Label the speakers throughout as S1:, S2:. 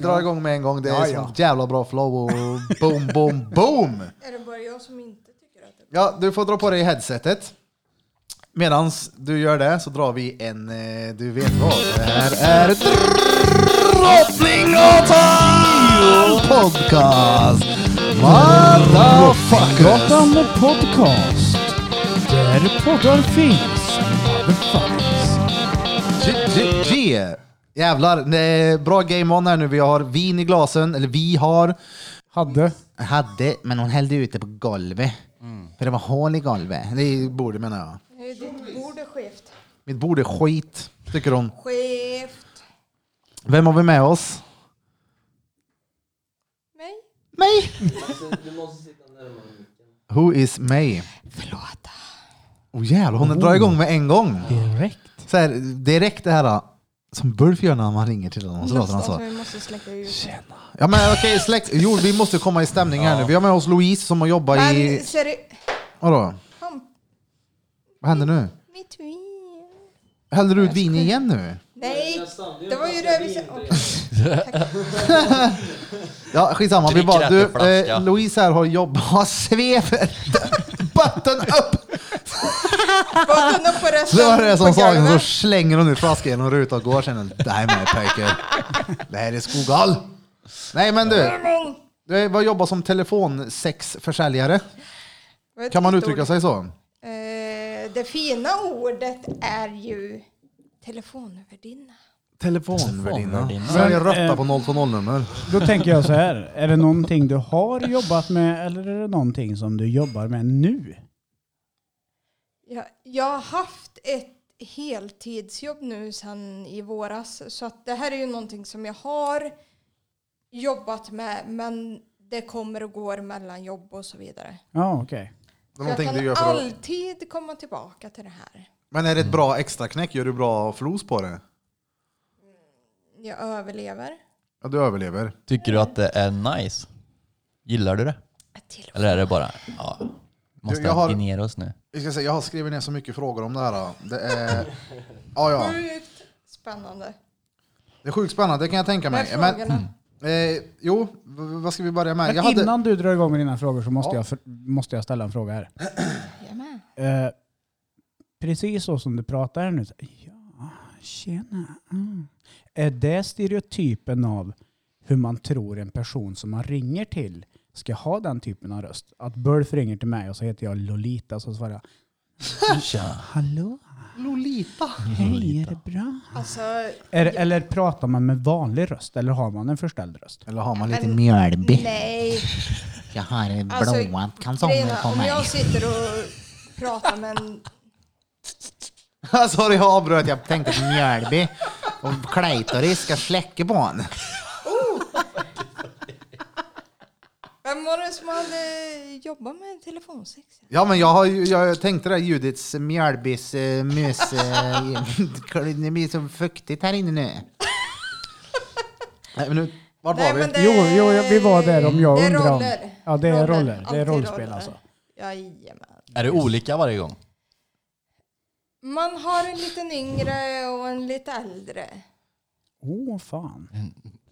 S1: drar igång med en gång. Det är
S2: Ja,
S1: så
S2: ja.
S1: jävla bra flow och boom, boom, boom!
S3: Är det bara jag som inte tycker att det
S1: Ja, du får dra på dig headsetet. Medan du gör det så drar vi en, eh, du vet vad. Det här är Drottninggatan Podcast! Motherfuckers!
S4: Gatan Podcast. Där poddar finns. Motherfuckers.
S1: G- G- G. Jävlar, nej, bra game on här nu. Vi har vin i glasen, eller vi har.
S4: Hade.
S1: Hade, men hon hällde ut det på golvet.
S2: Mm.
S1: För det var hål i golvet. Det är bordet menar jag.
S3: är... Ditt bord är skevt.
S1: Mitt bord är skit, tycker hon.
S3: Skevt.
S1: Vem har vi med oss?
S3: Mig?
S1: Mig! Who is May?
S3: Förlåt.
S1: Oh jävlar, hon drar igång med en gång.
S4: Direkt.
S1: Så här, direkt det här äh, som Bulf gör när man ringer till honom. Så låter han så.
S3: vi måste släcka ut.
S1: Ja men okej, släkt. Jo, vi måste komma i stämning här nu. Vi har med oss Louise som har jobbat
S3: Men
S1: i...
S3: ser du...
S1: Vadå?
S3: Kom,
S1: Vad händer nu?
S3: mitt vin.
S1: Häller du ut vin igen nu?
S3: Nej, det var ju det vi sa.
S1: Ja, skitsamma. Vi
S5: Dricker
S1: bara, du,
S5: ätterflaska.
S1: eh, Louise här har jobbat... Svever! Button upp!
S3: Botten upp på resten.
S1: Det var det
S3: på
S1: som sa, alltså,
S3: golvet.
S1: så slänger hon ut flaskan genom rutan och går sen. Nej men pojke, det här är Skoghall! Nej men du, du var jobbar som telefonsexförsäljare.
S3: Vad är
S1: Kan man
S3: ditt
S1: uttrycka
S3: ord?
S1: sig så?
S3: Eh, det fina ordet är ju telefonvärdinna.
S1: Telefonvärdinna.
S5: Telefonvärdinna.
S1: Säljer
S4: Men,
S1: rötta
S4: eh,
S1: på 020-nummer.
S4: Då tänker jag så här. Är det någonting du har jobbat med eller är det någonting som du jobbar med nu?
S3: Jag, jag har haft ett heltidsjobb nu sedan i våras så att det här är ju någonting som jag har jobbat med men det kommer och går mellan jobb och så vidare.
S4: Ja, okej.
S1: Det är
S3: Jag
S1: någonting
S3: kan
S1: du gör för att...
S3: alltid komma tillbaka till det här.
S1: Men är det ett bra extraknäck? Gör du bra flos på det?
S3: Jag överlever.
S1: Ja, du överlever.
S5: Tycker du att det är nice? Gillar du det?
S3: Till
S5: Eller är det bara, ja, måste
S1: Jag har-
S5: vi ner oss nu?
S1: Jag, ska säga, jag har skrivit ner så mycket frågor om det här. Det är, ja, ja.
S3: Sjukt spännande.
S1: Det är sjukt spännande, det kan jag tänka
S3: Med
S1: mig. Men,
S3: frågorna.
S1: eh, jo, v- vad ska vi börja med?
S4: Men
S1: Jag hade-
S4: innan du drar igång med dina frågor så måste,
S1: Ja.
S4: jag, för, måste jag ställa en fråga här.
S3: Jag med.
S4: Eh, precis så som du pratar här nu. så- Ja, tjena. Mm. Är det stereotypen av hur man tror en person som man ringer till ska ha den typen av röst? Att Bulf ringer till mig och så heter jag Lolita så svarar jag "Mm,
S5: Tja.
S4: Hallå,
S1: Lolita.
S4: hej, är det bra?
S3: Alltså,
S4: Är, eller pratar man med vanlig röst eller har man en förställd röst?
S1: Eller har man
S3: lite
S1: lite
S3: Men-
S1: mjölby?
S3: nej.
S1: Jag har
S3: Alltså,
S1: blåa
S3: Grejerna,
S1: kalsonger på
S3: om
S1: mig.
S3: jag sitter och pratar med en
S2: Ah,
S1: Sorry, jag avbröt. Jag tänkte på mjölby. Och Kleitoris ska släcka på honom.
S3: Vem var det som hade jobbat med telefonsex?
S1: Ja, men jag, har, ju- jag tänkte det, Judits mjölbys eh, mus... eh, Det blir så fuktigt här inne nu. Nej, men nu, vart var
S3: Nej,
S1: vi?
S3: men det-
S4: Jo, jo, ja, vi var där om jag
S3: det är
S4: undrar om-
S3: roller.
S4: Ja, det
S3: Roller.
S4: är roller. Det är
S3: Alltid
S4: rollspel
S3: roller.
S4: alltså.
S3: Jajamän.
S5: Är det olika varje gång?
S3: Man har en liten yngre och en lite äldre.
S4: Åh fan.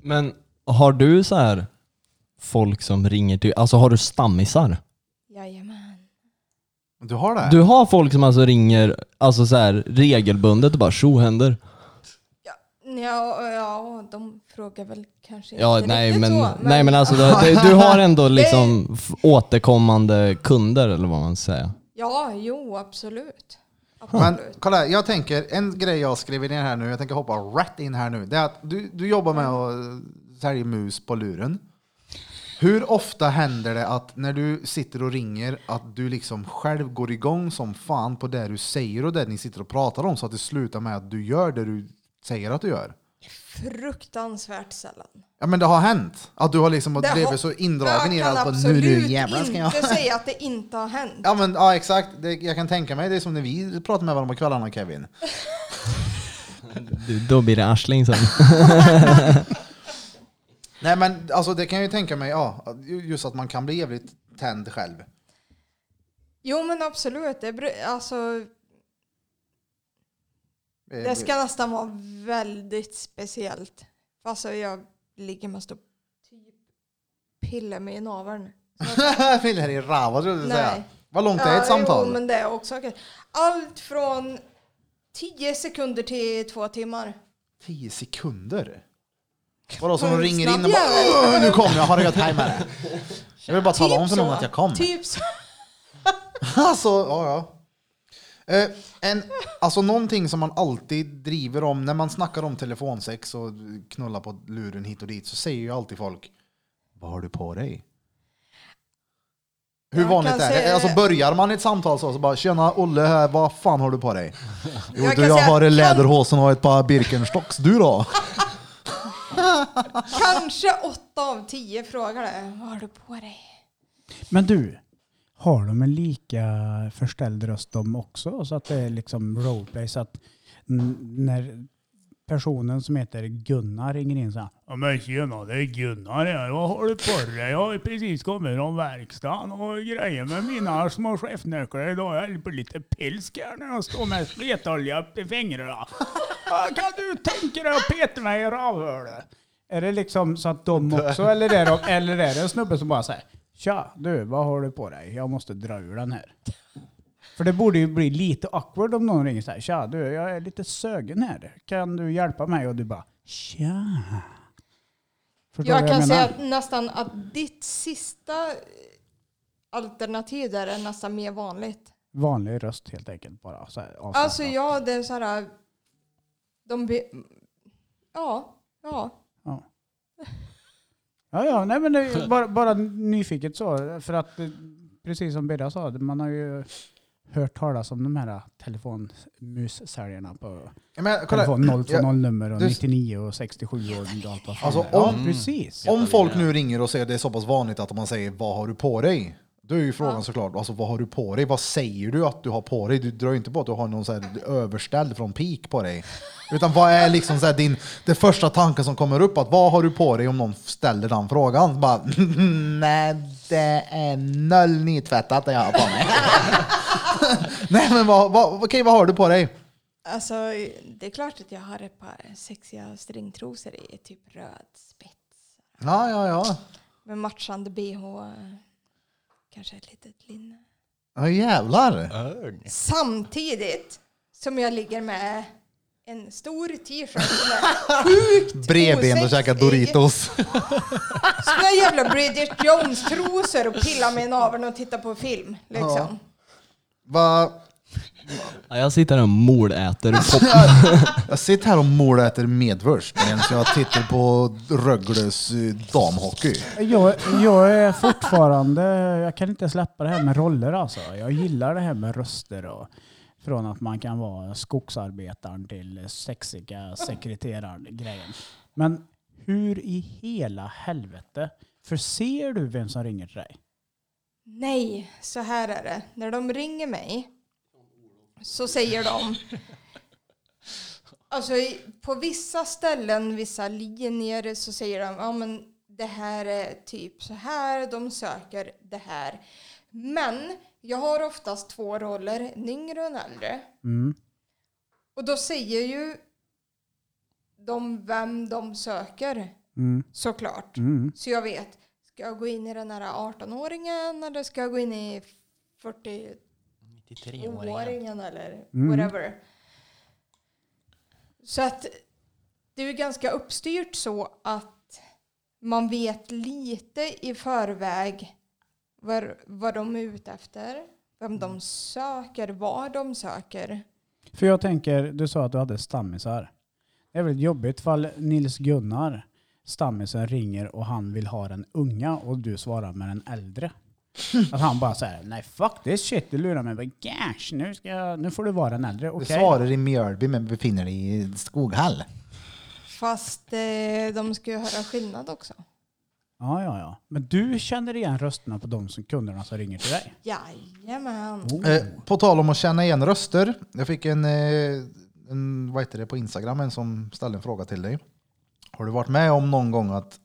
S6: Men har du så här folk som ringer till, alltså har du stammisar?
S3: Jajamän.
S1: Du har det?
S6: Du har folk som alltså ringer alltså så här regelbundet och bara tjo händer?
S3: Ja, ja, de frågar väl kanske
S6: Ja,
S3: inte
S6: nej
S3: riktigt
S6: men,
S3: så.
S6: nej men alltså det, det, du har ändå liksom f- återkommande kunder eller vad man säger.
S3: Ja, jo, absolut.
S1: Men
S3: absolut.
S1: kolla, här, jag tänker, en grej jag skriver ner här nu, jag tänker hoppa rätt in här nu, det är att du, du jobbar med att sälja mus på luren. Hur ofta händer det att när du sitter och ringer att du liksom själv går igång som fan på det du säger och det ni sitter och pratar om så att det slutar med att du gör det du säger att du gör?
S3: Fruktansvärt sällan.
S1: Ja men det har hänt. Att du har liksom
S3: Det har-
S1: blivit så indragen i det
S3: jag
S1: att
S3: kan
S1: bara, nu du
S3: absolut
S1: jävlar ska jag...
S3: inte säga att det inte har hänt.
S1: Ja men ja, exakt, det, jag kan tänka mig det är som när vi pratar med varandra på kvällarna Kevin.
S6: Du, då blir det arsling sen.
S1: Nej men alltså det kan jag ju tänka mig, ja. Just att man kan bli jävligt tänd själv.
S3: Jo, men absolut. Det, bru- alltså,
S1: Eh,
S3: det ska nästan vara väldigt speciellt. Alltså jag ligger mest och typ pillar mig i naveln.
S1: Piller i rava skulle du säga.
S3: Nej.
S1: Vad långt är ett samtal?
S3: Jo, men det är också okej. Allt från 10 sekunder till två timmar.
S1: Tio sekunder? Vadå, som de
S3: Mm,
S1: ringer in och
S3: snabb
S1: bara
S3: jävel.
S1: "Åh, nu kom jag, har det gött, hej med dig. Jag vill bara tala om för
S3: så.
S1: någon att jag kom.
S3: Typ så.
S1: Alltså, ja, ja. Eh, en, alltså någonting som man alltid driver om när man snackar om telefonsex och knulla på luren hit och dit så säger ju alltid folk Vad har du på dig? Hur
S3: Jag
S1: vanligt
S3: kan
S1: är det?
S3: säga-
S1: Alltså börjar man ett samtal så, så bara Tjena Olle här, vad fan har du på dig? Jo
S3: Jag
S1: du
S3: kan
S1: jag
S3: säga-
S1: har
S3: kan-
S1: en läderhosen och ett par Birkenstocks, du då?
S3: Kanske åtta av tio frågar det. Vad har du på dig?
S4: Men du, har de en lika förställd röst de också? Så att det är liksom roleplay. Så att n- när personen som heter Gunnar ringer in så här. Ja men tjena, det är Gunnar här. Vad har du på dig? Jag har precis kommit från verkstaden och grejer med mina små chefnycklar idag. Jag häller på lite pilsk här när jag står med spretolja upp i fingrarna. Ja, Kan du tänka dig att peta mig i rövhålet? Är det liksom så att de också, eller är det, eller är det en snubbe som bara säger Tja, du, vad har du på dig? Jag måste dra ur den här. För det borde ju bli lite awkward om någon ringer så här. Tja, du, jag är lite sögen här. Kan du hjälpa mig? Och du bara tja. Förstår du
S3: jag
S4: vad
S3: kan
S4: jag
S3: säga
S4: menar?
S3: att nästan att ditt sista eh, alternativ där är nästan mer vanligt.
S4: Vanlig röst helt enkelt bara. Så här, avslappnat.
S3: Alltså ja, det är så här. De be- ja, ja.
S4: Ja. Ja, ja, nej men det är bara, bara nyfiket så. För att eh, precis som Birra sa, man har ju hört talas om de här telefonmussäljarna på
S1: Ja, men kolla,
S4: telefon
S1: jag-
S4: 020-nummer och
S1: du-
S4: 99 och 67 och allt vad fan
S1: Alltså,
S4: det är. Ja,
S1: om-
S4: precis.
S1: Om folk nu ringer och säger att det är så pass vanligt att man säger vad har du på dig? Då är ju frågan såklart, alltså, vad har du på dig? Vad säger du att du har på dig? Du drar ju inte på att du har någon så här överställd från pik på dig. Utan vad är liksom så här din, det första tanken som kommer upp? att Vad har du på dig om någon ställer den frågan? Bara, nej, det är noll nytvättat det jag har på mig. nej, men vad, vad, okej, vad har du på dig?
S3: Alltså, det är klart att jag har ett par sexiga stringtrosor i typ röd spets.
S1: Ja, ja, ja.
S3: Med matchande bh. Kanske ett litet linne.
S1: Ja, jävlar.
S3: Samtidigt som jag ligger med en stor t-shirt som är
S1: Bredbent och käka Doritos.
S3: såna jävla Bridget Jones-trosor och pillar mig i naveln och tittar på film. Liksom.
S1: Vad...
S6: Ja, jag sitter här och mordäter pop-
S1: Jag sitter här och måläter medvurst medan jag tittar på Rögles eh, damhockey.
S4: Jag, jag är fortfarande, jag kan inte släppa det här med roller alltså. Jag gillar det här med röster och från att man kan vara skogsarbetaren till sexiga sekreteraren-grejen. Men hur i hela helvete, för ser du vem som ringer till dig?
S3: Nej, så här är det. När de ringer mig så säger de... Alltså i- på vissa ställen, vissa linjer så säger de ja men det här är typ så här, de söker det här. Men jag har oftast två roller, en yngre och en äldre.
S4: Mm.
S3: Och då säger ju de vem de söker
S4: Mm.
S3: såklart.
S4: Mm.
S3: Så jag vet, ska jag gå in i den här 18-åringen eller ska jag gå in i 40-åringen eller
S4: Mm.
S3: whatever. Så att det är ju ganska uppstyrt så att man vet lite i förväg vad, vad de är ute efter, vem de söker, vad de söker.
S4: För jag tänker, du sa att du hade stammisar. Det är väl jobbigt fall Nils-Gunnar, stammisen, ringer och han vill ha den unga och du svarar med den äldre. Att han bara säger nej fuck this shit, du lurar mig. Jag bara, Gosh, nu, ska jag, nu får du vara den äldre.
S1: Du
S4: Okej.
S1: svarar i Mjölby men befinner dig i Skoghall.
S3: Fast eh, de ska ju höra skillnad också.
S4: Ja, ja, ja. Men du känner igen rösterna på de som, kunderna som ringer till dig? Oh.
S3: Jajamän.
S1: Eh, på tal om att känna igen röster. Jag fick en, eh, en vad heter det, på Instagram en som ställde en fråga till dig. Har du varit med om någon gång att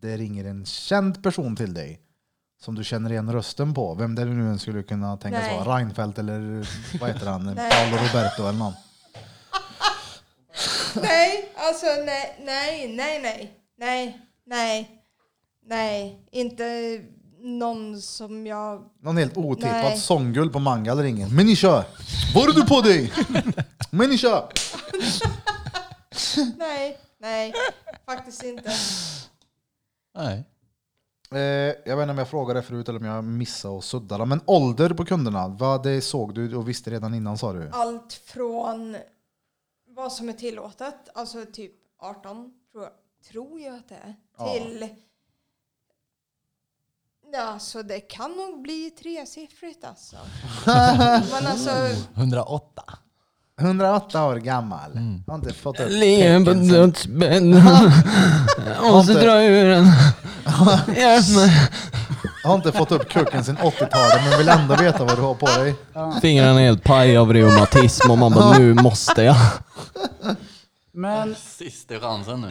S1: det ringer en känd person till dig som du känner igen rösten på? Vem det nu än skulle kunna tänkas
S3: Nej.
S1: vara. Reinfeldt eller vad heter han?
S3: Nej.
S1: Paolo Roberto eller någon.
S3: Nej, alltså nej, nej, nej, nej, nej. Nej. Nej, inte någon som jag...
S1: Någon helt
S3: Nej.
S1: otippat sångguld på Mangal ringer. Men ni kör! Vad har du på dig? Men ni kör!
S3: Nej, nej, faktiskt inte.
S5: Nej.
S1: Eh, jag vet inte om jag frågade det förut eller om jag missade och suddade. Men ålder på kunderna, vad det såg du och visste redan innan sa du?
S3: Allt från vad som är tillåtet, alltså typ 18 tror jag, tror jag att det är,
S1: Ja.
S3: till... Ja, så det kan nog bli tresiffrigt alltså. Men alltså,
S5: 108.
S1: 108 år gammal.
S4: Mm.
S1: Har inte fått upp
S6: Ligger på
S1: tecken sen-
S6: dödsbädden. Måste
S1: Inte-
S6: dra ur den. Hjälp mig.
S1: har inte fått upp kucken sen 80-talet men vill ändå veta vad du har på dig.
S6: Fingrarna är helt paj av reumatism och man bara nu måste jag.
S4: Men,
S5: Sista chansen nu.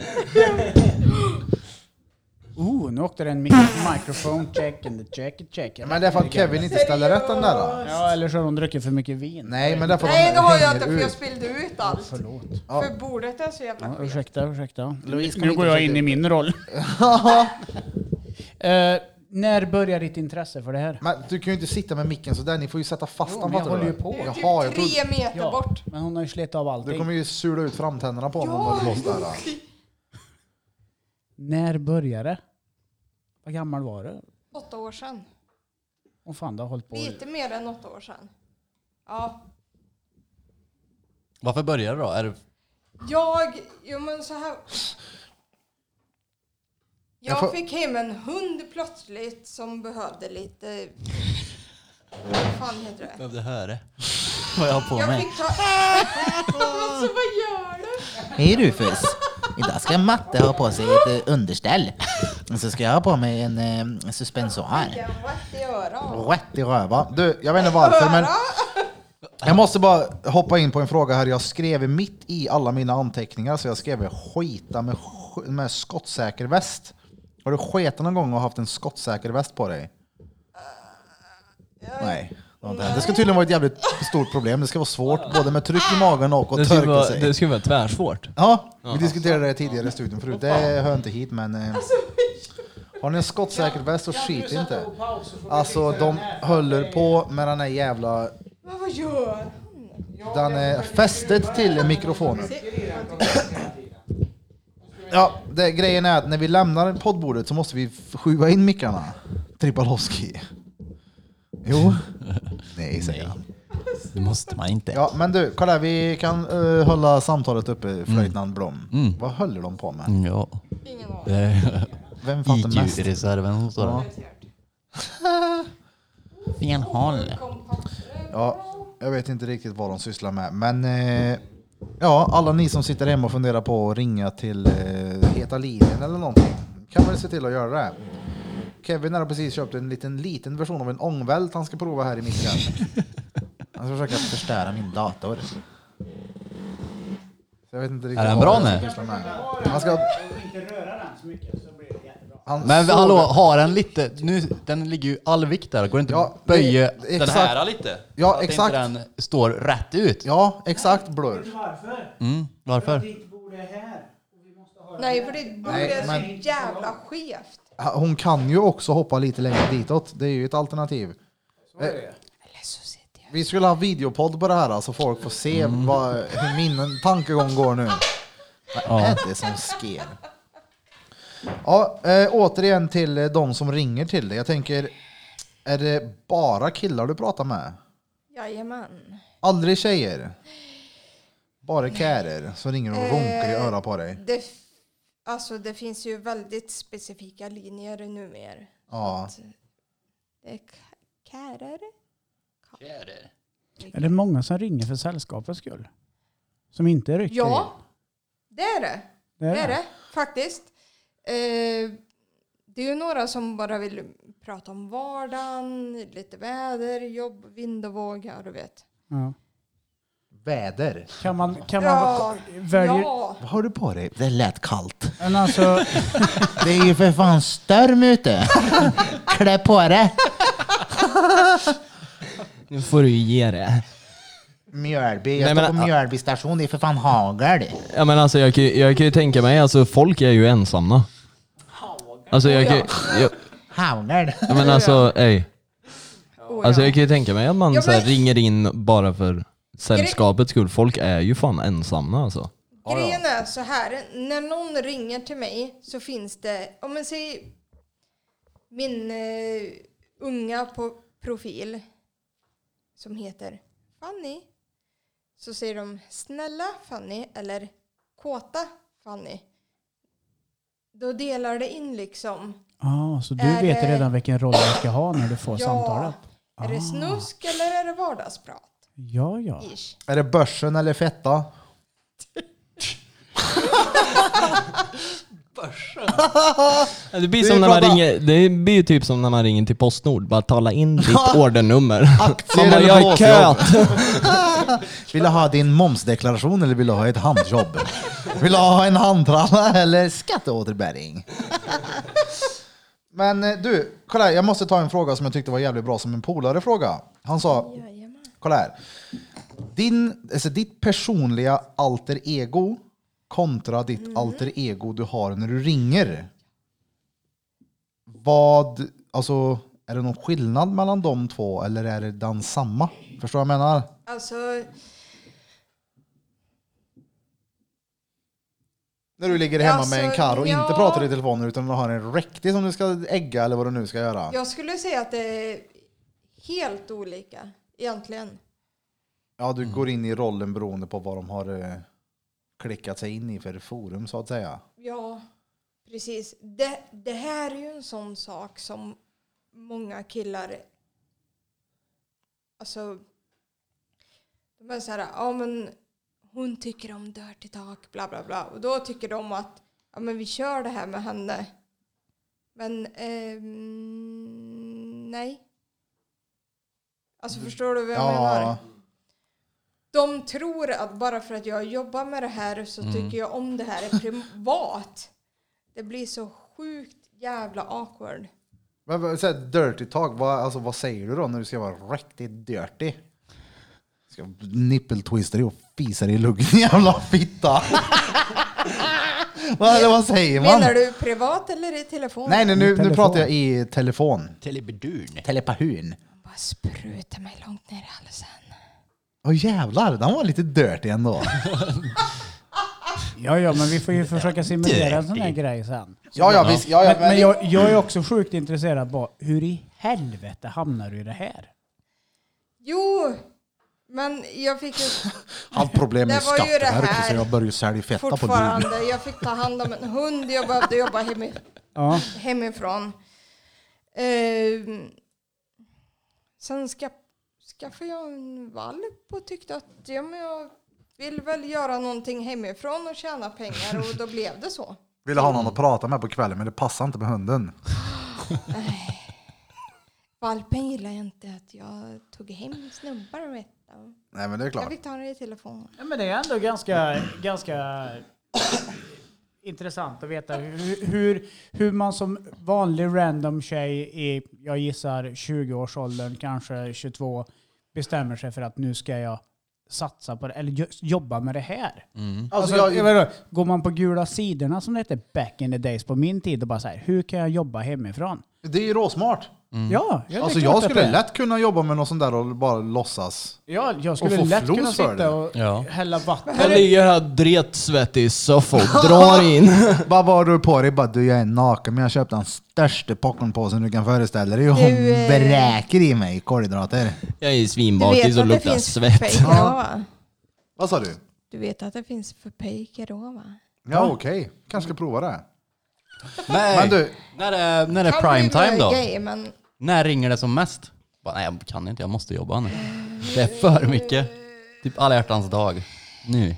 S4: oh, nu åkte den mic- microphone check and the check check.
S1: Men det är för att Kevin inte ställer rätt den där. då.
S4: Ja, eller så har de druckit för mycket vin.
S1: Nej men det är för att
S3: nej det
S1: de
S3: har jag
S1: hänger
S3: inte för
S1: ut.
S3: jag spillde ut allt.
S4: Förlåt.
S3: För bordet är så jävla
S4: Ja,
S3: skevt.
S4: ursäkta, ursäkta.
S1: Louise, kan
S4: nu
S1: vi
S4: går
S1: inte
S4: jag
S1: försöka-
S4: in i min roll. Eh, när börjar ditt intresse för det här?
S1: Men du kan ju inte sitta med micken sådär, ni får ju sätta fast
S4: Jo,
S1: den.
S4: men jag
S1: fattar du
S4: håller
S1: det?
S4: ju på. Det är
S3: Typ
S1: Jaha, jag trodde-
S3: tre meter bort.
S4: men hon har ju slitit av
S1: Du
S4: allting.
S1: kommer ju sula ut framtänderna på honom
S3: Ja.
S1: när du måste där.
S4: När började det? Vad gammal var du?
S3: Åtta år sedan.
S4: Åh fan, du har hållit på. i-
S3: Lite mer än åtta år sedan. Ja.
S5: Varför började du då? Är det...
S3: Jag, jo men så här.
S1: Jag
S3: Jag
S1: får-
S3: fick hem en hund plötsligt som behövde lite... Vad fan heter det?
S5: Behövde höra vad jag har på
S3: Jag
S5: mig.
S3: fick ta... alltså vad gör du?
S2: Hej Rufus! Idag ska Matte ha på sig ett eh, underställ. Och så ska jag ha på mig en eh, suspensoar.
S3: Jag har rätt i örat.
S1: Rätt i röva. Du, jag vet inte varför men jag måste bara hoppa in på en fråga här. Jag skrev mitt i alla mina anteckningar så jag skrev skita med, sk- med skottsäker väst. Har du sketat någon gång och haft en skottsäker väst på
S6: Eh,
S1: dig? Nej. det har inte hänt. Det ska tydligen vara ett jävligt stort problem. Det ska vara svårt både med tryck i magen och
S6: Det
S1: att
S6: skulle
S1: torka
S6: vara,
S1: sig.
S6: det skulle vara tvärsvårt.
S1: Ja, vi diskuterade det tidigare i studion förut. Det hör inte hit, men... eh, Har ni en skottsäker väst så skit inte. Alltså, de håller på med den här jävla...
S3: Men vad gör
S1: Den är fästet till mikrofonen. Ja, det, grejen är att när vi lämnar poddbordet så måste vi f- skjuva in mickarna. Tripalowski. Jo. Nej, säger han.
S5: Det måste man inte.
S1: Ja, men du, kolla här, vi kan eh, hålla samtalet uppe, Flöjtnant Blom. Vad håller de på med?
S5: Ja.
S3: Ingen aning.
S5: Det är
S1: Vem fattar mest?
S5: IQ-reserven som står där.
S2: Fel håll.
S1: Ja, jag vet inte riktigt vad de sysslar med, men eh, ja, alla ni som sitter hemma och funderar på att ringa till eh, Heta linjen eller någonting kan väl se till att göra det. Kevin har precis köpt en liten, liten version av en ångvält han ska prova här i mitt hem. Han ska försöka förstöra min dator. Så jag vet inte riktigt
S5: Är den
S1: vad
S5: bra
S1: det är som
S5: nu?
S1: sysslar med. Han ska...
S4: inte röra den så mycket så blir det jättebra.
S1: Han
S5: Men
S1: såg-
S5: hallå, har den lite... Nu, den ligger ju all vikt där. Går det inte
S1: Ja,
S5: att böja
S1: det- det-
S5: den
S1: exakt.
S5: här lite?
S1: Ja,
S5: så att
S1: exakt.
S5: inte den står rätt ut.
S1: Ja, exakt blurr.
S4: Varför?
S5: Mm, varför?
S4: Ditt bord är här. Och vi måste ha
S3: Nej, för det borde
S1: Nej,
S3: är
S1: men-
S3: så jävla skevt.
S1: Hon kan ju också hoppa lite längre ditåt. Det är ju ett alternativ.
S3: Eller så sitter jag...
S1: Vi skulle ha videopodd på det här så folk får se vad, hur min tankegång går nu. Vad är det som sker? Ja, eh, återigen till eh, de som ringer till dig. Jag tänker, är det bara killar du pratar med?
S3: Jajamän.
S1: Aldrig tjejer? Bara kärer som ringer och runkar i
S3: Eh.
S1: örat på dig?
S3: Det, f- alltså det finns ju väldigt specifika linjer numera.
S1: Ja.
S3: Det är k- kärer.
S4: Är det många som ringer för sällskapets skull? Som inte är riktigt?
S3: Ja, det är det.
S4: det
S3: Det är det faktiskt. Eh, det är ju några som bara vill prata om vardagen, lite väder, jobb, vind och vågor, du vet.
S4: Ja.
S1: Väder.
S4: Kan man, kan man
S3: Ja,
S4: välja?
S3: ja.
S1: Vad har du på dig?
S2: Det lät kallt.
S4: Men alltså,
S2: Det är ju för fan storm ute. Klä på dig.
S6: Nu får du ju ge det.
S2: Mjölby.
S6: Nej,
S2: Jag står
S6: men-
S2: på Mjölby station. Det är för fan hagel.
S6: Ja, men alltså, jag, kan ju- jag kan ju tänka mig, alltså, folk är ju ensamma. Alltså jag kan jag,
S2: Howlard.
S6: men alltså, ey,
S3: Oh,
S6: alltså
S3: ja.
S6: jag kan ju tänka mig att man
S3: Ja,
S6: så här,
S3: men-
S6: ringer in bara för sällskapets skull. Folk är ju fan ensamma alltså.
S3: Grejen är så här, när någon ringer till mig så finns det, om man säger min eh, unga på profil som heter Fanny. Så säger de snälla Fanny eller kåta Fanny. Då delar det in liksom.
S4: Ah, så du
S3: Är
S4: vet
S3: det-
S4: redan vilken roll du ska ha när du får
S3: Ja,
S4: samtalet?
S3: är det snusk eller är det vardagsprat?
S4: Ja, ja.
S3: Ish.
S1: Är det börsen eller fetta?
S6: Det blir,
S1: Vi
S6: som när man
S1: pratar-
S6: ringer, det blir ju typ som när man ringer till Postnord. Bara tala in ditt ordernummer.
S1: Aktier
S6: Mamma,
S1: eller
S6: jag är
S1: blåsjobb?
S6: köt!
S1: Vill du ha din momsdeklaration eller vill du ha ett handjobb? Vill du ha en handtralla eller skatteåterbäring? Men eh, du, kolla här, jag måste ta en fråga som jag tyckte var jävligt bra som en polare fråga. Han sa,
S3: Jajamän.
S1: kolla här. Din, alltså ditt personliga alter ego kontra ditt
S3: Mm.
S1: alter ego du har när du ringer. Vad, alltså, är det någon skillnad mellan de två eller är det den samma? Förstår du vad jag menar?
S3: Alltså,
S1: När du ligger hemma
S3: Alltså,
S1: med en karl och
S3: ja.
S1: inte pratar i telefonen utan du har en räktig som du ska ägga eller vad du nu ska göra. Ja,
S3: jag skulle säga att det är helt olika egentligen.
S1: du går in i rollen beroende på vad de har eh, klickat sig in i för forum så att säga.
S3: Ja, precis. Det, det här är ju en sån sak som många killar... Alltså... De är så här, ja men hon tycker om dirty talk, bla bla bla. Och då tycker de att, ja men vi kör det här med henne. Men, ehm, nej. Alltså förstår du vad jag menar?
S1: Ja,
S3: De tror att bara för att jag jobbar med det här så tycker jag om det här är privat. Det blir så sjukt jävla awkward.
S1: men, men, så här, dirty talk, vad, alltså, vad säger du då när du ska vara riktigt dirty? Ska nippeltwista dig och fisa dig i luggen jävla fitta. vad, eller vad säger man?
S3: Menar du privat eller i telefon?
S1: Nej, nej nu, nu
S4: Telefon.
S1: pratar jag i telefon.
S2: Telebedun. Telepahun.
S3: Bara spruta mig långt ner i halsen.
S1: Åh jävlar, den var lite dirty ändå.
S4: Ja, ja, men vi får ju försöka simulera en sån här grej sen.
S1: ja, ja, visst, ja, ja,
S4: Men, men jag, jag är också sjukt intresserad bara, hur i helvete hamnar du i det här?
S3: Jo, men jag fick ju
S1: Allt problem med
S3: Det var ju det
S1: Skatteverket
S3: här.
S1: så jag började sälja fetta på Lidl.
S3: fortfarande, jag fick ta hand om en hund, jag behövde jobba hemma.
S4: Ja,
S3: hemifrån. Ehm, sen ska, skaffade jag en valp och tyckte att ja, men jag vill väl göra någonting hemifrån och tjäna pengar och då blev det så.
S1: Ville ha någon att prata med på kvällen men det passar inte med hunden.
S3: Valpen gillar inte att jag tog hem snubbar vet du.
S1: Nej men det är
S3: Jag
S1: klart.
S3: fick ta den i telefon.
S4: Ja, men det är ändå ganska, ganska intressant att veta hur, hur, hur man som vanlig random tjej i, jag gissar 20-årsåldern, kanske 22, bestämmer sig för att nu ska jag satsa på det, eller jo- jobba med det här.
S1: Mm.
S4: Alltså, jag, menar, går man på gula sidorna som det hette back in the days på min tid och bara så här, hur kan jag jobba hemifrån?
S1: Det är ju råsmart.
S4: Ja, ja, det är
S1: Alltså
S4: klart
S1: jag
S4: att det
S1: skulle
S4: är.
S1: lätt kunna jobba med något sånt där och bara låtsas.
S4: Ja, jag
S1: få
S4: skulle lätt kunna
S1: flos för det.
S4: sitta och
S6: Ja.
S4: hälla vatten.
S6: Jag ligger här dretsvettig i soffan och drar in.
S1: Vad var du på dig? Bara, du jag är naken men jag köpte den största popcornpåsen du kan föreställa dig. Hon
S3: Du, eh,
S1: vräker i mig kolhydrater.
S6: Jag är
S3: Du vet
S6: svinbakis och
S3: att det
S6: luktar
S3: finns
S6: svett.
S3: fake då, va?
S1: Vad sa du?
S3: Du vet att det finns fake då, va?
S1: Ja okej, kanske ska prova det.
S5: Nej.
S1: Men du,
S5: när är, när är
S3: Kan bli
S5: prime time då?
S3: gay, men
S5: När ringer det som mest? Bara, nej, jag kan inte, jag måste jobba nu. Det är för mycket. Typ alla hjärtans dag. Nu.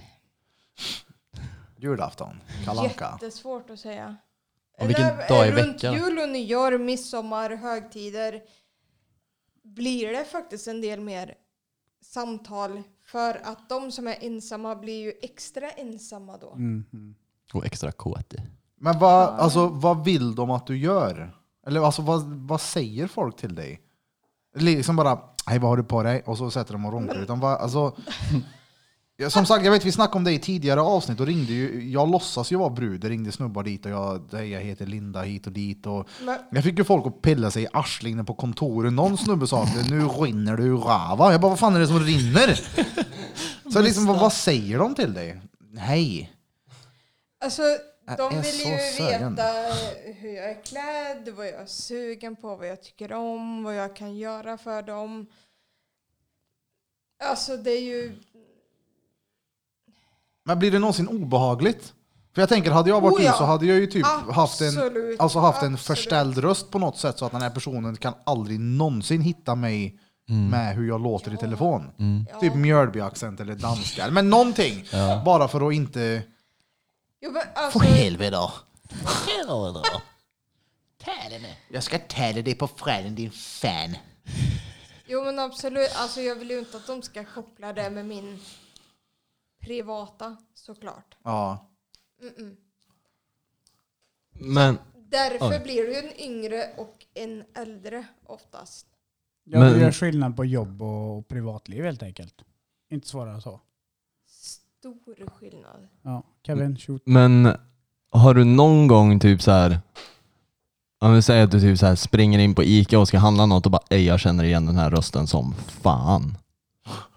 S1: julafton, Kalle Anka.
S3: Jättesvårt att säga.
S5: Och vilken
S3: Eller, eh,
S5: dag i
S3: runt
S5: veckan?
S3: jul och nyår, midsommar, högtider blir det faktiskt en del mer samtal. För att de som är ensamma blir ju extra ensamma då.
S5: Och extra kåt.
S1: Men vad, alltså, vad vill de att du gör? Eller alltså, vad, vad säger folk till dig? Liksom bara, hej vad har du på dig? Och så sätter de och runkar. Utan vad, alltså, Ja, Som sagt, jag vet vi snackade om det i tidigare avsnitt. Då ringde ju, jag låtsas ju vara brud. Det ringde snubbar dit och jag, "Hej, jag heter Linda hit och dit. Och
S3: Men-
S1: jag fick ju folk att pilla sig i arslet inne på kontoret. Någon snubbe sa att nu rinner du ur rava. Jag bara, vad fan är det som rinner? Så liksom, vad, vad säger de till dig? Hej.
S3: Alltså,
S1: Jag är
S3: de vill
S1: så
S3: ju
S1: sugen.
S3: veta hur jag är klädd, vad jag är sugen på, vad jag tycker om, vad jag kan göra för dem. Alltså det är ju...
S1: Men blir det någonsin obehagligt? För jag tänker, hade jag varit
S3: Oh ja.
S1: du så hade jag ju typ haft en,
S3: Absolut,
S1: alltså haft en
S3: absolut.
S1: förställd röst på något sätt så att den här personen kan aldrig någonsin hitta mig med hur jag låter i telefon.
S3: Ja.
S1: Typ Mjölby-accent eller danska. Men någonting. Bara för att inte...
S3: Jo, men alltså,
S2: För helvete. Helvete. Tära nu. Jag ska tära dig på fräden din fan.
S3: jo men absolut, alltså, jag vill ju inte att de ska koppla det med min privata såklart.
S1: Ja.
S3: Mm-mm.
S6: Men,
S3: Därför
S6: Oj.
S3: blir du ju en yngre och en äldre oftast.
S4: Ja,
S6: Men-
S4: du gör skillnad på jobb och privatliv helt enkelt. Inte svårare än så.
S3: Stor skillnad.
S4: Ja, Kevin, shoot.
S6: men har du någon gång typ så här. Om vi säger att du typ så här springer in på Ica och ska handla något och bara ej jag känner igen den här rösten som fan.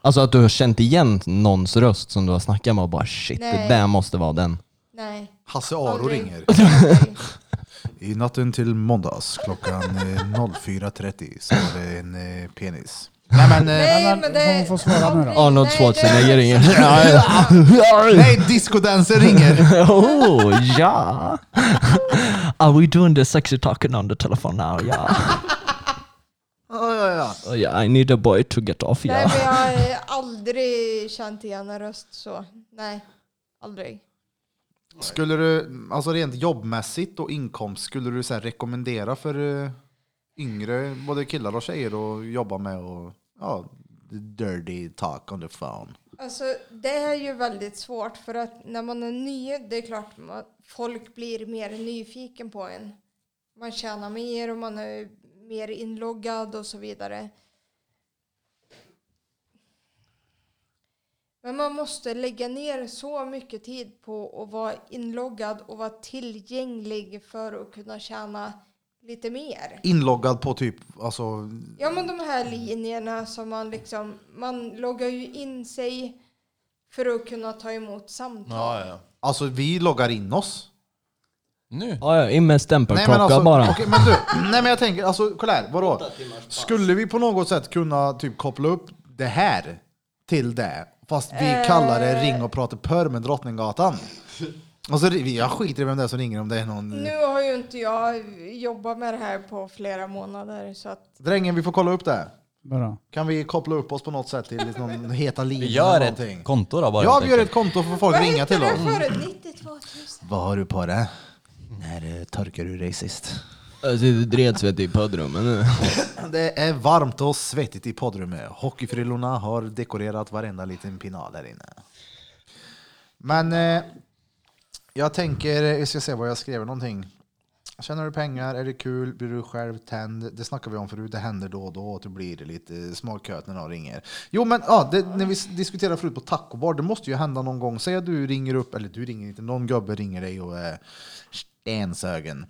S6: Alltså att du har känt igen någons röst som du har snackat med och bara shit
S3: Nej.
S6: det där måste vara den.
S3: Nej.
S1: Hasse Aro
S3: aldrig.
S1: ringer.
S3: Aldrig.
S1: I natten till måndags klockan eh, 04.30 så var det en eh, penis. Nej men... Eh,
S3: Nej, men det...
S4: hon får svara nu då.
S6: Arnold
S3: Nej, det-
S6: Schwarzenegger ringer.
S1: nej, discodansen ringer!
S6: Oh, ja! Are we doing the sexy talking on the telephone now? Yeah.
S1: Ja, ja, ja.
S6: Oh, yeah, I need a boy to get off,
S3: Nej,
S6: yeah.
S3: men jag har eh, aldrig känt igen en röst så. Nej, aldrig.
S1: Skulle du, alltså rent jobbmässigt och inkomst, skulle du så här rekommendera för eh, yngre, både killar och tjejer att jobba med och ja, the dirty talk on the phone?
S3: Alltså, det är ju väldigt svårt för att när man är ny, det är klart man, folk blir mer nyfiken på en. Man tjänar mer och man är mer inloggad och så vidare. Men man måste lägga ner så mycket tid på att vara inloggad och vara tillgänglig för att kunna tjäna lite mer.
S1: Inloggad på typ, alltså,
S3: Ja men de här linjerna som man liksom, man loggar ju in sig för att kunna ta emot samtal.
S5: Ja, ja.
S1: alltså vi loggar in oss.
S5: Nu?
S6: Ja, ja, Oh, in med stämpelklocka
S1: alltså,
S6: bara.
S1: okej, men du, nej men jag tänker, alltså kolla här, vadå? Skulle vi på något sätt kunna typ koppla upp det här till det? Fast vi kallar det ring och prata pör med Drottninggatan. Alltså, vi- jag skiter i vem det är som ringer om det är någon...
S3: Nu har ju inte jag jobbat med det här på flera månader så att
S1: Drängen, vi får kolla upp det.
S4: Bra.
S1: Kan vi koppla upp oss på något sätt till någon heta linje
S5: Vi gör
S1: eller
S5: ett
S1: någonting?
S5: konto då bara.
S1: Ja,
S5: helt
S1: vi gör
S5: enkelt.
S1: ett konto för folk
S3: Vad
S1: ringa
S3: hette
S1: till Mm.
S3: det
S1: oss.
S3: förut? 92 000?
S1: Vad har du på det? När eh, torkar du dig sist?
S6: Jag sitter dredsvettig typ i poddrummet nu.
S1: Det är varmt och svettigt i poddrummet. Hockeyfrillorna har dekorerat varenda liten pinal här inne. Men eh, jag tänker, jag ska se vad jag skrev någonting. Tjänar du pengar? Är det kul? Blir du själv tänd? Det snackar vi om förut. Det händer då och då att du blir lite småköt när någon ringer. Jo, men ja, det, när vi s- diskuterade förut på tacobar, det måste ju hända någon gång. Säg att du ringer upp, eller du ringer inte, någon gubbe ringer dig och är stensögen.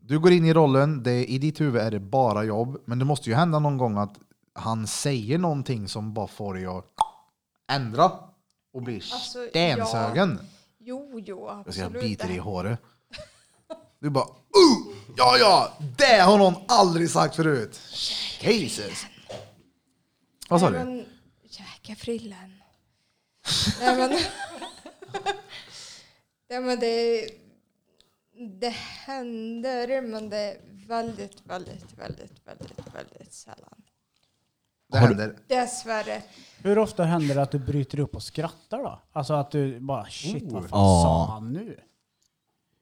S1: Du går in i rollen, det, i ditt huvud är det bara jobb, men det måste ju hända någon gång att han säger någonting som bara får dig att ändra och bli
S3: Alltså, ja.
S1: stensögen.
S3: Jo, jo,
S1: Jag ska
S3: absolut.
S1: bita dig i håret. Du bara uh, ja ja, det har någon aldrig sagt förut. Jesus. Vad sa
S3: Nej,
S1: du?
S3: men- Käka frillen. Nej men. Nej men det. Det händer men det är väldigt, väldigt, väldigt, väldigt, väldigt sällan.
S1: Det händer.
S3: Dessvärre.
S4: Hur ofta händer det att du bryter upp och skrattar då? Alltså att du bara shit vad fan
S6: Oh.
S4: sa han nu?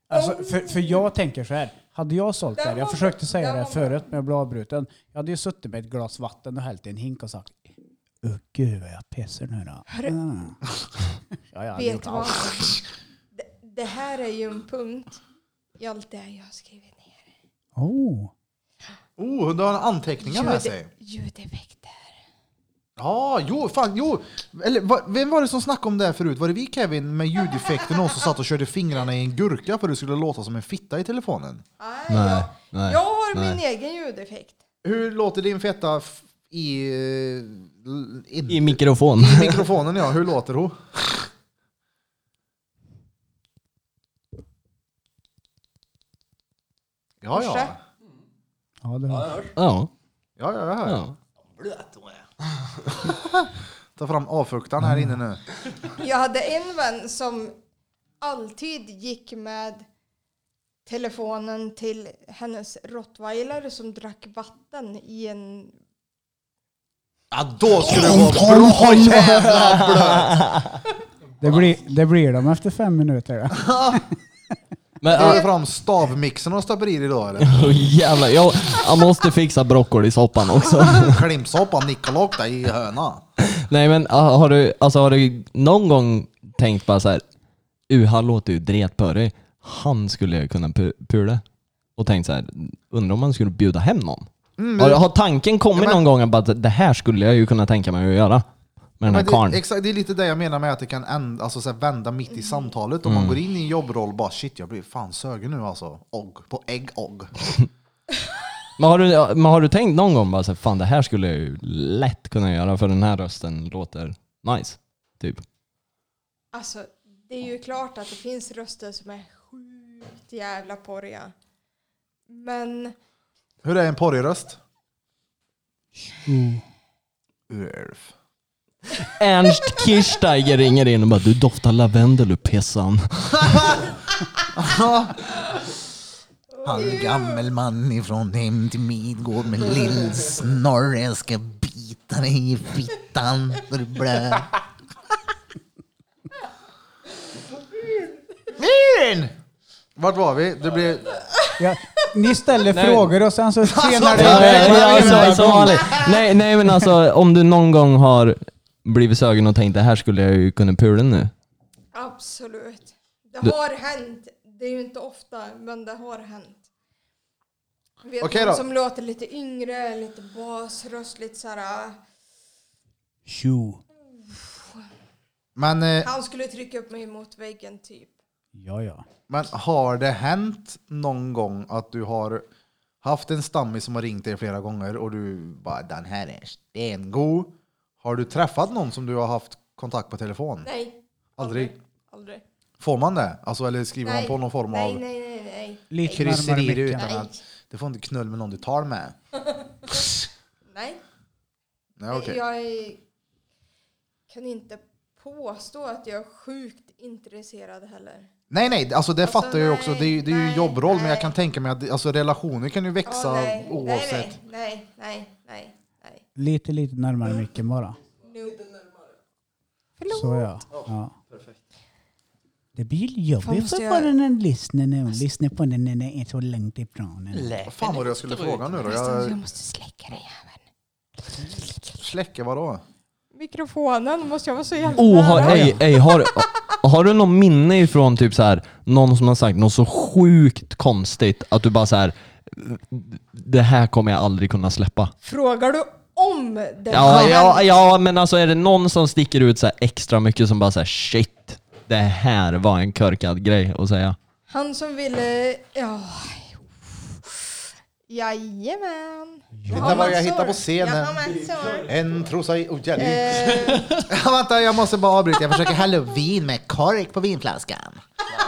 S4: Alltså, för, för jag tänker så här. Hade jag sålt det här, jag försökte säga det här förut men jag blev avbruten. Jag hade ju suttit med ett glas vatten och hällt i en hink och sagt Åh gud vad jag pissar nu då. Mm. Ja, jag hade
S3: Vet
S4: gjort
S3: du
S4: allt.
S3: vad? Det, det här är ju en punkt i allt det jag har skrivit ner.
S4: Oh.
S1: Oh, du har anteckningar med sig.
S3: Ljud, ljudeffekter.
S1: Ja, jo, fan, jo. Eller, va, vem var det som snackade om det här förut? Var det vi Kevin med ljudeffekten och som satt och körde fingrarna i en gurka för att det skulle låta som en fitta i telefonen?
S3: Nej,
S6: Nej,
S3: jag,
S6: nej,
S3: jag har min
S6: nej.
S3: egen ljudeffekt.
S1: Hur låter din fetta f- i... eh, l- in-
S5: I mikrofon.
S1: i mikrofonen ja, hur låter hon? Ja, ja.
S4: Ja, det var.
S6: Ja.
S1: Ja, ja, ja. ja.
S6: ja.
S1: Ta fram avfuktaren här inne nu.
S3: Jag hade en vän som alltid gick med telefonen till hennes rottweiler som drack vatten i en...
S1: Ja, då skulle det vara bra jävla blöt!
S4: Det, blir, det blir de efter fem minuter.
S6: Men
S1: Tar du
S6: äh,
S1: fram stavmixen och stoppar i dig då eller?
S6: oh, jävlar, jag, jag måste fixa broccolisoppan också.
S1: Klimpsoppa, nickelåkta i höna.
S6: Nej men ah, har du, alltså, har du någon gång tänkt bara så här, uh, han låter ju dretpörig. Han skulle jag kunna pu- pula. Och tänkt så här, undrar om man skulle bjuda hem någon? har, har tanken kommit
S1: Mm, Ja, men-
S6: någon gång att bara, det här skulle jag ju kunna tänka mig att göra? Med den här
S1: Men det,
S6: karln.
S1: exakt, det är lite det jag menar med att det kan änd, alltså, så här, vända mitt i samtalet. Om
S6: Mm.
S1: man går in i en jobbroll och bara shit, jag blir fan sögen nu alltså. Og, på ägg og.
S6: Men har, du, ja, men har du tänkt någon gång bara så här, fan det här skulle jag ju lätt kunna göra för den här rösten låter nice. Typ.
S3: Alltså, det är ju klart att det finns röster som är sjukt jävla porriga. Men...
S1: Hur är en porrröst?
S4: Mm.
S1: Urf.
S6: Ernst Kirchsteiger ringer in och bara du doftar lavendel du pissan.
S2: Han är en gammel man ifrån hem till Midgård med lillsnorre. Jag ska bita dig i fittan så du blöder.
S1: Min! Vart var vi? Det blev...
S4: Ja, ni ställer frågor och sen så skenar det
S6: Ja,
S4: iväg.
S6: ja, ja, så- som vanligt. Nej, nej men alltså om du någon gång har blivit sögen och tänkt det här skulle jag ju kunna pula nu.
S3: Absolut. Det
S6: Du-
S3: har hänt. Det är ju inte ofta, men det har hänt. Vet
S1: Okej
S3: någon
S1: då.
S3: som låter lite yngre, lite basröst, lite äh, såhär...
S4: Jo.
S1: Men, eh,
S3: Han skulle trycka upp mig mot väggen typ.
S4: Ja, ja.
S1: men har det hänt någon gång att du har haft en stammis som har ringt dig flera gånger och du bara den här är stengod. Har du träffat någon som du har haft kontakt på telefon?
S3: Nej.
S1: Aldrig.
S3: Aldrig.
S1: Får man det? Alltså, eller skriver
S3: Nej.
S1: man på någon form
S3: nej,
S1: av
S3: nej, nej, nej.
S4: Lite närmare
S1: krysserier
S4: micken.
S1: utan att du får inte knull med någon du tar med?
S3: Nej.
S1: Nej, okej.
S3: Jag är, kan inte påstå att jag är sjukt intresserad heller.
S1: Nej, nej, alltså det
S3: Alltså,
S1: fattar jag ju också. Det är, ju- det är ju
S3: nej,
S1: jobbroll, men jag
S3: nej.
S1: kan tänka mig att det- alltså, relationer kan ju växa
S3: Ja, nej.
S1: oavsett.
S3: Nej, nej, nej, nej, nej.
S4: Lite, lite närmare micken bara.
S3: Nope.
S4: Så ja. ja. Det blir
S3: Fan,
S4: jobbigt
S3: måste
S4: för
S3: jag-
S4: bara den lyssnar när hon lyssnar på den när den är så långt ifrån en.
S1: Vad fan var det jag skulle fråga nu då? Jag
S3: måste släcka den jäveln.
S1: släcker vadå?
S3: Mikrofonen måste jag vara så jävla
S6: Oh, har, ej, ej, har, har du någon minne ifrån typ så här, någon som har sagt något så sjukt konstigt att du bara så här. det här kommer jag aldrig kunna släppa.
S3: Frågar du om det?
S6: Ja, ja, ja men alltså är det någon som sticker ut så här extra mycket som bara så här shit, det här var en körkad grej att säga.
S3: Han som ville... Ja. Jajamän.
S1: Titta vad jag hittar på scenen.
S3: Jag har massor.
S1: En trosa i... Oh, jävlar.
S3: Eh,
S1: Vänta, jag måste bara avbryta. Jag försöker...
S2: Jag häller upp vin med kork på vinflaskan.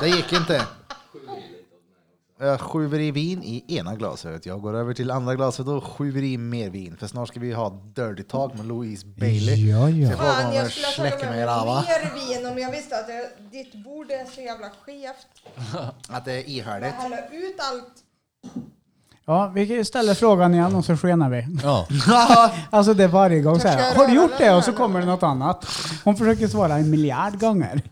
S1: Det gick inte. Jag skjuver i vin i ena glaset. Jag går över till andra glaset och skjuver i mer vin. För snart ska vi ha Dirty Talk med Louise Bailey.
S4: Ja,
S1: Så jag
S4: ja.
S1: frågar
S3: Fan,
S1: om
S3: jag
S1: jag
S3: skulle ha tagit
S1: släcker
S3: med
S1: mig
S3: mig
S1: i rava.
S3: mer vin om jag visste att det, ditt bord är så jävla skevt.
S1: Att det är
S3: Jag
S1: ihärdigt.
S3: häller ut allt.
S4: ja, vi kan ju ställa frågan igen och så skenar vi.
S5: Ja.
S4: Alltså det är varje gång så här.
S3: Törs jag
S4: Har du
S3: röra
S4: gjort
S3: den
S4: det?
S3: här
S4: Och så
S3: eller?
S4: kommer det något annat. Hon försöker svara en miljard gånger.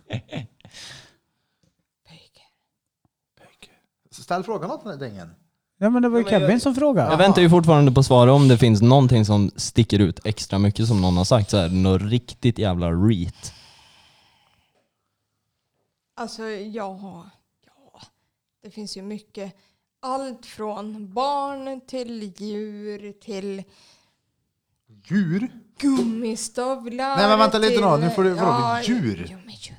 S1: Så Ställ frågan åt den dängen.
S4: Ja, men det var ju Kevin som
S6: Jag
S4: frågade.
S6: väntar ju fortfarande på svar om det finns någonting som sticker ut extra mycket som någon har sagt. Så här, något riktigt jävla reet.
S3: Alltså, ja. ja. Det finns ju mycket. Allt från barn till djur till
S1: Djur?
S3: Gummistövlar.
S1: Nej, men vänta lite då. Nu får du-
S3: till-
S1: vadå, djur?
S3: Jo, men djur.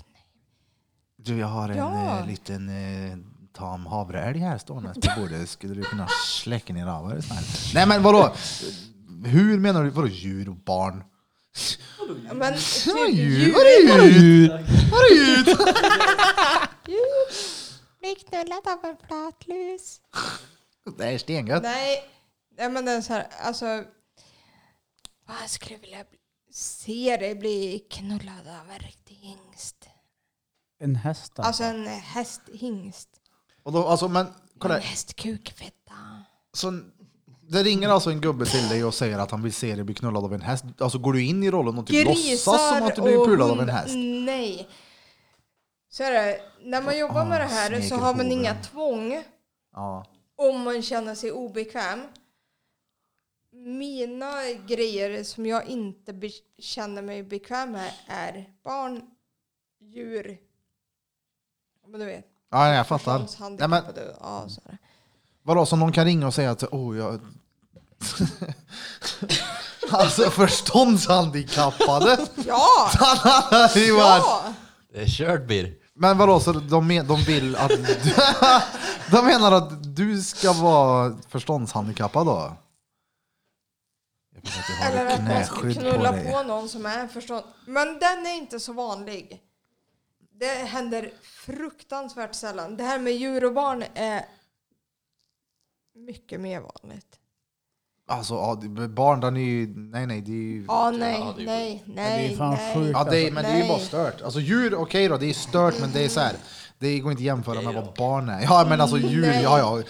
S1: Du, jag har en
S3: Ja.
S1: eh, liten eh, tam havreälg här stående på bordet. Skulle du kunna släcka ner av är du snäll? Nej, men vadå? Hur menar du? Vadå djur och barn?
S3: Ja, Men
S1: Vadå
S3: typ
S1: djur?
S3: djur.
S1: Vadå djur? Vadå djur?
S3: Blir knullad av en flatlus.
S1: Det är stengött.
S3: Nej, nej men den så här, alltså. Vad jag skulle vilja bli- se dig bli knullad av en riktig hingst.
S4: En häst
S3: Alltså
S4: alltså.
S3: en hästhingst.
S1: Och då, alltså, men kolla.
S3: En hästkukfetta.
S1: Så, det ringer alltså en gubbe till dig och säger att han vill se dig bli knullad av en häst. Alltså går du in i rollen och typ låtsas som att du blir pulad av en
S3: hundar-
S1: häst?
S3: Nej. Så är det. När man jobbar med det här så har man
S1: snegelhoven.
S3: inga tvång
S1: Ja.
S3: om man känner sig obekväm. Mina grejer som jag inte be- känner mig bekväm med är barn, djur, ja, men du vet.
S1: ja, jag fattar. Nej, men,
S3: funktionshandikappade, Ja, så är det.
S1: vadå, som någon kan ringa och säga att oh, jag... alltså förståndshandikappade!
S3: ja,
S1: Det är ju bara-
S3: ja!
S5: Det är kört bir.
S1: Men vadå, så de, men- de vill att... de menar att du ska vara förståndshandikappad då? Jag vet att du
S3: Eller
S1: har ett
S3: att man ska
S1: knäskydd på
S3: knulla på,
S1: dig.
S3: någon som är förstådd. Men den är inte så vanlig. Det händer fruktansvärt sällan. Det här med djur och barn är mycket mer vanligt.
S1: Alltså, ja, det- barn, den är ju... Nej, nej, det är ju...
S3: Ja, nej,
S5: Ja, det är
S3: nej,
S4: det
S3: nej,
S4: är fan
S3: nej.
S4: sjukt.
S1: Ja, det är,
S4: Alltså,
S1: men det är ju
S3: nej.
S1: bara stört. Alltså djur, okej då, det är stört, men det är så här. Det går inte att jämföra med vad barn är. Ja, men alltså djur,
S3: Nej.
S1: ja, ja.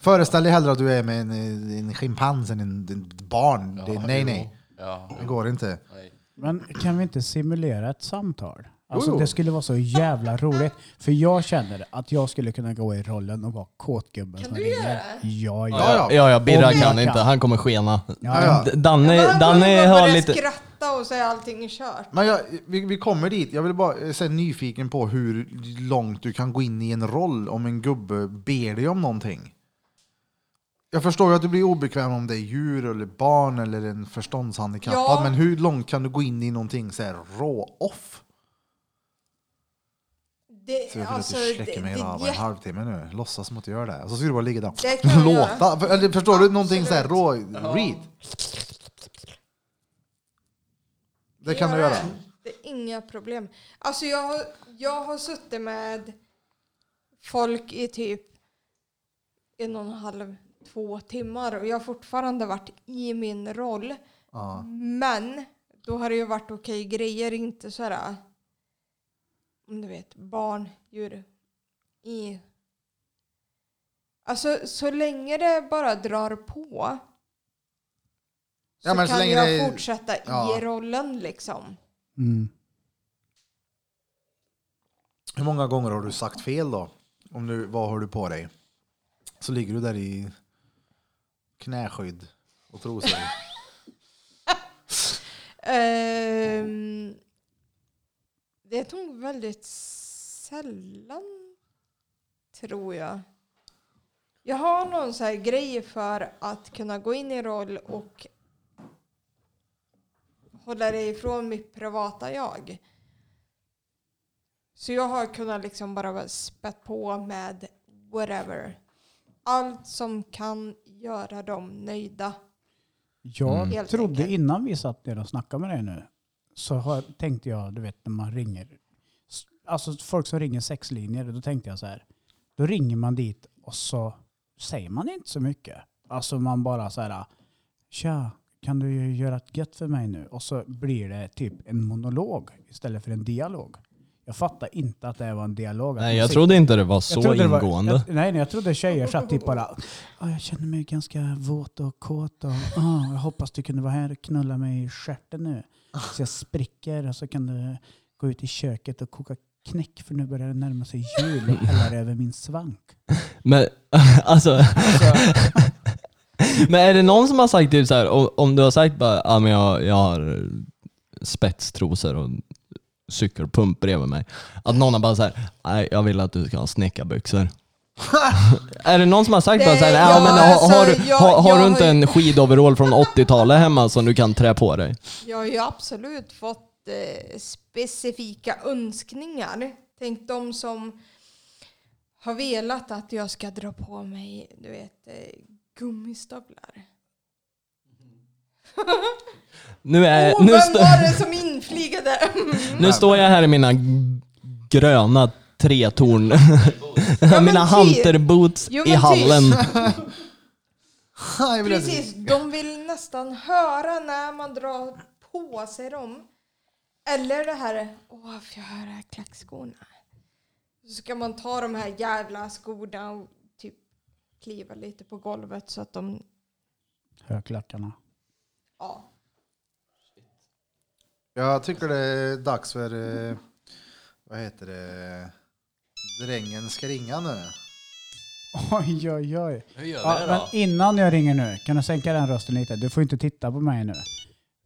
S1: Föreställ dig hellre att du är med en, en schimpans än en, en barn. Det, nej, nej.
S5: Ja,
S1: Det går inte.
S5: nej.
S4: Men kan vi inte simulera ett samtal? Alltså
S1: Jo, jo.
S4: det skulle vara så jävla roligt. För jag känner att jag skulle kunna gå i rollen och vara kåtgubben
S3: Kan
S4: som
S3: du
S4: ringer.
S1: Ja,
S3: göra
S4: Ja, ja.
S6: Ja,
S1: ja.
S6: ja, ja Birra
S4: Om jag
S6: kan
S4: kan.
S6: inte. Han kommer skena.
S4: Ja,
S1: ja.
S6: D- Danne,
S3: Man
S6: Danne
S3: börjar
S6: har
S3: börja
S6: lite...
S3: skratta och säga allting är kört.
S1: Men jag, vi, vi kommer dit. Jag vill bara eh, så här, nyfiken på hur långt du kan gå in i en roll om en gubbe ber dig om någonting. Jag förstår ju att du blir obekväm om det är djur eller barn eller en förståndshandikappad.
S3: Ja.
S1: Men hur långt kan du gå in i någonting så här rå-off?
S3: Det,
S1: Så jag vill
S3: alltså,
S1: att du
S3: det,
S1: släcker
S3: det,
S1: mig idag om en
S3: det,
S1: halvtimme nu. Låtsas som att du gör det. Och så ska du bara ligga där.
S3: det kan jag göra.
S1: Låta. För- Eller, förstår du? Någonting så här rå read. Det kan du
S3: göra.
S1: göra.
S3: Det är inga problem. Alltså jag har, jag har suttit med folk i typ en och en halv, två timmar och jag har fortfarande varit i min roll.
S1: Ja.
S3: Men då har det ju varit okej grejer, inte så här om du vet, barn, djur. I. Alltså så länge det bara drar på så,
S1: Ja, men så
S3: kan
S1: länge
S3: jag
S1: det-
S3: fortsätta
S1: ja.
S3: i rollen liksom.
S4: Mm.
S1: Hur många gånger har du sagt fel då? Om du, vad har du på dig? Så ligger du där i knäskydd och trosor.
S3: Ehm, det tog väldigt sällan, tror jag. Jag har någon så här grej för att kunna gå in i roll och hålla det ifrån mitt privata jag. Så jag har kunnat liksom bara spät på med whatever. Allt som kan göra dem nöjda.
S6: Mm.
S4: Jag
S3: Helt
S4: trodde
S3: enkelt.
S4: innan vi satt ner och snackade med dig nu, så har, tänkte jag, du vet när man ringer, s- alltså folk som ringer sexlinjer, då tänkte jag så här, då ringer man dit och så säger man inte så mycket. Alltså man bara så här, tja, kan du ju göra ett gött för mig nu? Och så blir det typ en monolog istället för en dialog. Jag fattar inte att det var en dialog. att man
S6: Nej, jag
S4: sitter-
S6: trodde inte det var
S4: jag
S6: så
S4: trodde det var-
S6: ingående.
S4: jag, nej, nej, jag trodde tjejer satt typ bara "Ja, jag känner mig ganska våt och kåt och ah, jag hoppas du kunde vara här och knulla mig i stjärten nu. Så jag spricker och så kan du gå ut i köket och koka knäck för nu börjar det närma sig jul och hälla över min svank.
S6: Men alltså... men är det någon som har sagt typ så här, om, om du har sagt bara ah, men jag, jag har spetstrosor och cykelpump bredvid mig. Att någon har bara så här, nej jag vill att du ska ha snickarbyxor. Är det någon som har sagt bara
S3: Det-
S6: såhär, ja,
S3: ja,
S6: men har,
S3: alltså,
S6: har,
S3: jag-
S6: har, har
S3: jag
S6: du
S3: har
S6: inte
S3: ju-
S6: en skidoverall från 80-talet hemma som du kan trä på dig?
S3: Jag har ju absolut fått eh, specifika önskningar. Tänk de som har velat att jag ska dra på mig, du vet, eh, gummistövlar.
S6: Nu,
S1: Eh,
S6: är,
S3: Åh,
S6: nu,
S3: vem
S6: stå-
S3: var det som inflygade? Mm,
S6: nu står jag här i mina gröna tretorn.
S3: men
S6: mina
S3: ty-
S6: hunterboots
S3: Jo,
S6: i
S3: men ty-
S6: hallen.
S1: Jag vill att-
S3: Precis, de vill nästan höra när man drar på sig dem. Eller det här, åh, får jag höra klackskorna? Så ska man ta de här jävla skorna och typ kliva lite på golvet så att de,
S4: Högklackarna.
S3: ja.
S1: Jag tycker det är dags för, eh, vad heter det, drängen ska ringa nu.
S4: Oj, oj, oj.
S5: Hur gör
S4: Ja, men innan jag ringer nu, kan du sänka den rösten lite? Du får inte titta på mig nu.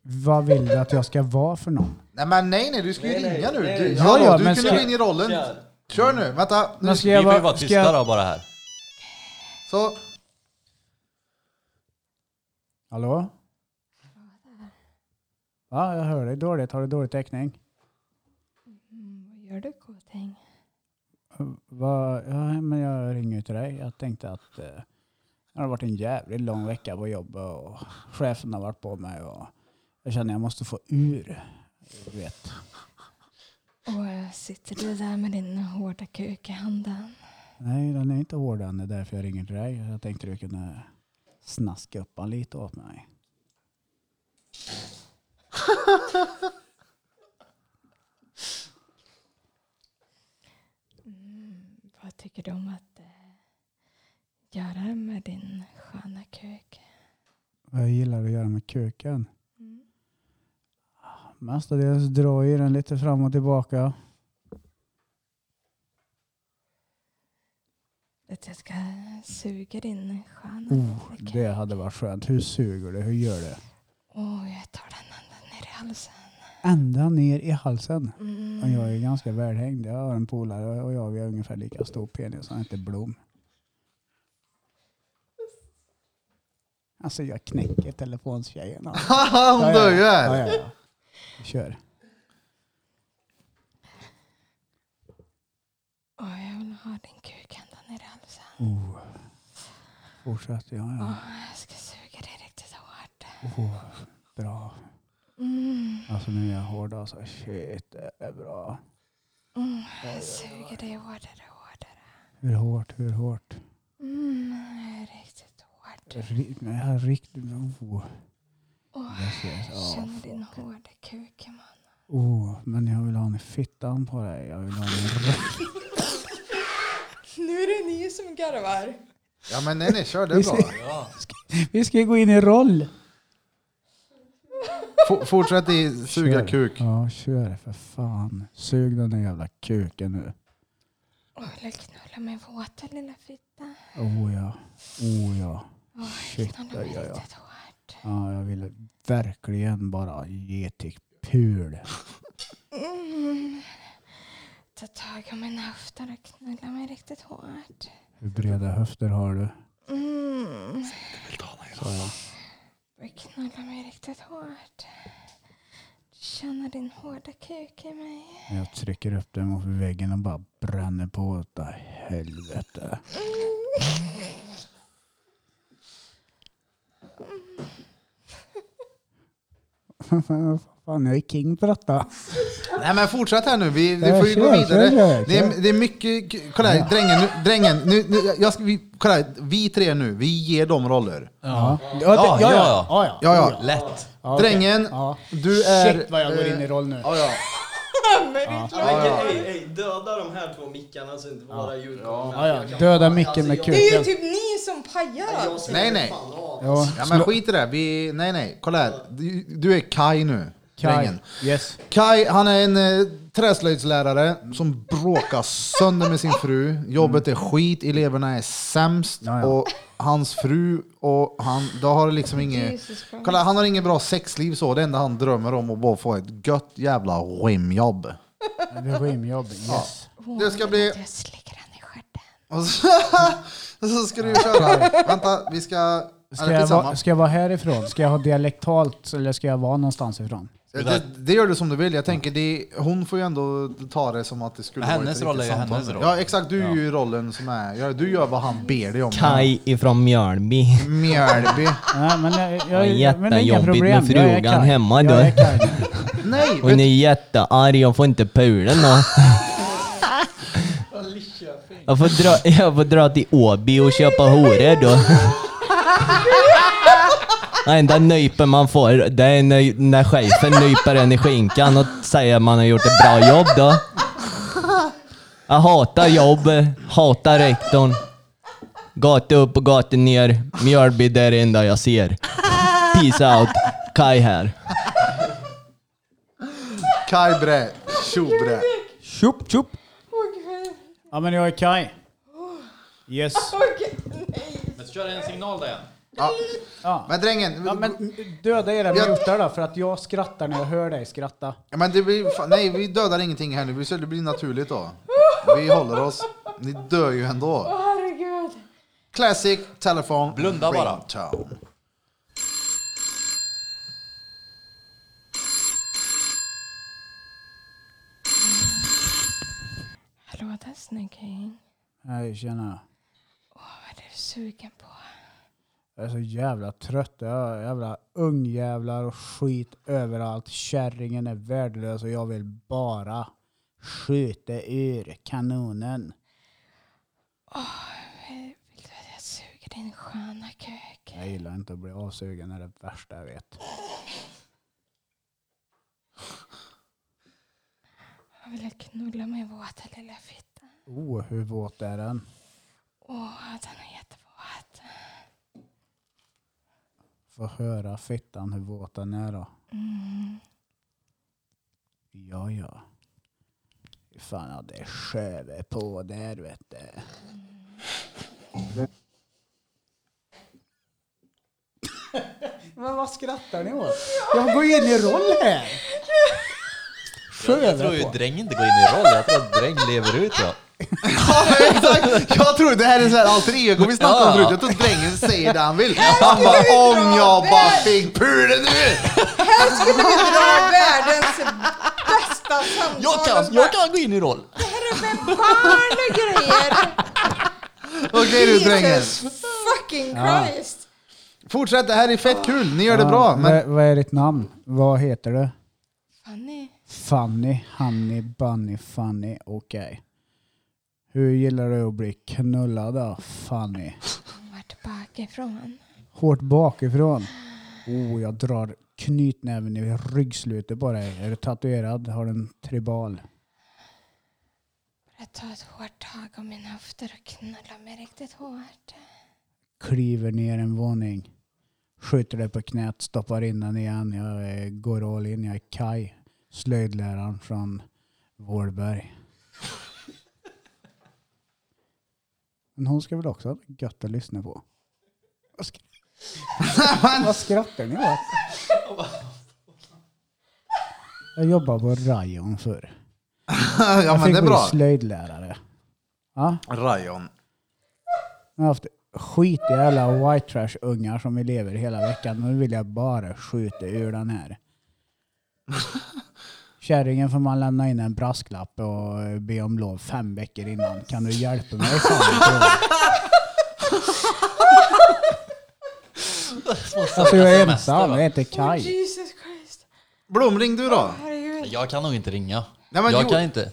S4: Vad vill du att jag ska vara för någon?
S1: Nej men nej nej, du ska ju ringa nu. Du,
S4: Ja,
S1: hallå,
S4: ja,
S1: du
S4: men
S1: kunde
S4: ska-
S1: gå in i rollen.
S5: Kör.
S1: Kör nu, vänta. Nu,
S4: Men ska
S5: Vi
S4: jag
S5: får ju vara
S4: ska jag-
S5: tysta då bara här.
S1: så.
S4: Hallå? Ja, jag hör dig dåligt. Har du dålig täckning?
S3: Vad gör du Kåtäng?
S4: Va, ja, men jag ringer ju till dig. Jag tänkte att eh, det har varit en jävligt lång vecka på jobbet och chefen har varit på mig och jag känner jag måste få ur. Du vet.
S3: Och eh, sitter du där med din hårda kuk i handen?
S4: Nej, den är inte hård än. Det är därför jag ringer till dig. Jag tänkte du kunde snaska upp han lite åt mig.
S3: Vad tycker du om att eh, göra det med din sköna kuk?
S4: Vad jag gillar att göra med kuken. Mestadels drar jag den lite fram och tillbaka.
S3: Att jag ska suga din sköna
S4: Oh,
S3: kuk?
S4: det hade varit skönt. Hur suger du? Hur gör du?
S3: Åh, jag tar den ända ner i halsen.
S4: Ända ner i halsen.
S3: Mm.
S4: Och jag är ganska välhängd. Jag har en polare och jag vi har ungefär lika stor penis. Han heter Blom. Alltså jag knäcker telefonstjejen. alltså.
S1: Haha, hon dör ju
S4: ja,
S1: här.
S4: ja, ja. Kör.
S3: Åh, jag vill ha din kuk ända ner i halsen.
S4: Oh. Fortsätt. Ja, ja.
S3: Åh, jag ska suga dig riktigt hårt.
S4: Oh. Bra.
S3: Mm.
S4: Alltså nu är jag hård alltså. Shit, det är bra.
S3: Mm. Jag suger dig hårdare och hårdare.
S4: Hur hårt, hur hårt?
S3: Mm. Riktigt hårt.
S4: Ri- men Jag har riktigt... Oh.
S3: Åh,
S4: Yes, yes.
S3: jag
S4: Ja,
S3: känner din hårda kuk i munnen.
S4: oh, men jag vill ha en i fittan på dig. Jag vill ha en i rö-
S3: Nu är det ni som garvar.
S1: Ja men nej nej, kör det är bra.
S4: Vi ska gå in i roll.
S1: F- fortsätt i suga
S4: Kör.
S1: kuk.
S4: Ja, kör för fan. Sug den där jävla kuken nu.
S3: Åh, vill du knulla mig våta lilla fitta?
S4: Oh ja. Oh ja.
S3: Åh,
S4: Shit,
S3: knulla
S4: ja,
S3: mig
S4: ja, ja.
S3: riktigt hårt.
S4: ja jag ville verkligen bara ge till pul.
S3: Mm. Ta tag i mina höfter och knulla mig riktigt hårt.
S4: Hur breda höfter har du?
S3: Mm.
S4: Så ja.
S3: Och knulla mig riktigt hårt. Känna din hårda kuk i mig.
S4: Jag trycker upp den mot väggen och bara bränner på åt det helvete. Vad fan, jag är king på detta.
S1: Nej men fortsätt här nu, vi, vi
S4: Ja,
S1: får ju gå
S4: kör,
S1: vidare.
S4: kör, kör,
S1: Det är,
S4: kör.
S1: det är mycket, k- kolla här, drängen, nu, drängen, nu, nu, jag ska, vi, kolla här, vi tre nu, vi ger dem roller.
S4: Ja,
S5: Ja, ja, ja.
S1: Ja ja,
S5: Lätt.
S1: drängen,
S4: Ja.
S1: du är...
S4: Shit vad jag går in i roll nu.
S1: Ja, ja.
S7: döda de här två mickarna så inte våra ljud kommer
S4: Ja, ja. Döda micken med
S7: Alltså,
S3: Det är ju
S4: kuken.
S3: typ ni som pajar allt.
S1: Nej, nej.
S4: Ja,
S1: Ja men skit i det, vi, nej nej, kolla här. Du, du är Kai nu.
S4: Kaj.
S1: Drängen.
S4: Yes.
S1: Kai, han är en eh, träslöjdslärare som bråkar sönder med sin fru. Jobbet är skit, eleverna är sämst
S4: Ja, ja.
S1: och hans fru och han, då har det liksom inget...
S3: Jesus Christ.
S1: Kolla, han har inget bra sexliv så. Det enda han drömmer om är att bara få ett gött jävla rimjobb.
S4: Det är rimjobb. Yes.
S1: Det ska bli...
S3: Jag slickar han i stjärten.
S1: Och så, så ska du köra. Vänta, vi ska...
S4: Ska
S1: eller
S4: jag,
S1: skitsamma.
S4: vara, ska jag vara härifrån? Ska jag ha dialektalt eller ska jag vara någonstans ifrån?
S1: Det, det gör du som du vill. Jag tänker, det, hon får ju ändå ta det som att det skulle
S5: Men
S1: vara ett
S5: hennes
S1: riktigt
S5: roll är ju
S1: samtal.
S5: hennes roll.
S1: Ja, exakt. Du är ju rollen som är... ja, Du gör vad han ber dig om.
S6: Kaj ifrån Mjölby.
S1: Mjölby.
S4: Nej, men jag,
S6: var
S4: jag, men inga
S6: jättejobbigt
S4: problem.
S6: med
S4: Jag är
S6: frugan
S4: Kaj.
S6: hemma
S4: Jag
S6: då.
S4: är Kaj.
S1: Nej!
S6: Hon är
S1: Vet,
S6: jättearg, jag får inte pula nå. Jag får, dra, jag får dra till Åby och köpa horor då. Den enda nypen man får, det är när, när chefen nyper en i skinkan och säger att man har gjort ett bra jobb då. Jag hatar jobb, hatar rektorn. Gata upp och gata ner. Mjölby, det är det enda jag ser. Peace out. Kai här.
S1: Kaj Brä. Tjo Brä.
S6: Tjup, tjup.
S3: Okej.
S4: Ja, men jag är Kaj. Yes.
S3: Okej. Nej.
S5: Men så kör jag en signal där igen.
S4: Ja.
S1: Men drängen,
S4: Ja, men döda era
S1: Jag-
S4: mutar då, för att jag skrattar när jag hör dig skratta.
S1: Ja, men det blir, fan, nej, vi dödar ingenting här nu. Vi ser- Det blir naturligt då. Vi håller oss. Ni dör ju ändå.
S3: Åh herregud.
S1: Classic, telefon,
S5: Blunda bara.
S1: ringtone.
S3: Hallå där snygging.
S4: Nej, tjena.
S3: Vad är du sugen på?
S4: Jag är så jävla trött. Jag har jävla ungjävlar och skit överallt. Kärringen är värdelös och jag vill bara skjuta ur kanonen.
S3: Vill du att jag suger din sköna kuk?
S4: Jag gillar inte att bli avsugen, det är det värsta jag vet.
S3: Jag vill knulla mig våt lilla fitta.
S4: Oh, hur våt är den?
S3: Åh, den är jättevåt.
S4: Få höra fittan hur våt den är då. Ja, ja. Fy Fan, ja, det sköver på där vet du. Men vad skrattar ni åt? Jag går in i roll här.
S5: Jag, jag tror ju Dräng inte går in i roll. Jag tror att Dräng lever ut ja.
S1: Ja, exakt. Jag tror det här är så här alter ego vi snackade om
S5: Ja.
S1: förut. Jag tror drängen säger det han vill. Han bara om jag bara fick pula nu!
S3: Här skulle vi dra världens bästa samtal. och bara,
S5: kan gå in i roll.
S3: Det här är med barn och grejer.
S1: Okej du drängen.
S3: Jesus fucking Christ.
S1: Fortsätt, det här är fett kul. Ni gör det bra. Men
S4: Vad är ditt namn? Vad heter du?
S3: Fanny.
S4: Fanny, Hanny, Bunny, Fanny, okej. Hur gillar du att bli knullad då, Fanny?
S3: Hon var tillbaka ifrån.
S4: Hårt bakifrån. Oh, jag drar knytnäven i ryggslutet på dig. Är du tatuerad? Har du en tribal?
S3: Jag tar ett hårt tag om mina höfter och knullar mig riktigt hårt.
S4: Kliver ner en våning. Skjuter dig på knät, stoppar in den igen. Jag eh, går all in. Jag är Kai, slöjdläraren från Vårberg. Men hon ska väl också ha gött att lyssna på? Vad skrattar Vad skrattar ni åt? Jag jobbade på Rayon förr.
S1: ja
S4: Jag
S1: men
S4: fick
S1: det är
S4: bli
S1: bra.
S4: slöjdlärare. Ja,
S1: Rayon.
S4: jag har haft skitiga jävla white trash-ungar som elever hela veckan. Nu vill jag bara skjuta ur den här. Kärringen får man lämna in en brasklapp och be om lov fem veckor innan. Kan du hjälpa mig? Fan? Alltså jag är ensam, jag heter
S3: Oh,
S4: Kaj.
S3: Jesus Christ.
S1: Blom, ring du då.
S3: Herregud.
S5: Jag kan nog inte ringa.
S1: Nej, men
S5: jag
S1: jo.
S5: kan inte.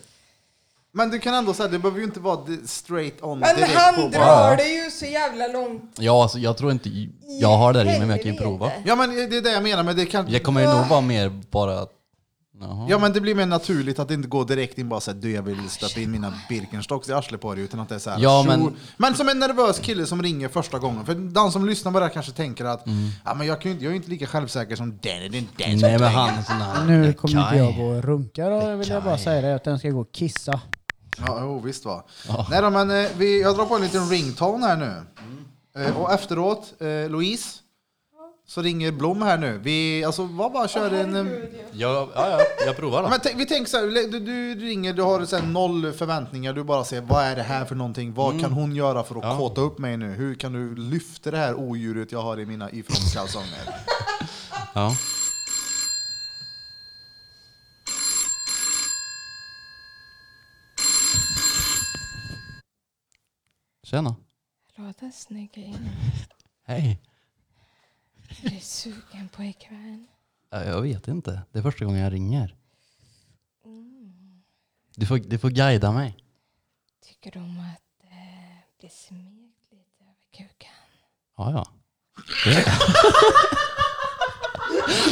S1: Men du kan ändå säga, det behöver ju inte vara di- straight on
S3: Men
S1: direkt på
S3: han
S1: bara.
S3: drar det ju så jävla långt.
S5: Ja, alltså, jag tror inte jag har det i mig, men jag kan ju
S3: Helvete.
S5: prova.
S1: Ja men det är det jag menar, men det kan...
S5: Jag kommer ju nog vara mer bara... att- Jaha.
S1: Ja men det blir mer naturligt att det inte går direkt in bara såhär du jag vill stoppa in mina Birkenstocks i arslet på dig utan att det är såhär
S5: Ja,
S1: tjo.
S5: men-
S1: men som en nervös kille som ringer första gången för den som lyssnar på det här kanske tänker att ja, men jag, kan ju inte, jag är ju inte lika självsäker som den eller den som
S5: Nej, men
S1: ringer."
S5: han är sån här...
S4: Nu
S5: Ja,
S4: kommer inte
S5: Kaj.
S4: jag gå och runka då, vill jag bara
S5: Kaj.
S4: säga det. Utan jag ska gå och kissa.
S1: Ja jo, visst va. Nej då, men eh, vi, jag drar på en liten ringtone här nu. Eh, och efteråt, eh, Louise så ringer Blom här nu. Vi, alltså, vad bara kör en...
S3: Herregud, ja.
S5: Ja, ja, ja, jag provar
S1: Ja,
S5: då.
S1: Men tänk- vi tänker så här, du, du ringer, du har så här noll förväntningar, du bara ser vad är det här för någonting, vad kan hon göra för att
S5: Ja.
S1: kåta upp mig nu, hur kan du lyfta det här odjuret jag har i mina ifrånskalsonger?
S5: Ja. Tjena.
S3: Låta snygga in.
S5: Hej.
S3: Är du sugen på ikväll?
S5: Ja, Jag vet inte. Det är första gången jag ringer. Du får, du får guida mig.
S3: Tycker du om att eh, bli smekt lite över kuken?
S5: Ja, ja.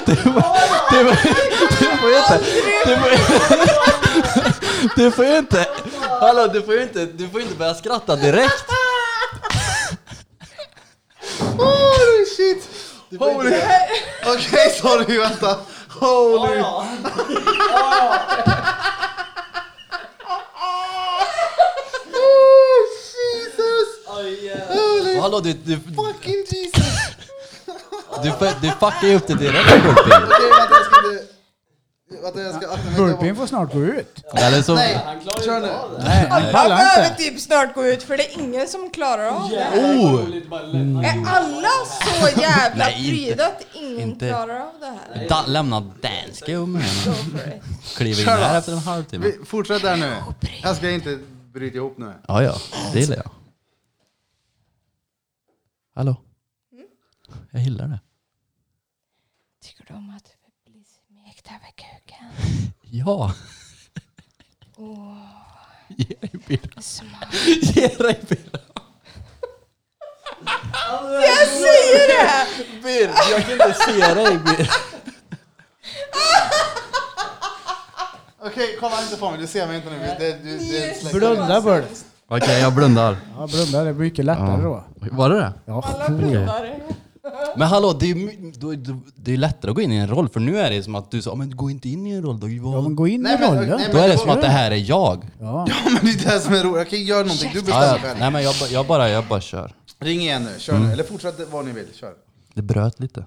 S5: Det, det, var, det, var, det får ju inte... Det får, det får ju inte... Hallå, du får ju inte, du får ju inte börja skratta direkt.
S1: Holy shit! Holy... Okej, sorry, vänta. Holy... Oh, Jesus! Holy
S5: Hallå, du, du,
S1: fucking Jesus!
S5: du, du fuckar ju upp det direkt. Gulping.
S1: Okej, vänta, jag ska inte... Vänta, jag ska akta mig.
S4: Burpin får snart gå ut.
S5: Eller så...
S1: Nej, kör nu.
S4: Nej, han
S3: Jag
S4: pallar
S3: behöver
S4: inte.
S3: typ snart gå ut för det är ingen som klarar av det.
S5: Oh!
S3: Är alla så jävla
S5: Nej, inte-
S3: pryda att ingen
S5: inte.
S3: klarar av det här?
S5: Da, lämna dansgummen.
S3: Go for it.
S5: Kliva in
S1: Kör då.
S5: här efter en halvtimme.
S1: Vi- Fortsätt där nu. Jag ska inte bryta ihop nu.
S5: Ja, ja. Det gillar jag. Hallå? Jag gillar det.
S3: Tycker du om att bli smekt över kuken?
S5: Ja.
S3: Åh,
S5: Ge dig Birra.
S3: smart.
S5: Ge dig Birra.
S3: Jag säger det!
S5: Birra, jag kan inte se dig Birra.
S1: Okej, kolla inte på mig. Du ser mig inte nu. Det, det, det, det
S4: Blunda Burp.
S5: Okej, jag blundar.
S4: Ja, blunda. Det blir mycket lättare då.
S5: Var det det?
S4: Ja,
S3: Alla blundar.
S5: Men hallå, det är ju my- då- då- det är lättare att gå in i en roll för nu är det som att du sa, men gå inte in i en roll då. Johan."
S4: ja men gå in i
S1: Nej, men-
S4: rollen.
S1: nej,
S5: Då
S1: men-
S5: är det som att det här är jag.
S4: Ja.
S1: men det är det här som är roligt. Jag kan göra någonting. Du
S5: Ja,
S1: bestämmer
S5: ja. Mm.
S1: själv.
S5: Nej men jag, ba- jag, bara, jag bara kör.
S1: Ring igen nu. Kör nu. Eller fortsätt vad ni vill. Kör.
S5: Det bröt lite.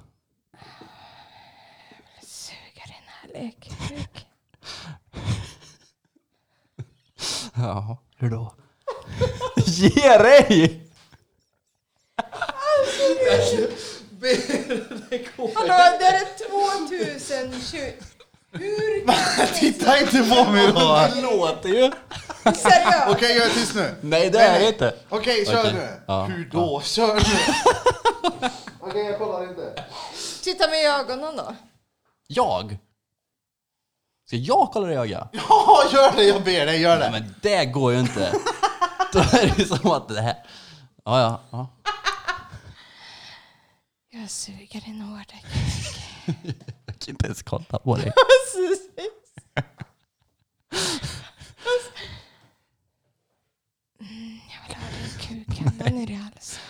S3: Suger din härlig kuk.
S5: Jaha, hur då? Ge dig!
S3: Hallå, där är 2020. Hur?
S1: Titta inte på mig då!
S5: Det låter ju.
S3: Seriöst?
S1: Okej, jag är tyst nu.
S5: Nej det är det inte.
S1: Okej, kör
S5: Okej.
S1: nu.
S5: Ja.
S1: Hur då? Kör nu. Okej, jag kollar inte.
S3: Titta mig i ögonen då.
S5: Jag? Ska jag kolla dig i ögat?
S1: Ja, gör det. Jag ber dig. Gör
S5: Nej
S1: det.
S5: men det går ju inte. Då är det ju som att det här... Ja, ja. ja.
S3: Jag suger din hårda kuk.
S5: Jag kan inte ens kolla på dig.
S3: Precis. Mm, jag vill ha din kuk ända ner i halsen.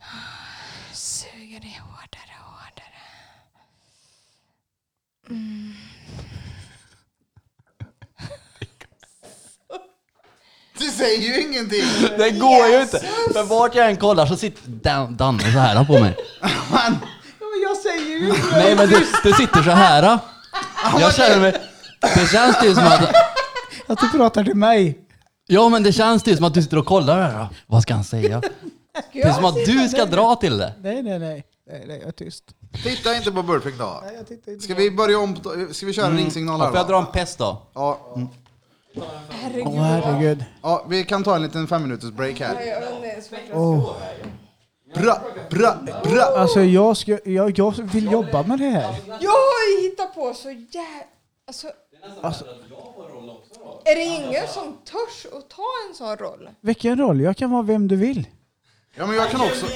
S3: Ah, Suger dig hårdare och hårdare. Mm.
S1: Du säger ju ingenting.
S5: Det går ju inte. För vart jag än kollar så sitter Dan- Danne så här på mig.
S7: Jag säger ju
S5: Nej men du, du sitter så här. Jag känner mig... Det känns ju som att...
S4: Att du pratar till mig.
S5: Ja men det känns ju som att du sitter och kollar här. Vad ska han säga? Det är som att du ska dra till det.
S4: Nej, nej, nej. Nej, nej, jag är tyst.
S1: Titta inte på Burping då.
S4: Jag tittar inte.
S1: Ska vi börja om? på- Ska vi köra ringsignal
S5: Mm. Ja,
S1: här
S5: får jag
S1: då?
S5: dra en pest då?
S1: Ja,
S4: Åh herregud.
S1: ja, vi kan ta en liten fem minuters break här.
S3: Jag vet inte ens vad jag ska-
S4: Åh.
S1: Bra, bra, bra.
S4: Alltså jag, ska, jag, jag vill jobba med det här.
S3: Jag har ju hittat på så jävla... Alltså, är det ingen som törs att ta en sån roll?
S4: Vilken roll? Jag kan vara vem du vill.
S1: Ja, men jag kan också.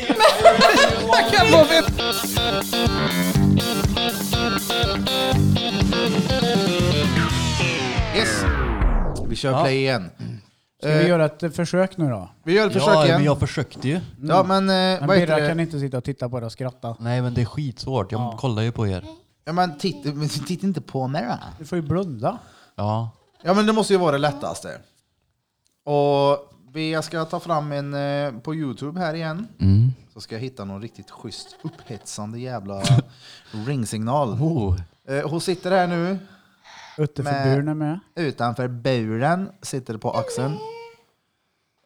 S1: Yes. Vi kör play igen.
S4: Ska vi göra ett eh, försök nu då?
S1: Vi gör ett försök
S5: Ja,
S1: igen.
S5: men jag försökte ju.
S1: Ja, men eh,
S4: Men
S1: vad heter
S4: Birra kan
S1: det?
S4: inte sitta och titta på det och skratta.
S5: Nej men det är skitsvårt, jag kollar ju på er.
S1: Ja, men titta, men titta inte på mig då.
S4: Du får ju blunda.
S5: Ja.
S1: Ja, men det måste ju vara det lättaste. Och vi, jag ska ta fram en eh, på Youtube här igen. Så Så ska jag hitta någon riktigt schysst upphetsande jävla ringsignal.
S6: Oh.
S1: Eh, Hon sitter här nu
S4: Utteförburen är med.
S1: utanför buren, sitter på axeln.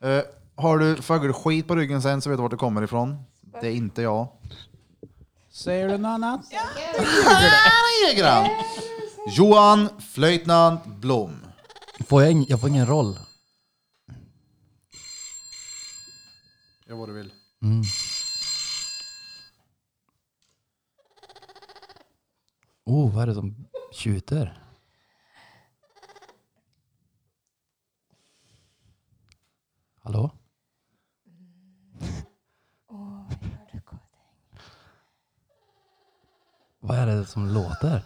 S1: Eh, Har du fågelskit på ryggen sen så vet du vart det kommer ifrån. Det är inte jag.
S4: Säger du något annat?
S1: Grann. Johan Flöjtnant Blom.
S5: Får jag, ing- jag får ingen roll.
S1: Gör vad du vill.
S5: Mm. Oh, vad är det som tjuter? Hallå? Vad är det som låter?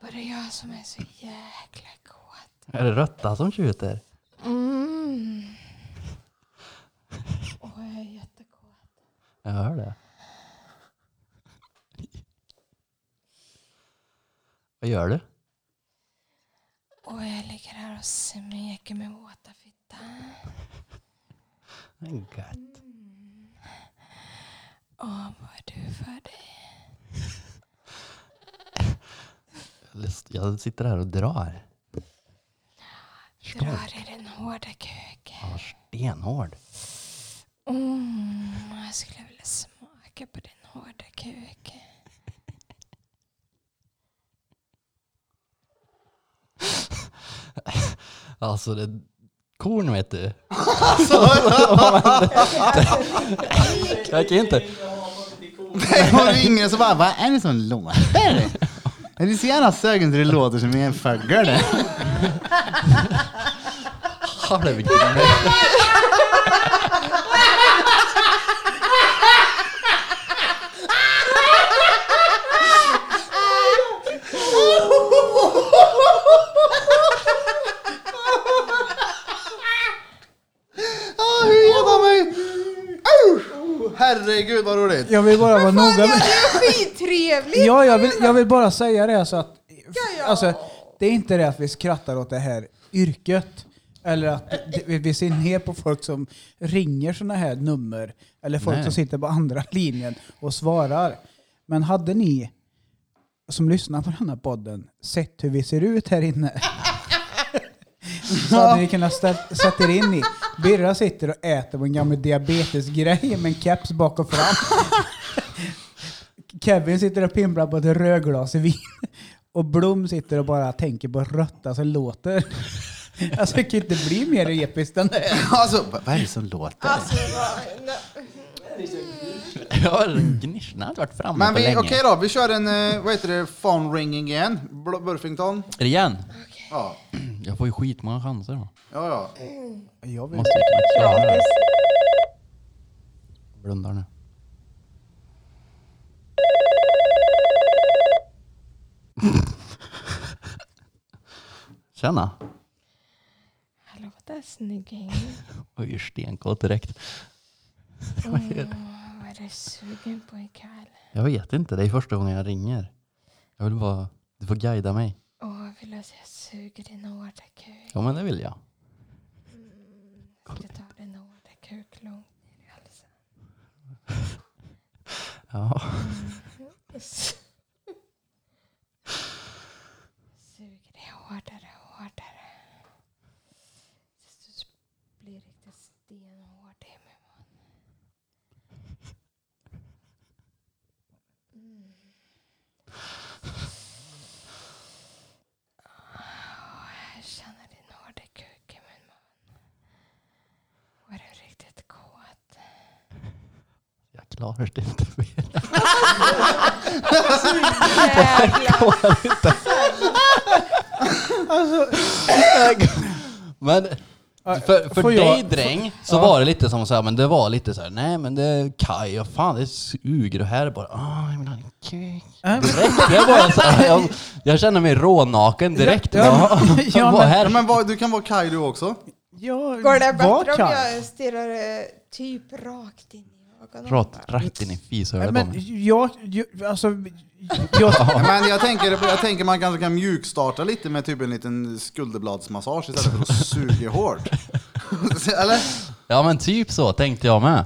S3: Bara jag som är så jäkla kåt.
S5: Är det Rötta som tjuter?
S3: Mm. Åh, jag är jättekåt.
S5: Jag hör det. Vad gör du?
S3: Och jag ligger här och smeker med våta fittan.
S5: Gött.
S3: Åh, vad är du för dig?
S5: Jag sitter här och drar.
S3: Drar i den hårda kuken.
S5: Jag är stenhård.
S3: Mm, jag skulle vilja smaka på din hårda kuk.
S5: Alltså det... Korn vet du.
S6: Alltså,
S5: jag kan inte...
S2: Och ringer och så bara, vad är det som låter? Är det så jävla sögen så det låter som en fågel?
S5: Hallå vilken mö-
S1: Ah, hur jävla mig! Au! Herregud vad roligt!
S4: Jag vill bara vara noga med...
S3: Skittrevligt!
S4: Ja, jag vill, jag vill bara säga det så att...
S3: ja.
S4: Alltså, det är inte det att vi skrattar åt det här yrket. Eller att det- vi- vi ser ner på folk som ringer sådana här nummer. Eller folk
S5: Nej.
S4: som sitter på andra linjen och svarar. Men hade ni som lyssnar på den här podden sett hur vi ser ut här inne? Så hade ni kunnat stä- sätta er in i. Birra sitter och äter på en gammal diabetesgrej med en keps bak och fram. Kevin sitter och pimplar på ett rödglas i vin. Och Blom sitter och bara tänker på rötta som låter. Alltså det kan ju inte bli mer episkt än det här.
S2: Alltså, vad vad är det som låter?
S3: Alltså, vad- nej.
S5: Jag har en gnissla, har inte varit framme
S1: Men
S5: på
S1: vi,
S5: länge.
S1: okej då, vi kör en, eh, vad heter det, phone ringing igen. Bl- Burfington.
S5: Är det igen?
S1: Ja,
S5: Jag får ju skitmånga chanser då.
S1: ja, ja.
S4: Jag vill
S5: Måste jag klara det. Blundar nu. Tjena!
S3: Hallå där snygging.
S5: Jag är ju stenkåt direkt.
S3: Vad är du sugen på ikväll?
S5: Jag vet inte, det är första gången jag ringer. Jag vill bara... Du får guida mig.
S3: Åh, vill du att jag suger din hårda kuk?
S5: Ja men det vill jag.
S3: Ska du ta din hårda kuk långt ner i halsen?
S5: Ja.
S3: Suger det hårdare och hårdare. Tills du blir riktigt stenhård i min mun. Mm. Åh, jag känner din hårda kuk i min mun. Var du riktigt kåt?
S5: Jag klarar det inte mer.
S3: Jävlar!
S5: Men för, för
S4: får
S5: dig
S4: jag-
S5: dräng så
S4: ja.
S5: var det lite som så här, men det var lite så här, nej men det är Kaj, och fan det suger och här är bara, ah jag vill ha en kuk. Direkt, jag, bara, så här, jag, jag känner mig rånaken direkt.
S4: Ja,
S5: Ja,
S4: men- ja, men-
S1: Ja,
S5: här,
S1: men vad, du kan vara Kaj du också.
S4: Jag
S3: Går det
S4: var
S3: bättre om
S4: kall.
S3: jag stirrar eh, typ rakt in i ögonen?
S5: rått, rätt in i
S4: Nej,
S5: fishålet på
S4: Men
S5: mig.
S4: jag, jag, alltså, jag,
S1: Men jag tänker, jag tänker man kanske kan mjukstarta lite med typ en liten skulderbladsmassage istället för att suga hårt. Eller?
S5: Ja men typ så tänkte jag med.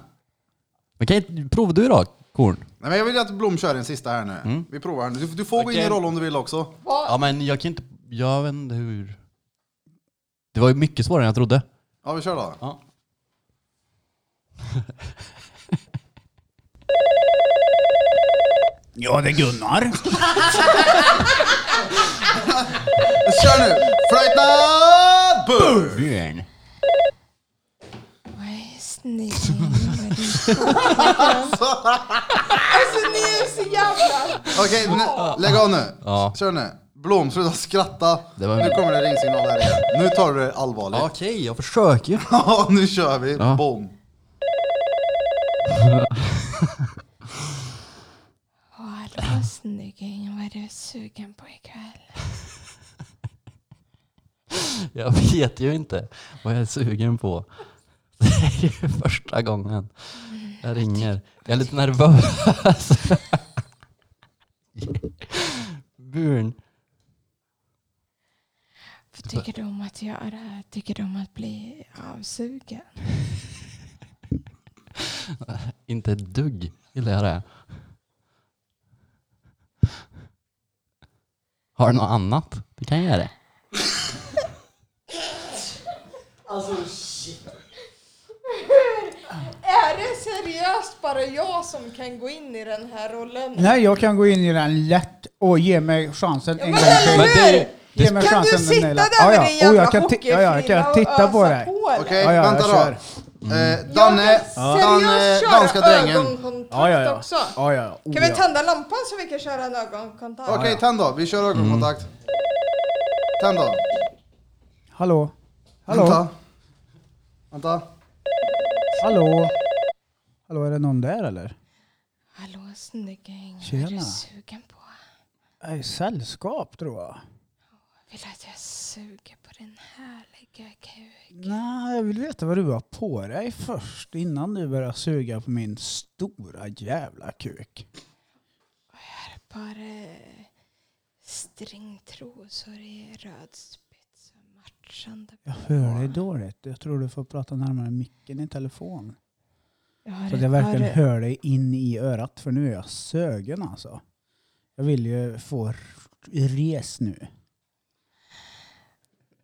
S5: Men kan inte, prova du då, korn.
S1: Nej, men jag vill att Blom kör en sista här nu.
S2: Mm.
S1: Vi provar. Du, du får gå in i
S5: Okej.
S1: roll om du vill också.
S5: Ja men jag kan inte, jag vet inte hur. Det var ju mycket svårare än jag trodde.
S1: Ja, vi kör då.
S5: Ja.
S4: Ja, det är Gunnar.
S1: Kör nu! Fright Night Boom!
S5: Björn.
S3: Nej, snälla. Alltså ni är så jävla...
S1: Okej, nu- lägg av nu.
S5: Ja.
S1: Kör nu. Blom, sluta skratta.
S5: Det var-
S1: Nu kommer det ringsignaler igen. Nu tar du det allvarligt.
S5: Ja, Okej, jag försöker ju.
S1: Ja, nu kör vi.
S5: Ja.
S1: Boom.
S3: Hallå snygging, vad är du sugen på ikväll?
S5: Jag vet ju inte vad jag är sugen på. Det är ju första gången jag ringer. Jag är lite nervös. Björn.
S3: Vad tycker du om att göra? Tycker du om att bli avsugen?
S5: Inte ett dugg gillar jag det. Har du något annat? Det kan jag göra.
S7: Alltså shit.
S3: Är det seriöst bara jag som kan gå in i den här rollen?
S4: Nej, jag kan gå in i den lätt och ge mig chansen en
S3: men
S4: gång
S3: eller
S4: till.
S3: hur?
S5: det,
S4: Ge
S3: Kan
S4: mig
S3: du
S4: chansen att
S3: sitta
S4: naila.
S3: där med
S4: Ja, ja.
S3: din jävla
S4: Oh, jag kan ti- ja, ja, jag kan
S3: hockeyfrilla och
S4: titta på
S3: ösa
S4: dig.
S3: på dig?
S1: Okej,
S4: Ja, ja,
S1: vänta
S4: jag
S1: då.
S4: kör. Mm.
S1: Eh,
S3: Jag vill
S1: Danne, Danne,
S3: seriöst köra
S1: danska drängen.
S3: ögonkontakt
S4: Ja, ja, ja.
S3: också.
S4: ja, ja, ja. Oh,
S3: Kan vi
S4: ja.
S3: tända lampan så vi kan köra en ögonkontakt?
S1: Okej, tänd då. Vi kör ögonkontakt.
S5: Mm.
S1: Tänd då.
S4: Hallå? Hallå?
S1: Vänta. Vänta.
S4: Hallå? Hallå, är det någon där eller?
S3: Hallå snygging, vad är
S4: Tjena.
S3: du sugen på?
S4: Nej, sällskap tror jag.
S3: Vill du att jag suger på din härliga kuk?
S4: Nej, jag vill veta vad du har på dig först innan du börjar suga på min stora jävla kuk.
S3: Ett par eh, stringtrosor i röd spets och matchande
S4: Jag hör dig dåligt. Jag tror du får prata närmare micken i telefon.
S3: Jag har
S4: Så att
S3: ett
S4: jag verkligen
S3: par,
S4: hör dig in i örat, för nu är jag sögen alltså. Jag vill ju få r- res nu.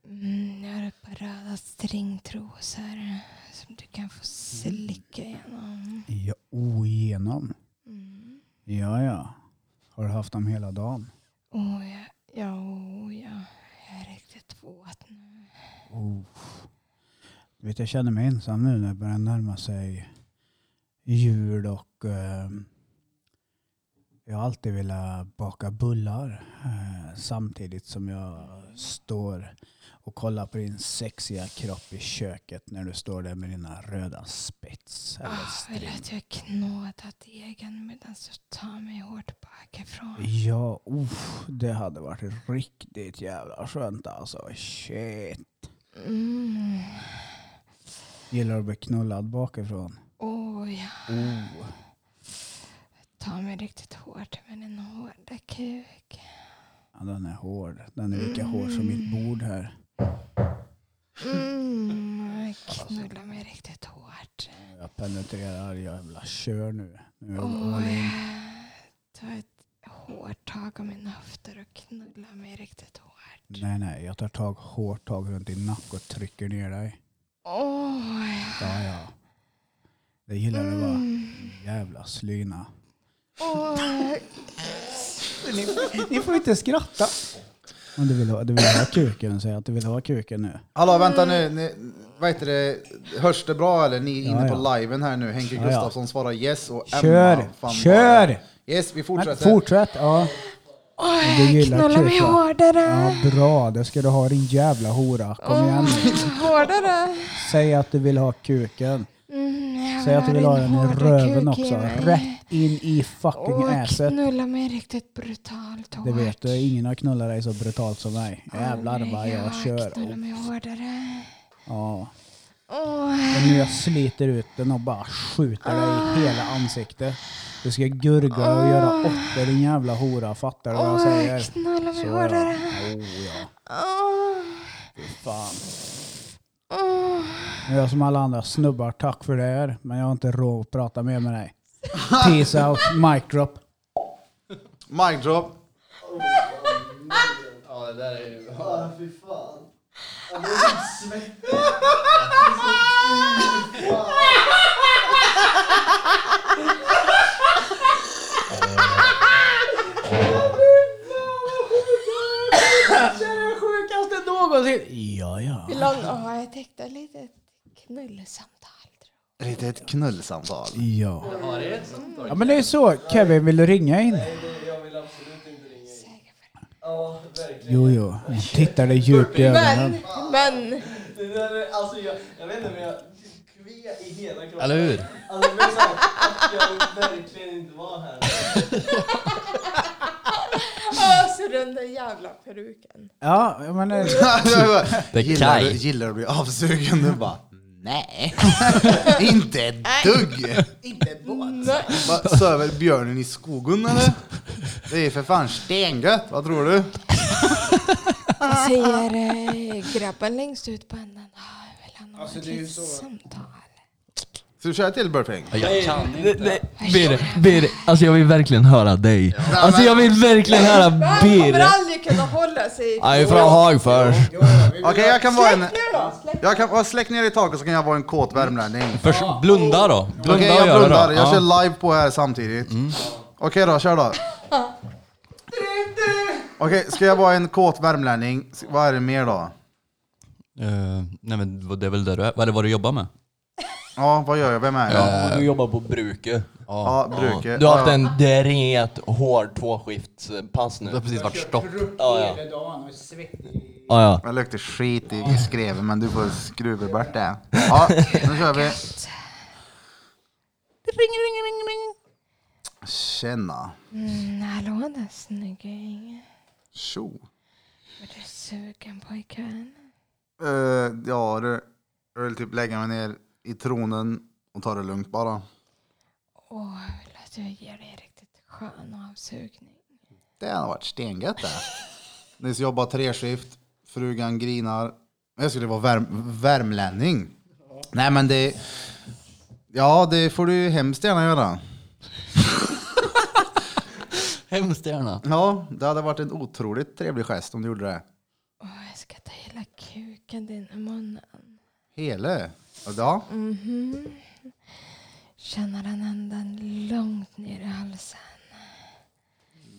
S3: mm, jag har ett par röda stringtrosor som du kan få slicka igenom.
S4: Ja, oigenom.
S3: Mm.
S4: Ja, ja. Har du haft dem hela dagen?
S3: Oh, ja, ja, oh, ja, jag är riktigt våt nu.
S4: Oh. Du vet, jag känner mig ensam nu när det börjar närma sig jul och eh, jag har alltid velat baka bullar eh, samtidigt som jag står och kollar på din sexiga kropp i köket när du står där med dina röda spets. Eller
S3: Oh, vill du
S4: string.
S3: att jag knådar degen medan du tar mig hårt bakifrån?
S4: Ja, uff, det hade varit riktigt jävla skönt alltså. Shit.
S3: Mm.
S4: Gillar du att bli knullad bakifrån?
S3: Oh, ja.
S4: Oh.
S3: Ta mig riktigt hårt med din hårda kuk.
S4: Ja, den är hård. Den är lika hård som mitt bord här.
S3: Mm,
S4: Alltså.
S3: knulla mig riktigt hårt.
S4: Jag penetrerar jävla kör nu. Nu är jag all
S3: Oj,
S4: in.
S3: ta ett hårt tag om mina höfter och knulla mig riktigt hårt.
S4: Nej, nej. Jag tar tag, hårt tag runt din nacke och trycker ner dig.
S3: Oj.
S4: Ja, ja. Det gillar du va?
S3: Mm.
S4: Jävla slyna.
S3: Oj.
S4: Ni, ni får inte skratta. Om du vill ha, du vill ha kuken, säg att du vill ha kuken nu.
S1: Hallå, vänta nu. Ni, vad heter det? Hörs det bra eller? Ni är inne
S4: Ja,
S1: på
S4: ja.
S1: liven här nu. Henke
S4: Ja, ja.
S1: Gustafsson svarar yes och Emma.
S4: Kör!
S1: fan,
S4: Kör!
S1: Yes, vi
S4: Men
S1: fortsätter.
S4: fortsätt, ja. Du
S3: Oj,
S4: gillar
S3: knulla mig
S4: kukar.
S3: hårdare.
S4: Ja, bra. Det ska du ha din jävla hora. Kom igen nu.
S3: Hårdare.
S4: Säg att du vill ha kuken.
S3: Mm, jag
S4: Säg att du vill ha
S3: din
S4: den i
S3: hårda
S4: röven
S3: kuk i
S4: också.
S3: mig.
S4: Rätt in i fucking
S3: Och
S4: asset.
S3: knulla mig riktigt brutalt hårt.
S4: Det vet du, ingen har knullat dig så brutalt som mig. Jävlar vad jag kör.
S3: Knulla mig hårdare.
S4: Ja.
S3: Åh,
S4: Och nu jag sliter ut den och bara skjuter
S3: Ah.
S4: dig i hela ansiktet. Du ska gurgla och göra åttor din jävla hora, fattar du vad jag
S3: åh,
S4: säger?
S3: knulla mig
S4: Så ja.
S3: hårdare.
S4: Oh, ja.
S3: Åh,
S4: Fy fan.
S3: åh.
S4: Jag är som alla andra snubbar, tack för det här. Men jag har inte råd att prata mer med dig. Peace out, mic drop.
S1: Mic drop.
S7: Ja, det där är ju... fy fan.
S4: Ja, ja.
S3: Vill han ha ett äkta litet knullsamtal? tror
S1: Litet knullsamtal.
S4: Ja.
S7: Har det ett sånt
S4: ja, men det är så. Kevin, vill du ringa in?
S7: Nej, Jag vill absolut inte ringa
S3: jag
S7: in.
S3: säkert.
S7: Ja, verkligen.
S4: Jo, jo. Hon tittar dig djupt i ögonen.
S3: Men, men.
S7: Det där är, alltså jag, jag vet inte men jag kved i hela kroppen.
S5: Eller hur?
S7: Alltså det blev såhär, att jag vill verkligen inte vara här.
S3: Alltså den där jävla peruken.
S4: Ja, men eh,
S5: Det är
S1: gillar, du,
S5: Kaj.
S1: gillar du att bli avsugen? Du bara,
S2: Nej.
S1: inte ett dugg!
S3: Nej.
S1: Va, Söver björnen i skogen eller? Det är för fan stengött, vad tror du?
S3: Jag säger eh, grabben längst ut på änden. Ah, jag vill han ha
S7: Alltså,
S3: ett
S7: det är ju
S3: litet
S7: så-
S3: samtal?
S1: Ska du köra till Burping?
S5: Jag kan
S6: Nej,
S5: inte.
S6: nej, Bir, Bir, alltså jag vill verkligen höra dig. Alltså jag vill verkligen höra
S3: Men Han
S6: Bir.
S3: kommer aldrig kunna hålla sig
S6: Jag är från Hagfors.
S1: Okej, jag kan vara en...
S3: Släpp nu då! Släpp.
S1: Jag kan, ja, släck ner i taket så kan jag vara en kåt värmlänning.
S5: Förs- blunda då. Blunda
S1: Okej,
S5: och
S1: jag
S5: gör det
S1: blundar.
S5: då.
S1: Jag
S5: Ja. Mm.
S1: kör live på här samtidigt. Okej då, kör då. Okej, ska jag vara en kåt värmlänning? S- Vad är det mer då?
S5: Eh, nej men vad- det är väl det du är. Vad är det vad du jobbar med?
S1: Ja, vad gör jag? Vem är jag?
S5: Du jobbar på bruket.
S1: Ja, bruket.
S6: Du har haft
S1: Ja,
S6: en dret, hård tvåskiftspass
S5: Du har
S6: nu.
S5: precis varit stopp.
S6: Ja, ja. Ja, ja.
S1: Jag luktar skit i, i skreven men du får skruva bort det. Ja, nu kör vi.
S3: Ring, ring, ring, ring.
S1: Tjena.
S3: Mm, hallå där snygging.
S1: Tjo.
S3: Är du sugen pojkvän?
S1: Eh, ja, du. Jag vill typ lägga mig ner i tronen och ta det lugnt bara.
S3: Åh, jag vill att du ger dig en riktigt skön avsugning.
S1: Det hade varit stengött det. Nyss jobbade treskift, frugan grinar. Men Jag skulle vara värm värmlänning. Nej men det... Ja, det får du hemskt gärna göra.
S5: Hemskt gärna.
S1: Ja, det hade varit en otroligt trevlig gest om du gjorde det.
S3: Åh, jag ska ta hela kuken din i munnen.
S1: Hele. Ja,
S3: Mhm. Känna den ändan långt ner i halsen.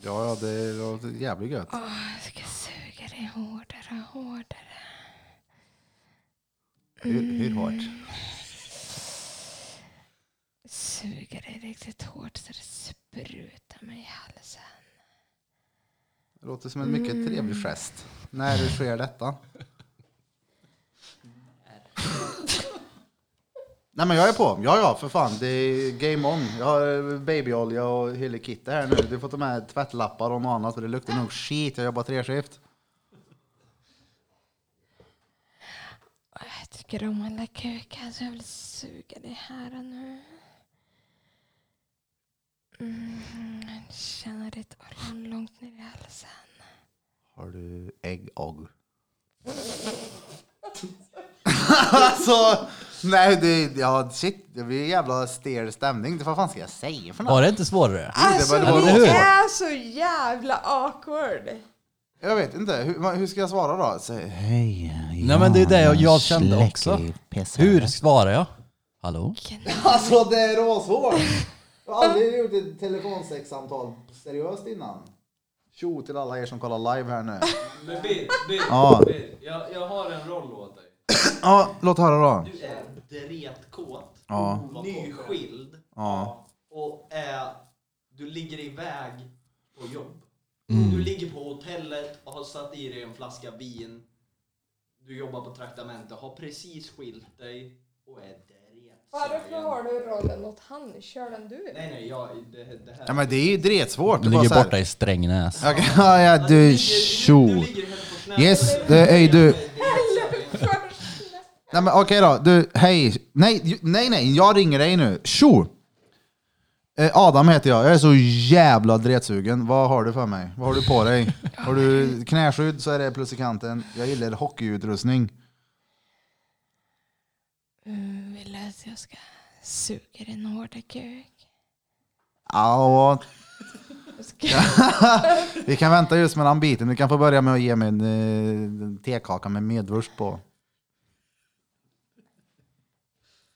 S1: ja, ja det låter jävligt gött.
S3: Åh, jag ska suga dig hårdare och hårdare.
S1: Hur, hur hårt?
S3: Suga dig riktigt hårt så det sprutar mig i halsen.
S1: Det låter som en mycket trevlig gest. När du sker detta? Nej men jag är på. Ja ja, för fan. Det är game on. Jag har babyolja och hela kittet här nu. Du får ta med tvättlappar och något annat för det luktar nog skit. Jag jobbar treskift.
S3: Åh, Jag tycker om alla kukar så jag vill suga dig här och nu. Mm, känna ditt ollon långt ner i halsen.
S1: Har du ägg och? alltså, nej det, ja shit. Det blir jävla stel stämning. Vad fan ska jag säga för något?
S5: Var det inte svårare?
S1: Alltså, det var
S3: det
S1: råsvårt.
S3: är så jävla awkward.
S1: Jag vet inte. Hur, hur ska jag svara då? Så,
S2: Hej.
S5: Nej men det är det jag, jag kände också. Hur svarar jag? Hallå?
S1: Alltså det är råsvårt. Jag har aldrig gjort ett telefonsexsamtal seriöst innan. Tjo till alla er som kollar live här nu.
S7: Men Bir, Bir,
S1: Ja.
S7: Bir. Jag, jag har en roll åt dig.
S1: Ja, låt höra då.
S7: Du är dretkåt,
S1: Ja.
S7: nyskild
S1: Ja.
S7: och är, du ligger iväg på jobb. Du ligger på hotellet och har satt i dig en flaska vin. Du jobbar på traktamente, har precis skilt dig och är dretsugen.
S3: du rollen åt han? Kör den du?
S7: Nej, nej, jag, det, det här...
S1: Ja men det är ju dretsvårt.
S5: Du ligger borta i Strängnäs.
S1: Okay, ja, ja,
S7: Alltså, ligger-
S1: du tjo.
S7: ligger helt på knä.
S1: Yes, det är du. Nej men okej då, du hej. Nej, ju- nej, nej, jag ringer dig nu. Tjo! Eh, Adam heter jag, jag är så jävla dretsugen. Vad har du för mig? Vad har du på dig? Har du knäskydd så är det plus i kanten. Jag gillar hockeyutrustning.
S3: Mm, Så jag ska suga den hårda kuk.
S1: Ja, och
S3: Jag ska...
S1: vi kan vänta just med den biten. Du kan få börja med att ge mig en, eh, en tekaka med medvurst på.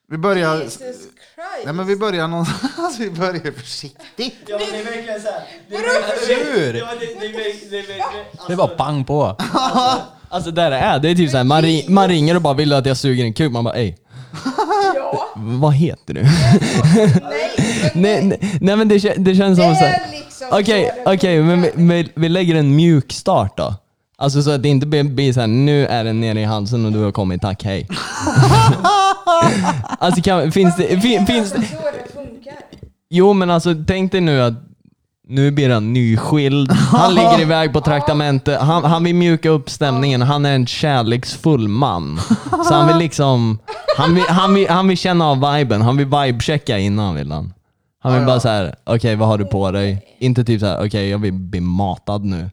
S1: Vi börjar...
S3: Jesus
S1: Nej
S3: Christ!
S1: men vi börjar någonstans. Vi börjar försiktigt.
S7: Ja, men det är verkligen såhär. Det är
S3: Vadå
S7: verkligen-
S5: försiktigt?
S7: Ja, det, det är verkligen... Det är verkligen
S5: Det
S7: alltså,
S5: var pang på.
S6: Alltså där det är, det är typ såhär, man, ri- man ringer och bara vill du att jag suger en kuk? Man bara ej,
S3: Ja,
S6: vad heter du?
S3: nej, men
S6: nej, nej, nej men det, kä- det känns
S3: det
S6: som såhär.
S3: är liksom
S6: Okej,
S3: så det
S6: okej, men vi,
S3: funkar.
S6: vi, vi lägger en mjuk start då. Alltså så att det inte blir- blir såhär, nu är den nere i halsen och du har kommit, tack, hej. alltså kan, finns det, fin, finns det,
S3: Så det funkar.
S6: jo men alltså tänk dig nu att nu blir han nyskild, han ligger iväg på traktamente, han, han vill mjuka upp stämningen, han är en kärleksfull man. Så han vill liksom, han vill, han vill, han vill känna av viben, han vill vibechecka innan vill han. Han vill bara såhär, okej vad har du på dig? Inte typ såhär, okej jag vill bli matad nu.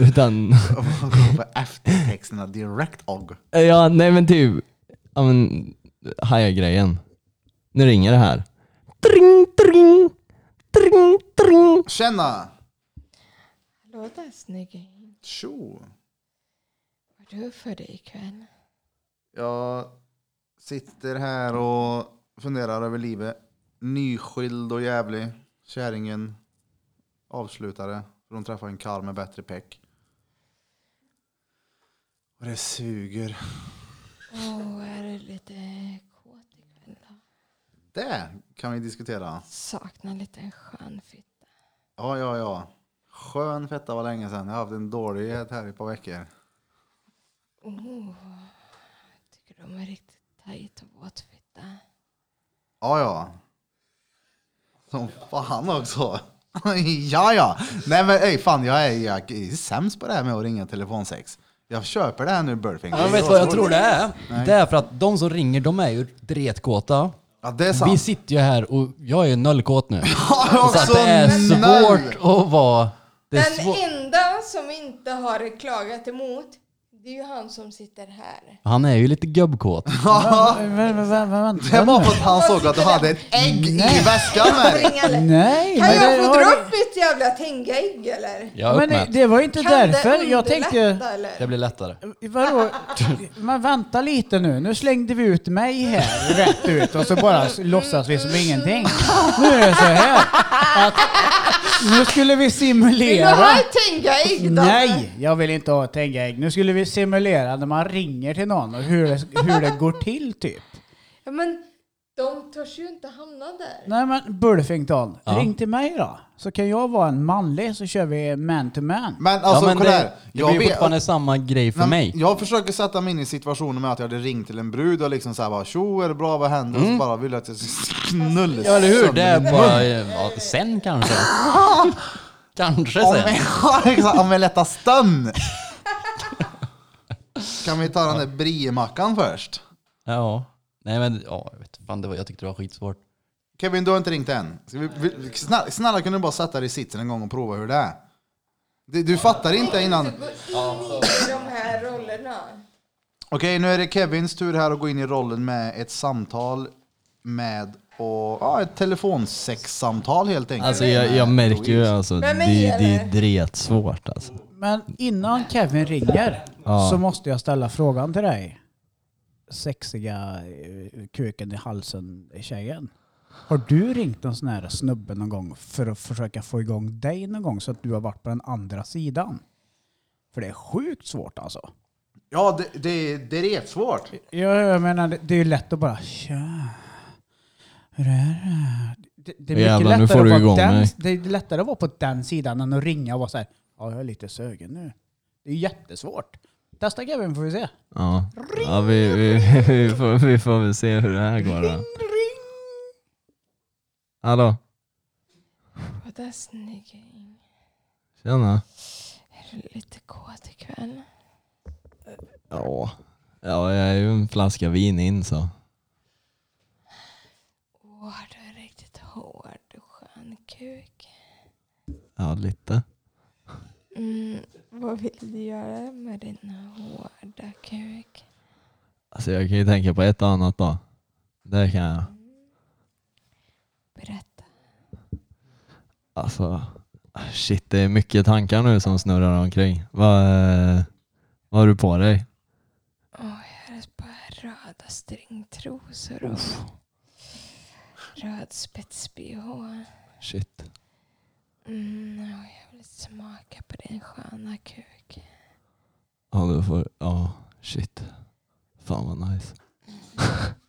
S6: Utan,
S1: Man går på eftertexterna direkt. Og.
S6: ja nej men typ, ja men, här är grejen. Nu ringer det här. Tring, tring, tring, tring.
S1: Tjena!
S3: Hallå där snygging.
S1: Tjo!
S3: Vad har du för dig ikväll?
S1: Jag sitter här och funderar över livet. Nyskild och jävlig. Kärringen avslutare. För hon träffar en karl med bättre peck. Och det suger.
S3: Åh, är du lite kåt ikväll då?
S1: Det kan vi diskutera.
S3: Saknar lite en skön fitta.
S1: Ja, ja, ja. Skön fetta var länge sedan. Jag har haft en dålighet här i ett par veckor.
S3: Oh, tycker du om en riktigt tajt och våt fitta?
S1: Ja, ja. Som fan också. ja, ja. Nej, men ej, fan, jag är, jag är sämst på det här med att ringa telefonsex. Jag köper det här nu, Burping.
S5: Jag vet vad jag tror det är. Det är för att de som ringer, de är ju dretkåta.
S1: Ja, det är
S5: Vi
S1: sant.
S5: sitter ju här och jag är ju nollkåt nu.
S1: Jag är
S5: Så att Alltså, det är svårt att vara... Det är
S3: Den
S5: svårt.
S3: enda som inte har klagat emot, det är ju han som sitter här.
S5: Han är ju lite gubbkåt.
S4: Vänta, vänta, vänta.
S1: Det var för att han såg att du hade ett ägg i väskan med
S3: Ringa eller-
S4: Nej,
S3: Kan
S4: men
S3: jag
S4: det-
S3: få
S4: har
S3: dra
S4: du-
S3: upp mitt jävla tängägg eller?
S5: Jag är
S4: Men
S5: uppmätt.
S4: det var ju inte
S3: Kan
S4: därför.
S3: det
S4: Jag tänkte...
S3: underlätta, eller?
S5: Det blir lättare.
S4: Vadå? Men vänta lite nu. Nu slängde vi ut mig här rätt ut och så bara s- låtsas vi som ingenting. Nu är det så här att nu skulle vi
S3: Vill du
S4: simulera.
S3: ha ett tängägg då?
S4: Nej, jag vill inte ha ett ägg. Nu skulle vi simulera när man ringer till någon och hur det, hur det går till typ.
S3: Ja, men de törs ju inte hamna där.
S4: Nej men Bulfington,
S5: Ja.
S4: ring till mig då. Så kan jag vara en manlig så kör vi man to man.
S1: Men alltså,
S5: ja, men
S1: kolla
S5: det,
S1: här.
S5: det
S1: Jag
S5: blir ju
S1: vet-
S5: fortfarande samma grej för
S1: Nej,
S5: mig.
S1: Jag försöker sätta mig in i situationen med att jag hade ringt till en brud och liksom såhär bara tjo är det bra, vad händer? Och så bara ville jag att jag skulle knulla
S5: Mm. Ja, eller hur? Det är
S1: sönder
S5: bara... Ja, sen kanske. kanske
S1: Om
S5: sen.
S1: vi, ja, exakt, om vi lättar stön. Kan vi ta den där briemackan först?
S5: Ja. Nej men, ja, jag vet fan, det var, jag tyckte det var skitsvårt.
S1: Kevin, du har inte ringt än. Ska vi, vi, snälla, snälla kan du bara sätta dig i sitsen en gång och prova hur det är? Du, du fattar inte innan.
S3: Gå in i de här rollerna.
S1: Okej, nu är det Kevins tur här att gå in i rollen med ett samtal med och, ja, ett telefonsexsamtal helt enkelt.
S6: Alltså jag, jag märker ju alltså, det,
S3: Men mig,
S6: det är
S3: eller?
S6: dretsvårt alltså.
S4: Men innan Kevin ringer så måste jag ställa frågan till dig. Sexiga eh, kuken i halsen tjejen. Har du ringt en sån här snubbe någon gång för att försöka få igång dig någon gång så att du har varit på den andra sidan? För det är sjukt svårt alltså.
S1: Ja, det, det, det är rätt svårt.
S4: Ja, jag menar det, det är ju lätt att bara tja. Hur är det? Det, det är mycket
S6: Jävlar, nu
S4: lättare
S6: får du
S4: att vara
S6: igång
S4: den,
S6: mig.
S4: det är lättare att vara på den sidan än att ringa och vara så här. Ja, jag är lite sögen nu. Det är jättesvårt. Testa Kevin får vi se.
S6: Ja, ja vi, vi, vi, får, vi får väl se hur det här går då. Hallå,
S3: Vad där snygging.
S6: tjena.
S3: Är du lite kåt ikväll?
S6: Ja. ja, jag är ju en flaska vin in så.
S3: Åh, du är riktigt hård och skön kuk.
S6: Ja, lite.
S3: Mm, vad vill du göra med din hårda kuk?
S6: Alltså jag kan ju tänka på ett och annat då. Det kan jag.
S3: Berätta.
S6: Alltså, shit det är mycket tankar nu som snurrar omkring. Vad, eh, vad har du på dig?
S3: Åh, jag har bara röda stringtrosor och röd spets-bh.
S6: Shit.
S3: Mm, och jag vill smaka på din sköna kuk.
S6: Ja, du får, ja, shit. Fan vad nice.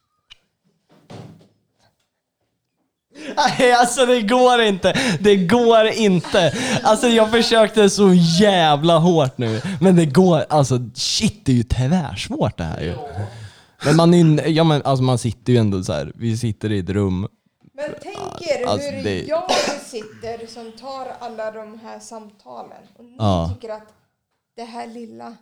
S5: Nej, alltså det går inte. Det går inte. Alltså jag försökte så jävla hårt nu. Men det går, alltså shit det är ju tvärsvårt det här ju. Men man, är, ja, men, alltså, man sitter ju ändå så här. vi sitter i ett rum.
S3: Men tänk er
S6: alltså,
S3: hur
S6: det-
S3: jag sitter som tar alla de här samtalen. Och ni
S6: Ja.
S3: tycker att det här lilla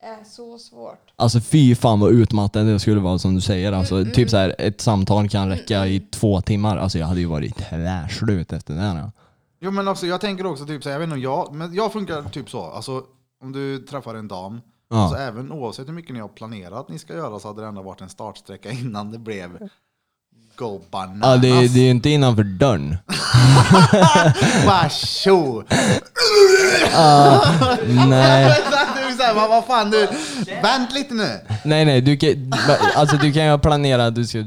S3: är så svårt.
S6: Alltså fy fan vad utmattande det skulle vara som du säger. Alltså, Typ så här, ett samtal kan räcka i två timmar. Alltså jag hade ju varit tvärslut efter det här.
S1: Jo men också, jag tänker också typ så här, jag vet inte om jag, men jag funkar typ så. Alltså om du träffar en dam,
S6: Ja.
S1: alltså, även oavsett hur mycket ni har planerat att ni ska göra så hade det ändå varit en startsträcka innan det blev go bananas.
S6: Ja, det,
S4: Alltså.
S6: är- det är ju inte innanför dörren.
S1: Bara tjo!
S6: Nej.
S1: Exakt, du är så här, vad- Vad fan du, vänt lite nu.
S6: Nej nej, du kan, alltså, du kan ju planera att du ska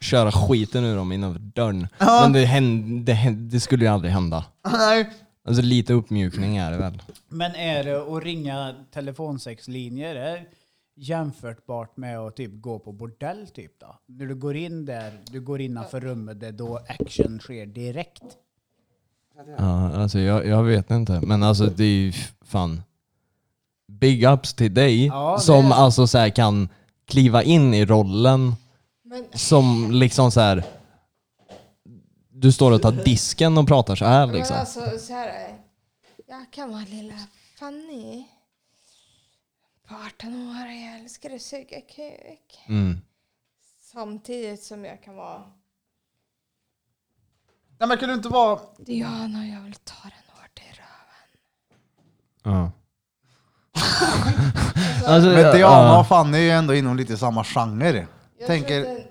S6: köra skiten ur dem innanför dörren. Men det, händ, det, händ, det skulle ju aldrig hända.
S1: Nej.
S6: Alltså lite uppmjukning är det väl?
S4: Men är det att ringa telefonsexlinjer är jämförtbart med att typ gå på bordell typ då? När du går in där, du går innanför rummet, det är då action sker direkt.
S6: Ja, alltså jag, jag vet inte. Men alltså det är ju f- fan big ups till dig
S4: Ja, det
S6: som
S4: är-
S6: alltså så här, kan kliva in i rollen
S3: Men
S6: som liksom så här. Du står och tar disken och pratar så här liksom.
S3: Men alltså så här är det. Jag kan vara lilla Fanny. På 18 år och jag älskar att suga kuk.
S6: Mm.
S3: Samtidigt som jag kan vara
S1: Nej men kan du inte vara,
S3: Diana och jag vill ta den hårt i röven.
S6: Ja. alltså,
S1: men Diana
S6: ja.
S1: och Fanny är ju ändå inom lite samma genre.
S3: Jag
S1: Tänker-
S3: tror att den-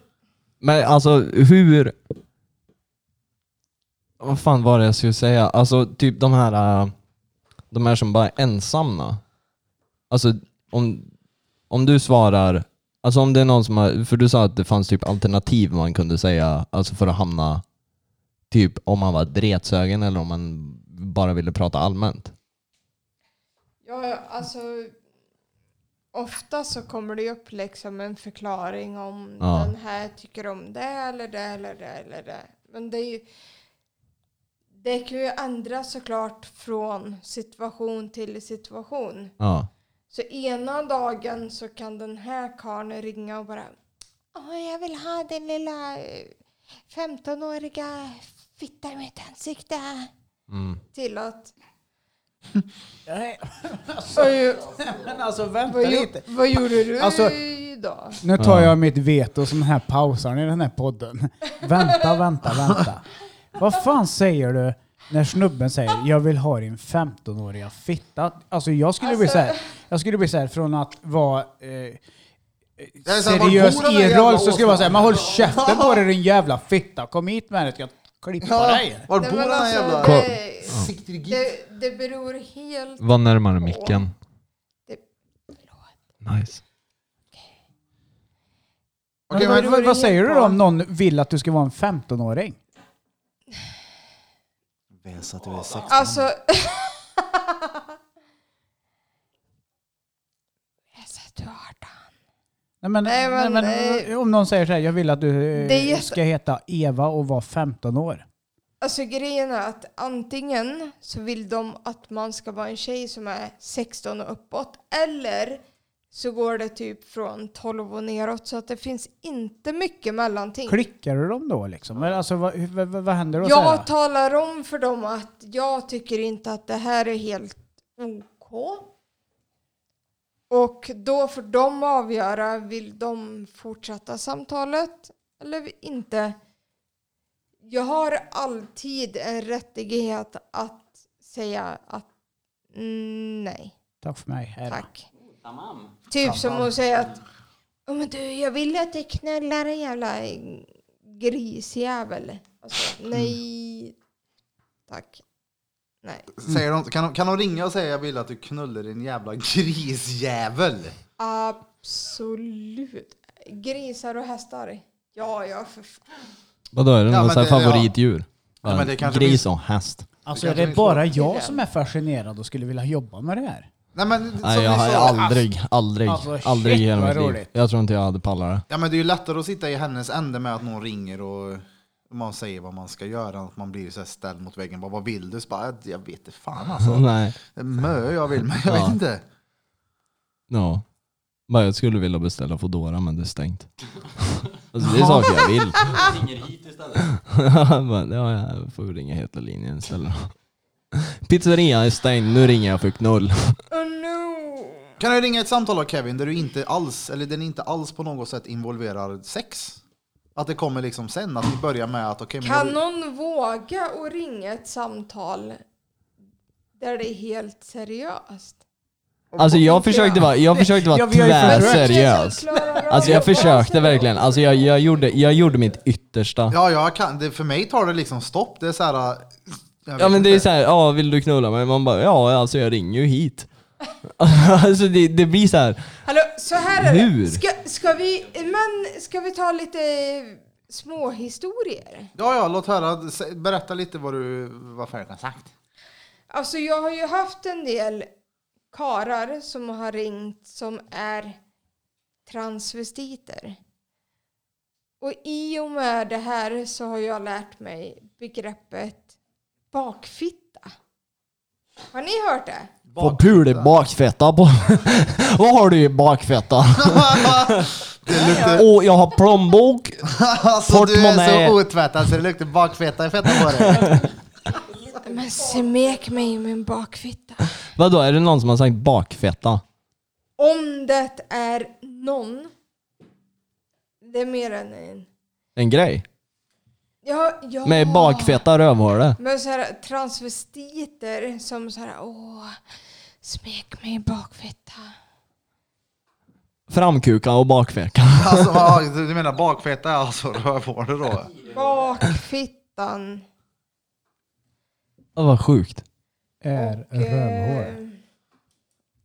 S6: Men alltså hur... Vad fan var det jag skulle säga? Alltså typ de här, äh, de här som bara är ensamma. Alltså om, om du svarar, alltså om det är någon som har, för du sa att det fanns typ alternativ man kunde säga, alltså för att hamna, typ om man var dretsögen eller om man bara ville prata allmänt.
S3: Ja, alltså. Ofta så kommer det ju upp liksom en förklaring om
S6: Ja.
S3: den här tycker om det eller det eller det eller det. Men det är ju. Det kan ju ändras såklart från situation till situation.
S6: Ja.
S3: Så ena dagen så kan den här karln ringa och bara Åh, jag vill ha den lilla eh, 15-åriga fittan i mitt ansikte.
S6: Mm.
S3: Till att
S4: Nej,
S3: Vad ju-
S4: Alltså, men alltså vänta
S3: vad,
S4: lite.
S3: gjo- vad gjorde du
S4: Alltså-
S3: idag?
S4: Nu tar jag mitt veto som den här pausaren i den här podden. Vänta, vänta, vänta. Vad fan säger du när snubben säger jag vill ha din 15-åriga fitta? Alltså jag skulle bli så här, jag skulle bli så här från att vara eh,
S1: Jag är så här, var
S4: seriös
S1: bor den
S4: i en
S1: där jävla
S4: roll så skulle jag vara såhär, man håll käften på dig din jävla fitta, kom hit med det ska jag klippa dig.
S1: Var
S3: Nej,
S1: bor
S3: men
S1: den här jävla...
S3: alltså, det,
S1: Siktergit?
S3: det, det beror helt...
S6: Var närmare micken. Nice.
S1: Okej,
S4: men,
S1: men-
S4: vad, vad säger du då
S3: på-
S4: om någon vill att du ska vara en 15-åring?
S1: Väsa till väsa.
S3: Alltså... jag sa att du är 18.
S4: Nej, men,
S3: Nej,
S4: nej,
S3: men,
S4: men,
S3: nej.
S4: om någon säger så här, jag vill att du eh,
S3: Det är jätte-
S4: ska heta Eva och vara 15 år.
S3: Alltså grejen är att antingen så vill de att man ska vara en tjej som är 16 och uppåt. Eller så går det typ från 12 och neråt. Så att det finns inte mycket mellanting.
S4: Klickar du dem då liksom? Men Alltså, vad, hur- vad, vad, vad händer då? så här då?
S3: Jag talar om för dem att jag tycker inte att det här är helt OK. Och då får de avgöra, vill de fortsätta samtalet eller inte? Jag har alltid en rättighet att säga att mm, nej,
S4: Tack för mig. Hej då.
S3: tack.
S7: Tamam.
S3: Typ som att säga att "Ja, men du, jag vill att du knullar en jävla grisjävel. Alltså,
S6: Mm.
S3: nej. Tack. Nej.
S1: Säger de, kan, de, kan de ringa och säga jag vill att du knullar din jävla grisjävel?
S3: Absolut. Grisar och hästar. Ja, ja, för fan.
S6: Vadå, är det
S1: Ja,
S6: någon
S1: men
S6: sån här
S1: det- ja.
S6: favoritdjur?
S1: Ja, men det kanske
S6: Gris
S1: finns-
S6: och häst.
S4: Alltså
S1: Det
S4: är
S1: kanske
S4: det
S1: finns
S4: bara
S3: folk.
S4: jag som är fascinerad och skulle vilja jobba med det här?
S1: Nej, men, som
S6: Nej, jag
S1: ni
S6: har
S1: sa-
S6: aldrig, aldrig,
S4: Alltså, shit,
S6: aldrig i hela
S4: vad
S6: mitt liv.
S4: roligt.
S6: Jag tror inte jag hade pallat det.
S1: Ja men det är ju lättare att sitta i hennes ände med att någon ringer och man säger vad man ska göra. Att man blir så här ställd mot väggen. Bara, vad vill du? Så bara, jag vet inte fan alltså.
S6: Nej.
S1: Det är Mö jag vill men jag
S6: Ja.
S1: vet inte.
S6: Ja. Men jag skulle vilja beställa Foodora men det är stängt. Alltså, det är saker jag vill.
S7: Ringer hit istället.
S6: Men, ja, jag får ringa heta linjen istället. Pizzerian är stängd, nu ringer jag för knull.
S3: Oh no.
S1: Kan du ringa ett samtal av Kevin där du inte alls, eller den inte alls på något sätt involverar sex? Att det kommer liksom sen, att vi börjar med att okej men
S3: Kan
S6: Mm.
S1: jag-
S3: någon våga och ringa ett samtal där det är helt seriöst?
S6: Alltså jag försökte vara, jag försökte vara
S4: Ja, vi har ju försökt.
S6: tvärseriös. Alltså jag försökte verkligen. Alltså jag, jag, gjorde, jag gjorde mitt yttersta.
S1: Ja, jag kan, det, för mig tar det liksom stopp. Det är så här... äh, jag
S6: Ja
S1: vet
S6: men det är
S1: inte.
S6: så här, ja vill du knulla mig? Man bara, ja alltså jag ringer ju hit. Alltså det, det blir så här.
S3: Hallå, så här är
S6: Hur?
S3: det. Ska, ska, vi, men, ska vi ta lite små historier?
S1: Ja, ja, låt höra. Sä- Berätta lite vad du, vad Färjan har sagt.
S3: Alltså jag har ju haft en del karar som har ringt som är transvestiter. Och i och med det här så har jag lärt mig begreppet bakfitta. Har ni hört det?
S6: På pul i bakfetta på. Vad har du i bakfetta?
S1: Det luktar...
S6: Åh, jag har plånbok.
S1: Alltså du är
S6: portmonnaie.
S1: så otvättad så det luktar bakfeta i fettan på dig.
S3: Men smek mig i min bakfitta.
S6: Vadå, är det någon som har sagt bakfetta?
S3: Om det är någon. Det är mer än en.
S6: En grej?
S3: Ja, ja.
S6: Med bakfetta rövhåle?
S3: Men så här, transvestiter som så här, åh, smek mig i bakfitta.
S6: Framkuka och bakfeka.
S1: Alltså, ja, du menar bakfeta är alltså rövhålet då?
S3: Bakfittan.
S6: Ja, vad sjukt.
S4: Är
S3: Och, eh,
S4: rövhål.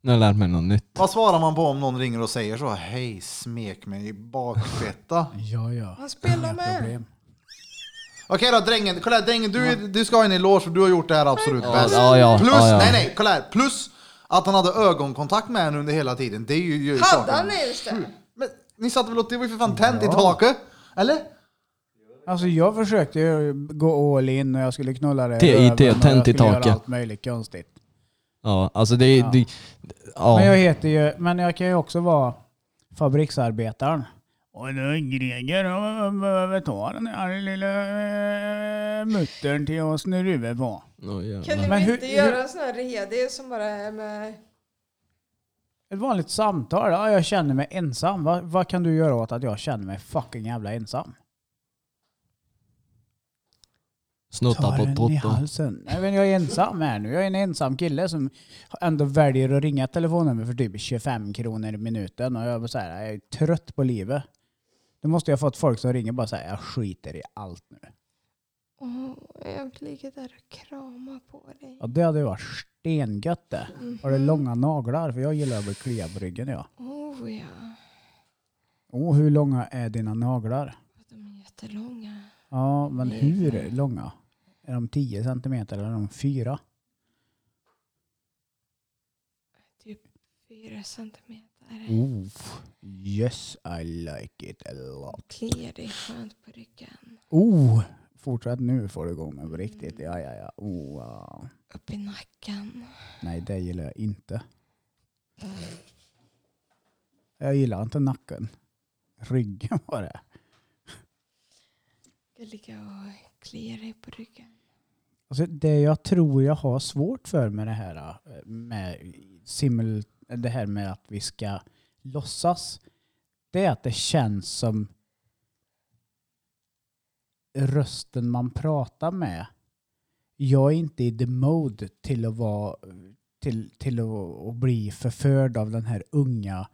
S6: Nu har jag lärt mig något nytt.
S1: Vad svarar man på om någon ringer och säger så? Hej, smek mig i bakfeta.
S4: Ja, ja.
S3: Han spelar
S4: Inga
S3: med.
S4: Ah, problem.
S1: Okej då drängen, kolla här, drängen du, du ska ha en eloge för du har gjort det här absolut
S6: Ja,
S1: bäst.
S6: ja, ja,
S1: Plus,
S6: ja, ja.
S1: nej nej, kolla här, plus att han hade ögonkontakt med henne under hela tiden. Det är ju, ju
S3: Hade
S1: saken.
S3: han ens det?
S1: Men ni satt väl och det var ju för fan tänt i taket? Eller?
S4: Alltså jag försökte ju gå all in och jag skulle knulla det
S6: Te- i
S4: i röven och
S6: te-
S4: jag
S6: tänt i
S4: skulle göra
S6: taket.
S4: allt möjligt konstigt.
S6: Ja, alltså det... Ja. det ja.
S4: Men jag heter ju, men jag kan ju också vara fabriksarbetaren. Och nu Greger han behöver ta den här lilla eh, muttern till oss när du på.
S6: Åh, jävlar.
S3: Kan ni
S4: Men
S3: väl
S4: hur-
S3: inte göra
S4: hur-
S3: en sån här redig som bara är med...
S4: Ett vanligt samtal. Ja, jag känner mig ensam. Va, vad kan du göra åt att jag känner mig fucking jävla ensam?
S6: Snutta på
S4: i
S6: Toto.
S4: halsen. Nej, men jag är ensam här nu. Jag är en ensam kille som ändå väljer att ringa ett telefonnummer för typ 25 kronor i minuten. Och jag, bara så här, jag är trött på livet. Då måste jag ha fått folk som ringer och bara säger jag skiter i allt nu.
S3: Åh, jag vill ligga där och krama på dig.
S4: Ja, det hade ju varit stengött det. Har du långa naglar? För jag gillar att bli kliad på ryggen ja.
S3: Oh ja,
S4: Åh, hur långa är dina naglar?
S3: de är jättelånga.
S4: Ja, men hur långa? Är de 10 centimeter eller är de 4?
S3: Typ fyra centimeter.
S4: Oh, yes I like it a lot.
S3: Kliar dig skönt på ryggen.
S4: Oh, fortsätt nu får du igång mig på riktigt. Ja, ja, ja. Oh, wow.
S3: Upp i nacken.
S4: Nej, det gillar jag inte. Jag gillar inte nacken. Ryggen var det.
S3: Jag ligger och kliar dig på ryggen.
S4: Alltså det jag tror jag har svårt för med det här eh, med, simul, det här med att vi ska låtsas, det är att det känns som rösten man pratar med. Jag är inte i the mode till att, vara, till, till att, att bli förförd av den här unga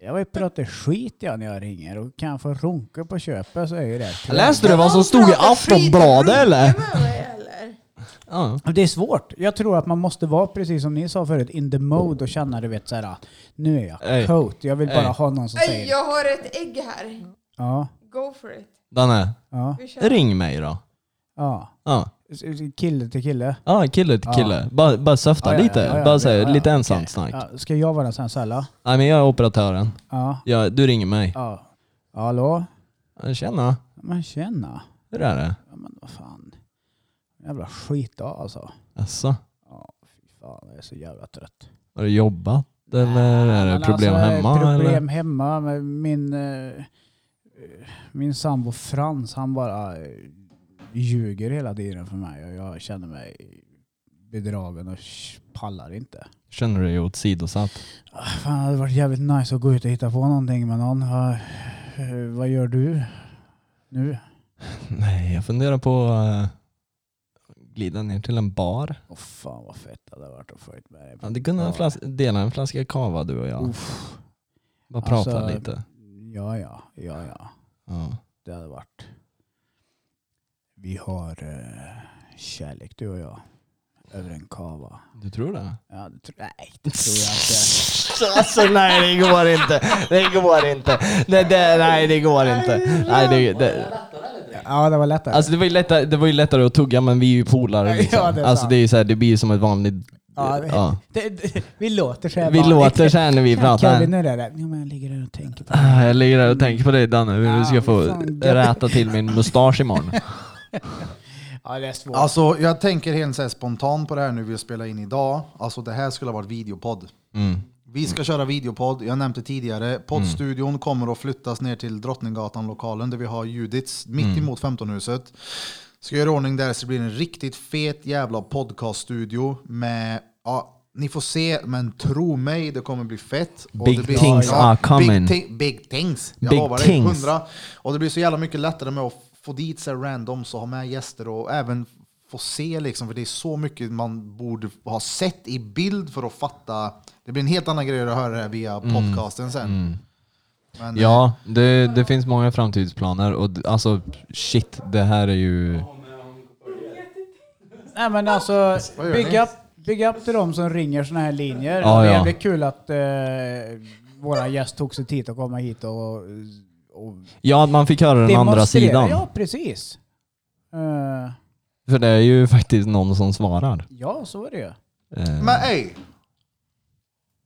S4: Jag vill prata skit ja, när jag ringer och kan jag få runka på köpet så är ju det.
S6: Läste du vad som stod i Aftonbladet eller?
S3: eller?
S6: Ja.
S4: Det är svårt. Jag tror att man måste vara, precis som ni sa förut, in the mode och känna du vet såhär, nu är
S6: Ey.
S4: jag coat. Jag vill bara
S6: Ey.
S4: ha någon som
S3: Ej,
S4: säger
S3: jag har ett ägg här.
S4: ja,
S3: Go for it.
S6: Danne,
S4: ja,
S3: Vi kör.
S6: ring mig då.
S4: ja.
S6: Ja,
S4: Kille till kille.
S6: ja kille till
S4: Ja.
S6: kille. Bara, bara söfta
S4: Ja, ja,
S6: lite.
S4: ja, ja,
S6: bara
S4: ja,
S6: så här,
S4: ja, ja.
S6: lite ensamt
S4: Okej.
S6: snack.
S4: Ja, ska jag vara den sensuella?
S6: Nej men jag är operatören.
S4: Ja.
S6: Ja, du ringer mig.
S4: ja. Hallå?
S6: Ja, Tjena,
S4: Men tjena.
S6: hur är det?
S4: Ja, men vad fan. Jävla skitdag alltså.
S6: Alltså,
S4: Ja, fy fan, jag är så jävla trött.
S6: har du jobbat eller är
S4: Men
S6: det problem
S4: alltså,
S6: hemma?
S4: Problem
S6: Eller?
S4: hemma. Med min, eh, eh, min sambo Frans, han bara eh, ljuger hela tiden för mig och jag känner mig bedragen och sh- pallar inte.
S6: Känner du dig åsidosatt?
S4: Ah, Fan, det hade varit jävligt nice att gå ut och hitta på någonting med någon. Vad, eh, vad gör du nu?
S6: Nej, jag funderar på att glida ner till en bar.
S4: Åh fan vad fett det hade varit att få ut med dig.
S6: Ja, det kunde en
S4: Ja.
S6: flas- dela en flaska kava du och jag.
S4: Uff.
S6: Bara prata
S4: Alltså,
S6: lite.
S4: Ja, ja, ja, ja.
S6: Ja.
S4: Det hade varit. Vi har eh, kärlek du och jag. Över en kava.
S6: Du tror det?
S4: Ja, det tror, nej, det tror jag inte.
S5: Alltså nej det går inte. Det går inte. Det, det, nej det går inte. Nej, det, det.
S4: Ja, det var lättare.
S6: Alltså det var ju lättare, det var ju lättare att tugga men vi är ju polare liksom.
S4: Ja, det är
S6: alltså
S4: sant.
S6: det är ju så här, det blir ju som ett vanligt...
S4: ja,
S6: Ja,
S4: det, Det, det, vi låter så här
S6: Vi
S4: vanligt.
S6: låter så här när vi
S4: Kan- kan vi
S6: pratar.
S4: nu det där? Ja, men jag ligger där och tänker på
S6: Ah, Jag ligger där och tänker på dig Danne, hur du
S4: Ja,
S6: ska få
S4: fan, gött.
S6: räta till min mustasch imorgon.
S4: Ja, det är svårt.
S1: Alltså, jag tänker helt så här spontant på det här nu vi spelar in idag. Alltså, det här skulle ha varit videopodd.
S6: Mm.
S1: Vi ska köra videopodd, jag nämnde tidigare. Poddstudion
S6: Mm.
S1: kommer att flyttas ner till Drottninggatan-lokalen där vi har Judits, mitt
S6: Mm.
S1: emot 15-huset. Ska göra i ordning där så det blir en riktigt fet jävla podcaststudio med, ja, ni får se, men tro mig, det kommer bli fett. Och
S6: Big
S1: det blir,
S6: things are coming.
S1: Big, thi- big things, jag
S6: Big
S1: lovar dig.
S6: things.
S1: Hundra. Och det blir så jävla mycket lättare med att få dit sig randoms och ha med gäster och även få se liksom, för det är så mycket man borde ha sett i bild för att fatta. Det blir en helt annan grej att höra det här via podcasten sen. Men, eh,
S6: Mm. Ja, det, det finns många framtidsplaner och d- alltså shit, det här är ju...
S4: Nej men alltså,
S1: Vad gör ni?
S4: bygg upp, bygg upp till de som ringer såna här linjer.
S6: Ja,
S4: det är
S6: ja.
S4: jävligt kul att eh, våra gäst tog sig tid att komma hit och, och
S6: Ja, att man fick höra den andra
S4: demonstrera.
S6: sidan.
S4: Ja, precis. Eh,
S6: För det är ju faktiskt någon som svarar.
S4: ja, så är det ju.
S6: Eh,
S1: men ey!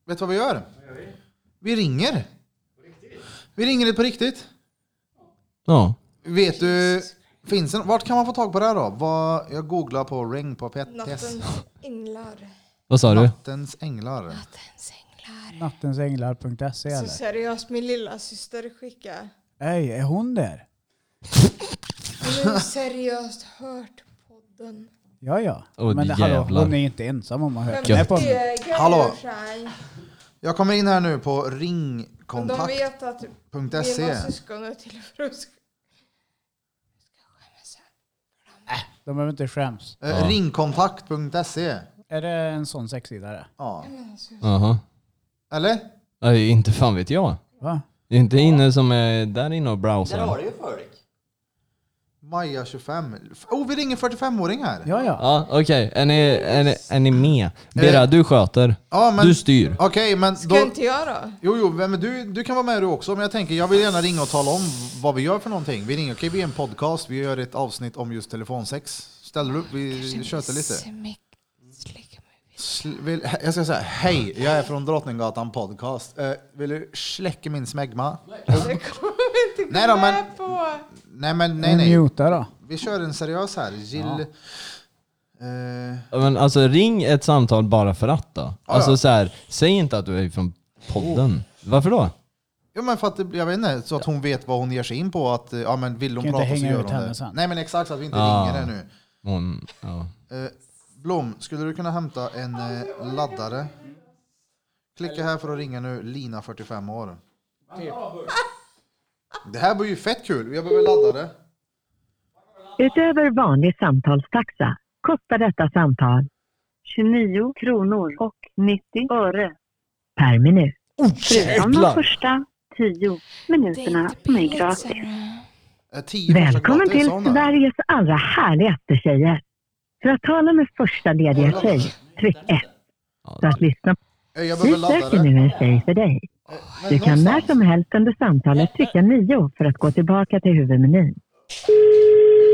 S1: Vet du vad vi gör? Vi ringer. Vi ringer det på riktigt.
S6: ja.
S1: Vet du, finns en, vart kan man få tag på det här då? Vad, jag googlar på ring på PTS.
S3: Nattens änglar.
S6: Vad sa du?
S1: Nattens änglar.
S3: Nattens änglar.
S4: Nattensänglar.se
S3: Så
S4: eller?
S3: seriöst, min lilla syster skickade.
S4: Nej, är hon där?
S3: Hon har ju seriöst hört podden.
S4: Ja, ja.
S6: Åh,
S4: men hallå,
S6: jävlar.
S4: hon är inte ensam om man hör
S3: Men
S4: henne på mig.
S3: det grejer
S1: Hallå.
S3: sig.
S1: Jag kommer in här nu på
S3: De
S1: ringkontakt.
S3: vet att
S1: .se.
S3: mina syskon är till för att sk- ska skämmas här.
S4: De behöver inte skäms.
S1: Eh, Ringkontakt.se.
S4: Är det en sån sexsida det?
S1: Ja.
S6: Jaha.
S1: Eller?
S6: Nej, inte fan vet jag.
S4: Va?
S6: Det är inte inne som är där inne och
S7: Där har
S6: browsar.
S7: du ju folk.
S1: Maja 25. F- Oh, vi ringer 45-åring här.
S4: Ja, ja.
S6: Ja, okej. Är, ni, är, ni, är ni med? Birra, du sköter.
S1: Ja, men-
S6: Du styr.
S1: Okej, men
S3: Ska
S1: då...
S3: inte jag då?
S1: Jo, jo, men du, du kan vara med du också. Men jag tänker, jag vill gärna ringa och tala om vad vi gör för någonting. Vi ringer, okej, vi är en podcast. Vi gör ett avsnitt om just telefonsex. Ställer du upp? Vi tjötar lite. Sl- Vill, jag ska säga, hej, jag är från Drottninggatan podcast. Eh, vill du släcka min smegma?
S3: Det kommer vi inte
S1: Nej då,
S3: gå
S1: men-
S3: med på.
S1: Nej, men nej,
S4: Nej,
S1: nej.
S4: Muta då.
S1: Vi kör en seriös här. Jill... Eh,
S6: Men alltså ring ett samtal bara för att då. Alltså
S1: ja.
S6: så här, säg inte att du är från podden. Varför då?
S1: Ja men för att, det- jag vet inte, så att hon vet vad hon ger sig in på. Att, eh, ja men vill hon
S4: Kan inte
S1: prata så
S4: hänga
S1: gör
S4: ut
S1: hon
S4: henne
S1: det.
S4: sen.
S1: Nej men exakt, så att vi inte
S6: Ja.
S1: ringer henne nu.
S6: Hon, ja.
S1: Eh, Blom, skulle du kunna hämta en eh, laddare? Klicka här för att ringa nu, Lina 45 år. Det här blir ju fett kul, jag behöver laddare.
S8: Utöver vanlig samtalstaxa kostar detta samtal 29 kronor och 90 öre per minut.
S5: Oh
S8: Förutom de
S5: jävlar!
S8: första tio minuterna som är gratis.
S1: Eh, tio första
S8: Välkommen
S1: gratis,
S8: till
S1: sa hon där.
S8: Sveriges allra härligaste tjejer. För att tala med första lediga tjej, tryck 1. För att lyssna
S1: Eh, Jag
S8: Vi
S1: behöver ladda
S8: söker
S1: det.
S8: nu en tjej för dig.
S1: Men
S8: Du kan när
S1: någonstans-
S8: som helst under samtalet trycka 9 för att gå tillbaka till huvudmenyn.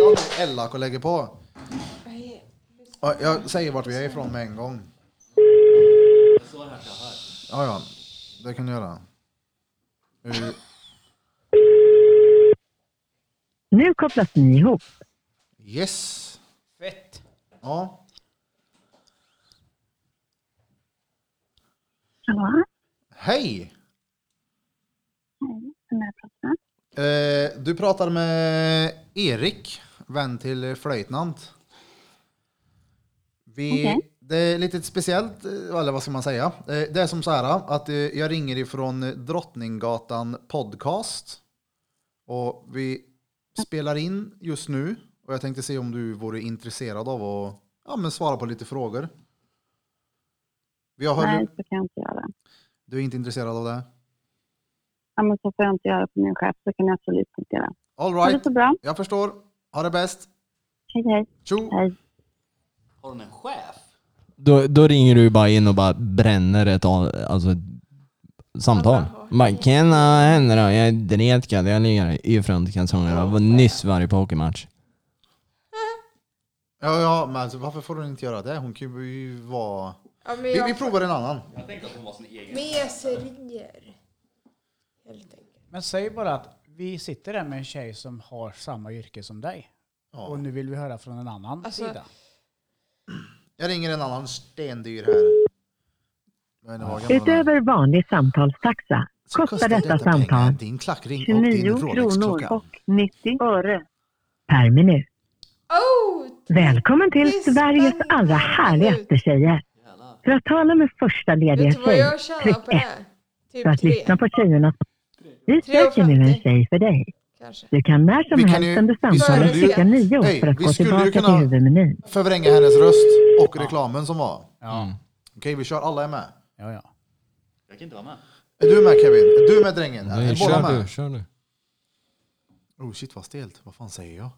S1: Då har vi Ella och lägger på. Ja, Jag säger vart vi är ifrån med en gång. Ja, ja. Det kan du göra. Eh, Ur-
S8: Nu kopplas ni ihop.
S1: Yes.
S4: Fett.
S1: Ja.
S8: Ja,
S1: Hej!
S8: vem är det
S1: Eh, Du pratar med Erik, vän till flöjtnant. Vi,
S8: Okej.
S1: Det är lite speciellt, eh, eller vad ska man säga? Eh, Det är som så här att eh, jag ringer ifrån eh, Drottninggatan podcast. Och vi spelar in just nu. Och jag tänkte se om du vore intresserad av att ja, men svara på lite frågor. Vi har
S9: Nej, så kan jag inte göra.
S1: Du är inte intresserad av det?
S9: Ja, men så får jag inte göra på min chef, så kan jag absolut inte göra.
S1: All
S9: Ha det
S1: right,
S9: så bra.
S1: jag förstår. Ha det bäst.
S9: Hej, hej.
S1: Tjo!
S9: hej.
S7: Har hon en chef?
S6: Då, då ringer du bara in och bara bränner ett, a- alltså, ett samtal. Bara, Tjena, henne då? Jag är dretkad. Jag ligger i frontkalsongerna. Jag var nyss varje pokermatch.
S1: Ja, ja, men alltså, varför får hon inte göra det? Hon kan ju vara...
S3: Ja, men
S1: Vi,
S3: jag
S1: vi provar en annan.
S3: Meserier. Helt enkelt.
S4: Men säg bara att vi sitter där med en tjej som har samma yrke som dig. Och nu vill vi höra från en annan
S3: Alltså-
S4: sida.
S1: Jag ringer en annan stendyr här. Jag vet inte vad gammal den är.
S8: Utöver vanlig samtalstaxa
S1: Så
S8: kostar detta
S1: pengar,
S8: samtal
S1: Din klackring och din
S9: 29 kronor
S1: Rolex-klocka.
S9: och 90 öre.
S8: per minut.
S3: Oh!
S8: Välkommen till
S3: Det är
S8: Sveriges
S3: spännande.
S8: allra härligaste tjejer. För att tala med första lediga
S3: Vet du vad
S8: tjej,
S3: jag tjänar
S8: tryck
S3: på
S8: 1.
S3: det?
S8: För
S3: Typ
S8: att lyssna
S3: tre,
S8: på tjejerna. Vi söker nu en
S3: 3,50.
S8: tjej för dig.
S3: kanske.
S8: Du kan när som
S1: Vi kan
S8: helst
S1: ju-
S8: under
S1: vi
S8: samtalet
S3: skulle ju-
S8: trycka 9
S1: Hej,
S8: för att
S1: vi
S8: gå
S1: skulle ju
S8: tillbaka
S1: kunna-
S8: till huvudmenyn.
S1: Förvränga hennes röst och reklamen som var.
S4: Ja,
S6: Mm.
S1: Okej, vi kör. Alla är med.
S4: ja, ja.
S7: Jag kan inte vara med.
S1: Är du med Kevin? Är du med drängen?
S6: Nej,
S1: Är båda
S6: kör du,
S1: med?
S6: kör du.
S1: Oh shit vad stelt. Vad fan säger jag?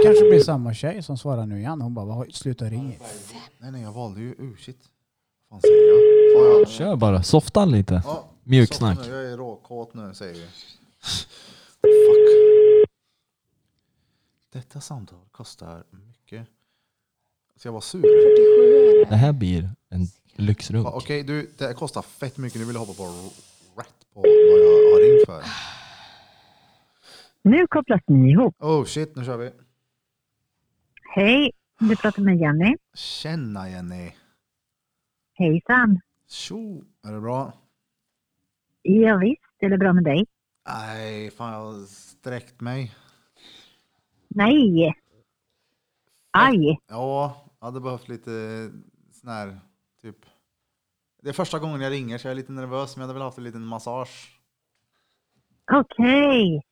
S4: Det kanske blir samma tjej som svarar nu igen. Hon bara, "Vad har- sluta ringa.
S1: Nej, nej, jag valde ju... Oh shit. Vad fan säger jag? Fan, jag...
S6: Kör bara. Softa lite.
S1: Ja,
S6: Mjuksnack.
S1: så nu, Jag är råkåt nu säger vi. Fuck. Detta samtal kostar mycket. Ska jag vara sur?
S3: 47 öre.
S6: Det här blir en lyxrunk.
S1: Va, Okej, du, det här kostar fett mycket. Nu vill jag hoppa på rätt på vad jag har ringt för.
S8: Nu kopplas ni ihop.
S1: Oh shit, nu kör vi.
S8: Hej, du pratar med Jenny.
S1: Tjena Jenny.
S8: Hejsan.
S1: Tjo, är det bra?
S8: Ja, visst, är det bra med dig?
S1: Nej, fan jag har sträckt mig.
S8: Nej. Aj.
S1: Ja, jag hade behövt lite sån här, typ. Det är första gången jag ringer så jag är lite nervös men jag hade väl haft en liten massage.
S8: Okej.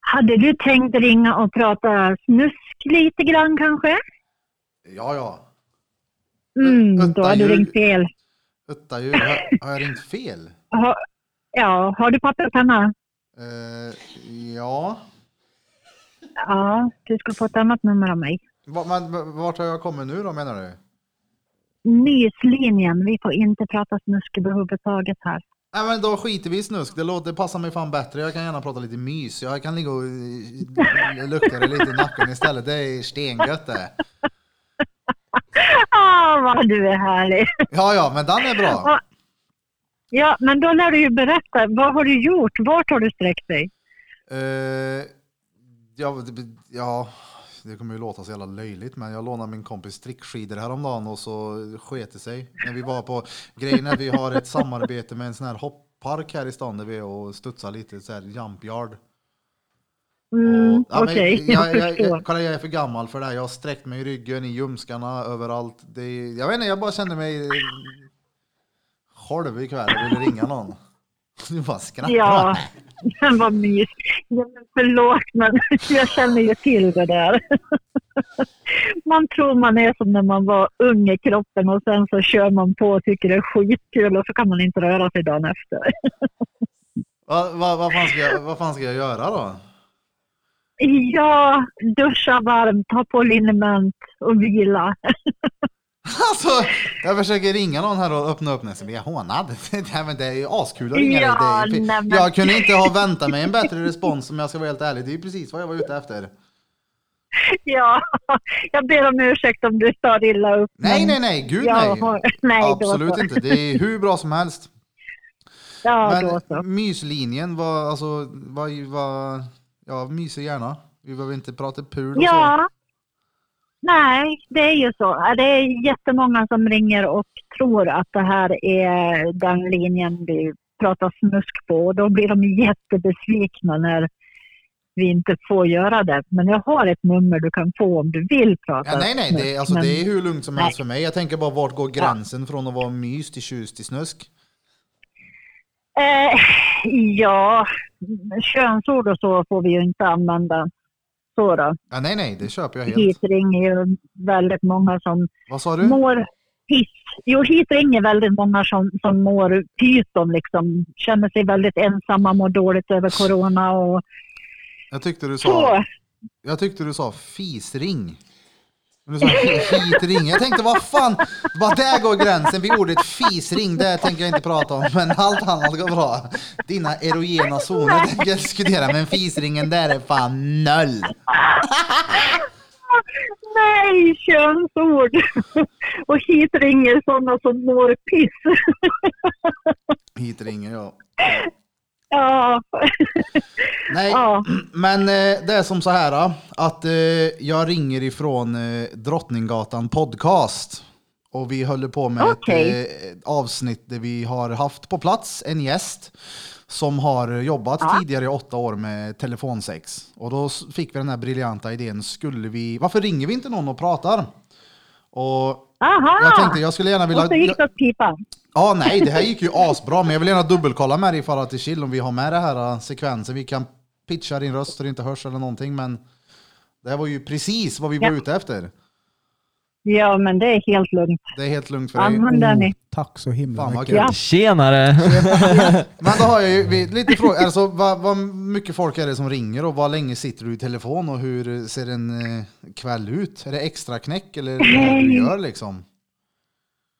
S8: Hade du tänkt ringa och prata snusk lite grann kanske?
S1: Ja, ja.
S8: Mm,
S1: Vänta,
S8: då hade du
S1: jag-
S8: ringt fel.
S1: Utta ju, har, har jag ringt fel?
S8: Ha, ja, har du papper och penna?
S1: Eh, ja.
S8: Ja, du skulle få ett annat nummer av mig.
S1: Va- Men, v- vart har jag kommit nu då menar du?
S8: Nyslinjen, vi får inte prata snusk överhuvudtaget här.
S1: Nej men då skiter vi i snusk, det, låter, det passar mig fan bättre. Jag kan gärna prata lite mys. Jag kan ligga och eh, lukta det lite i nacken istället. Det är stengött det.
S8: Ah, vad du är härlig!
S1: Ja, ja, men den är bra.
S8: Ja, men då lär du ju berätta. Vad har du gjort? Vart har du sträckt dig?
S1: Eh, ja, det- ja, det kommer ju låta så jävla löjligt, men jag lånade min kompis trickskidor häromdagen och så sket det sig. När vi var på grejen är vi har ett samarbete med en sån här hopppark här i stan där vi är och studsar lite så här jump yard.
S8: Mm,
S1: Ja, men
S8: Okej,
S1: jag,
S8: jag,
S1: jag,
S8: förstår.
S1: jag, kolla, jag är för gammal för det här. Jag har sträckt mig i ryggen, i ljumskarna, överallt. Det, är- jag vet inte, jag bara känner mig eh, själv ikväll. Jag ville ringa någon. Du bara skrattar.
S8: Ja, men vad mysigt. Ja, men förlåt, men jag känner ju till det där. Man tror man är som när man var ung i kroppen och sen så kör man på och tycker det är skitkul och så kan man inte röra sig dagen efter.
S1: Vad va, vad fan, ska jag- vad fan ska jag göra då?
S8: Ja, duscha varmt, ta på liniment och vila.
S1: Alltså, jag försöker ringa någon här och öppna upp mig, så blir jag hånad. Det, här, men det är ju askul att ringa
S8: Ja,
S1: dig. Det är-
S8: nej, men-
S1: Jag kunde inte ha väntat mig en bättre respons om jag ska vara helt ärlig. Det är ju precis vad jag var ute efter.
S8: Ja, jag ber om ursäkt om du stör illa upp.
S1: Nej,
S8: men
S1: nej, nej, gud
S8: jag
S1: nej.
S8: har- nej, det var
S1: Absolut
S8: så.
S1: inte. Det är hur bra som helst.
S8: Ja, då så.
S1: Men myslinjen var, alltså, var, var jag myser gärna. Vi behöver inte prata pul och så.
S8: Ja. Nej, det är ju så. Det är jättemånga som ringer och tror att det här är den linjen vi pratar snusk på och då blir de jättebesvikna när vi inte får göra det. Men jag har ett nummer du kan få om du vill prata
S1: Ja, nej, nej,
S8: snusk,
S1: det, är- alltså,
S8: men-
S1: det är hur lugnt som
S8: Nej.
S1: helst för mig. Jag tänker bara, vart går gränsen från att vara mys till tjus till snusk?
S8: Eh, ja, könsord och så får vi ju inte använda. Så då.
S1: Ja, nej, nej, det köper jag helt.
S8: Hit ringer ju väldigt många som
S1: Vad sa du?
S8: mår piss. Jo, hit ringer väldigt många som, som mår pyton liksom. Känner sig väldigt ensamma, mår dåligt över corona och
S1: Jag tyckte du sa,
S8: så.
S1: jag tyckte du sa fisring. Men Du sa hitring. Jag tänkte vad fan, vad där går gränsen vid ordet fisring. Det tänker jag inte prata om, men allt annat går bra. Dina erogena zoner tänker jag diskutera, men fisringen där är fan noll.
S8: Nej, könsord! och hit ringer sådana som mår piss.
S1: Hitringen ja.
S8: ja,
S1: Nej,
S8: ja.
S1: men eh, det är som så här då, att eh, jag ringer ifrån eh, Drottninggatan podcast. Och vi håller på med
S8: Okej.
S1: ett eh, avsnitt där vi har haft på plats en gäst som har jobbat
S8: Ja.
S1: tidigare i åtta år med telefonsex. Och då s- fick vi den här briljanta idén, skulle vi, varför ringer vi inte någon och pratar? Och
S8: Aha!
S1: jag tänkte jag skulle gärna vilja...
S8: Ah. och så gick det åt pipan.
S1: Ja, nej, det här gick ju asbra, men jag vill gärna dubbelkolla med dig ifall att det är chill om vi har med det här äh, sekvensen. Vi kan pitcha din röst så det inte hörs eller någonting, men det här var ju precis vad vi var ute efter.
S8: Ja, men det är helt lugnt.
S1: Det är helt lugnt för dig.
S8: Använd den i
S4: Mm. Tack så himla
S1: Fan vad
S4: mycket.
S1: kul.
S8: Ja.
S5: Tjenare!
S1: Men då har jag ju vi- lite frågor. Alltså, vad, vad mycket folk är det som ringer och vad länge sitter du i telefon och hur ser en eh, kväll ut? Är det extra knäck eller vad är det du gör liksom?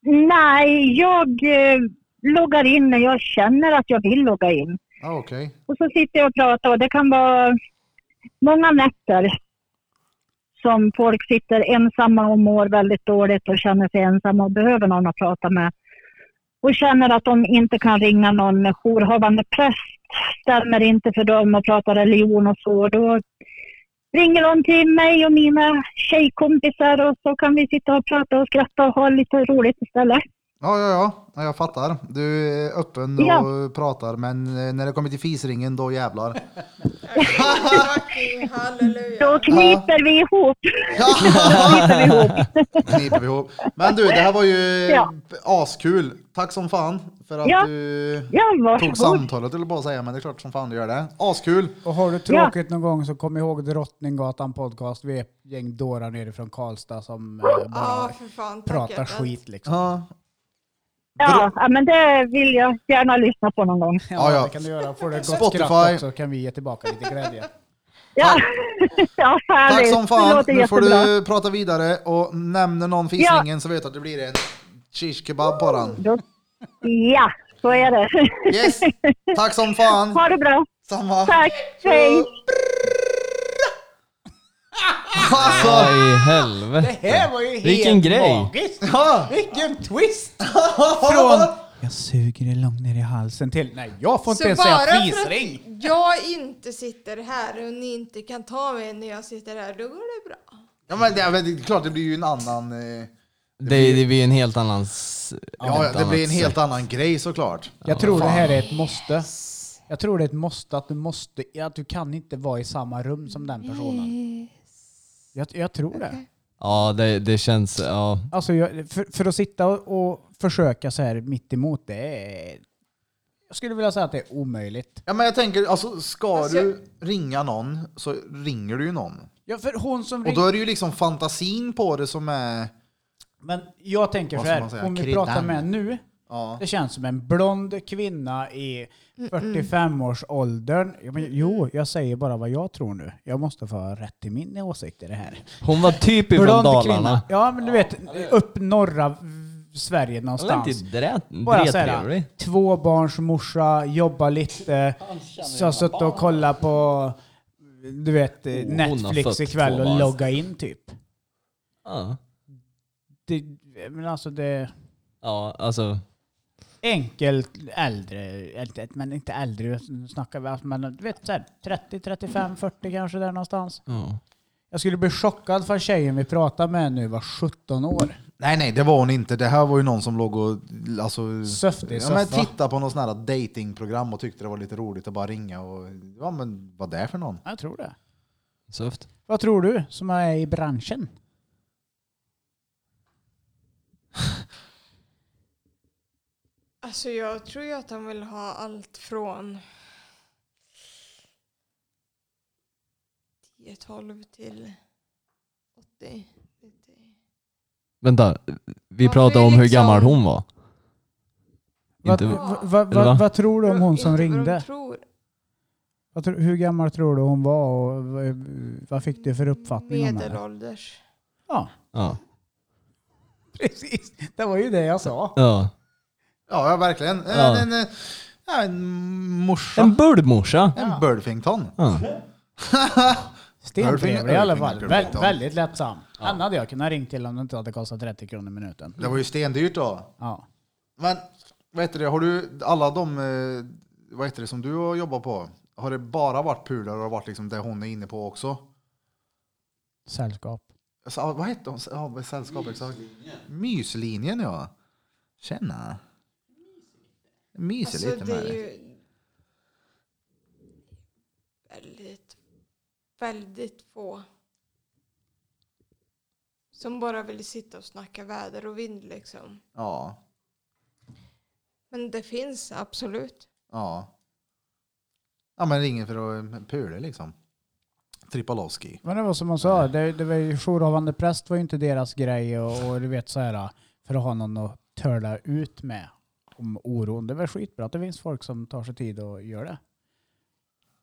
S8: Nej, jag eh, loggar in när jag känner att jag vill logga in.
S1: Ja, okej.
S8: Och så sitter jag och pratar och det kan vara många nätter som folk sitter ensamma och mår väldigt dåligt och känner sig ensamma och behöver någon att prata med. Och känner att de inte kan ringa någon jourhavande präst, stämmer inte för dem och pratar religion och så. Då ringer de till mig och mina tjejkompisar och så kan vi sitta och prata och skratta och ha lite roligt istället.
S1: Ja, ja, ja. ja, jag fattar. Du är öppen och
S8: Ja.
S1: pratar, men eh, när det kommer till fisringen, då jävlar.
S3: Fucking
S8: Då
S3: halleluja.
S8: kniper vi ihop.
S1: kniper vi ihop. Men du, det här var ju
S8: Ja.
S1: askul. Tack som fan för att
S8: Ja.
S1: du
S8: Ja,
S1: tog
S8: varsågod.
S1: samtalet, eller bara säga, men det är klart som fan du gör det. Askul!
S4: Och har du tråkigt någon gång så kom ihåg Drottninggatan podcast. Vi är ett gäng dårar nere från Karlstad som eh,
S3: Ja,
S4: bara
S3: för fan. Tack
S4: pratar
S3: hjärtat.
S4: skit liksom.
S1: Ja,
S8: Ja, ja, men det vill jag gärna lyssna på någon gång.
S1: Ja, ja.
S4: Det kan du göra. Får du ett gott
S1: Spotify.
S4: skratt också kan vi ge tillbaka lite glädje.
S8: Ja, ja härligt.
S1: tack som
S8: Det
S1: fan!
S8: låter
S1: Nu får
S8: jättebra.
S1: du prata vidare och nämner någon fisringen så vet du att det blir en shish kebab på den.
S8: Då- Ja, så är det.
S1: Yes! Tack som fan!
S8: Ha det bra.
S1: Samma!
S8: Tack. Hej.
S1: Alltså,
S5: Vad i helvete?
S4: här var ju helt
S5: Vilken grej.
S4: magiskt!
S1: ja.
S4: Vilken twist! Från jag suger det långt ner i halsen till nej, jag får inte
S3: Så
S4: ens
S3: bara för
S4: säga
S3: att
S4: fisring.
S3: jag inte sitter här och ni inte kan ta mig när jag sitter här, då går det bra.
S1: ja men det är väl det är klart det blir ju en annan... eh,
S6: Det, det blir en helt annan... s-
S1: Ja,
S6: ett
S1: det blir en
S6: annat
S1: helt
S6: sätt.
S1: annan grej såklart.
S4: Jag tror det här är ett måste. Jag tror det är ett måste att du måste, att du kan inte vara i samma rum som den personen. Jag, jag tror det.
S6: Ja, det, det känns... Ja.
S4: Alltså jag, för, för att sitta och, och försöka så här mitt emot det är... Jag skulle vilja säga att det är omöjligt.
S1: Ja men jag tänker, alltså ska
S3: Alltså,
S1: du ringa någon så ringer du ju någon.
S4: Ja, för hon som
S1: Och då är det ju liksom fantasin på det som är...
S4: Men jag tänker så
S1: Vad ska man
S4: här,
S1: säga?
S4: hon vi
S1: Kryddan.
S4: pratar med nu,
S1: Ja.
S4: det känns som en blond kvinna i 45-årsåldern. Ja, men Jo, jag säger bara vad jag tror nu. Jag måste få ha rätt i min åsikt i det här.
S6: Hon var typ ifrån Dalarna.
S4: Ja, men du vet, upp norra v- Sverige
S6: Hon är
S4: någonstans.
S6: inte drä-
S4: Bara så
S6: drettrevlig.
S4: här, tvåbarnsmorsa, jobba lite, så har suttit och kollat på du vet, eh,
S6: hon har
S4: Netflix
S6: fött
S4: ikväll
S6: två barn.
S4: och logga in typ.
S6: Ja.
S4: Det, men alltså det...
S6: ja, alltså.
S4: enkelt äldre, äldre, men inte äldre, nu snackar vi, alltså, men du vet så här, 30, 35, 40 kanske där någonstans.
S6: Ja.
S4: Jag skulle bli chockad för tjejen vi pratar med nu var 17 år.
S1: Nej, nej, det var hon inte. Det här var ju någon som låg och... Alltså,
S4: Söftig
S1: ja, men
S4: soffa.
S1: titta på något sånt här datingprogram och tyckte det var lite roligt att bara ringa och... Ja, men vad det är för någon?
S4: Jag tror det.
S6: Söft.
S4: Vad tror du som är i branschen?
S3: Alltså jag tror ju att han vill ha allt från 10-12 till 80. 90.
S6: Vänta, vi
S3: Ja,
S6: pratade
S3: det är
S6: om hur
S3: liksom-
S6: gammal hon var.
S4: Vad,
S6: Inte...
S4: vad, vad,
S6: Eller va?
S4: vad, vad tror du om hon
S3: Inte
S4: som
S3: vad de
S4: ringde?
S3: tror.
S4: Vad tror- hur gammal tror du hon var och vad, vad fick du för uppfattning om henne?
S3: Mm, Medelålders.
S4: Ja,
S6: Ja.
S4: precis. Det var ju det jag sa.
S6: ja.
S1: Ja, ja verkligen. En,
S6: Ja.
S1: en, en, ja, en morsa.
S6: En
S1: En,
S6: bullmorsa.
S1: en Birdfington.
S6: Ja.
S4: Stentrevlig i alla fall.
S1: Örfing-
S4: Väl,
S1: Örfing-
S4: väldigt lättsam. Han hade jag kunnat ringt till om det inte hade kostat 30 kronor minuten.
S1: Det var ju stendyrt då.
S4: Ja.
S1: Men vad heter det, har du alla de eh, vad heter det, som du har jobbat på, har det bara varit pular och har varit liksom det hon är inne på också?
S4: Sällskap.
S1: Alltså, ah, vad hette hon? Ja, vad är sällskap exakt. Myslinjen ja. Tjena. Myser
S3: Alltså
S1: lite
S3: det
S1: med
S3: är
S1: dig.
S3: ju väldigt, väldigt få som bara vill sitta och snacka väder och vind liksom.
S1: Ja.
S3: Men det finns absolut.
S1: Ja. Ja men ingen för att pula liksom. Tripaloski.
S4: Men det var som hon sa, det, det var ju, jourhavande präst var ju inte deras grej och, och du vet så här för att ha någon att törla ut med om oron. Det var skitbra att det finns folk som tar sig tid och gör det.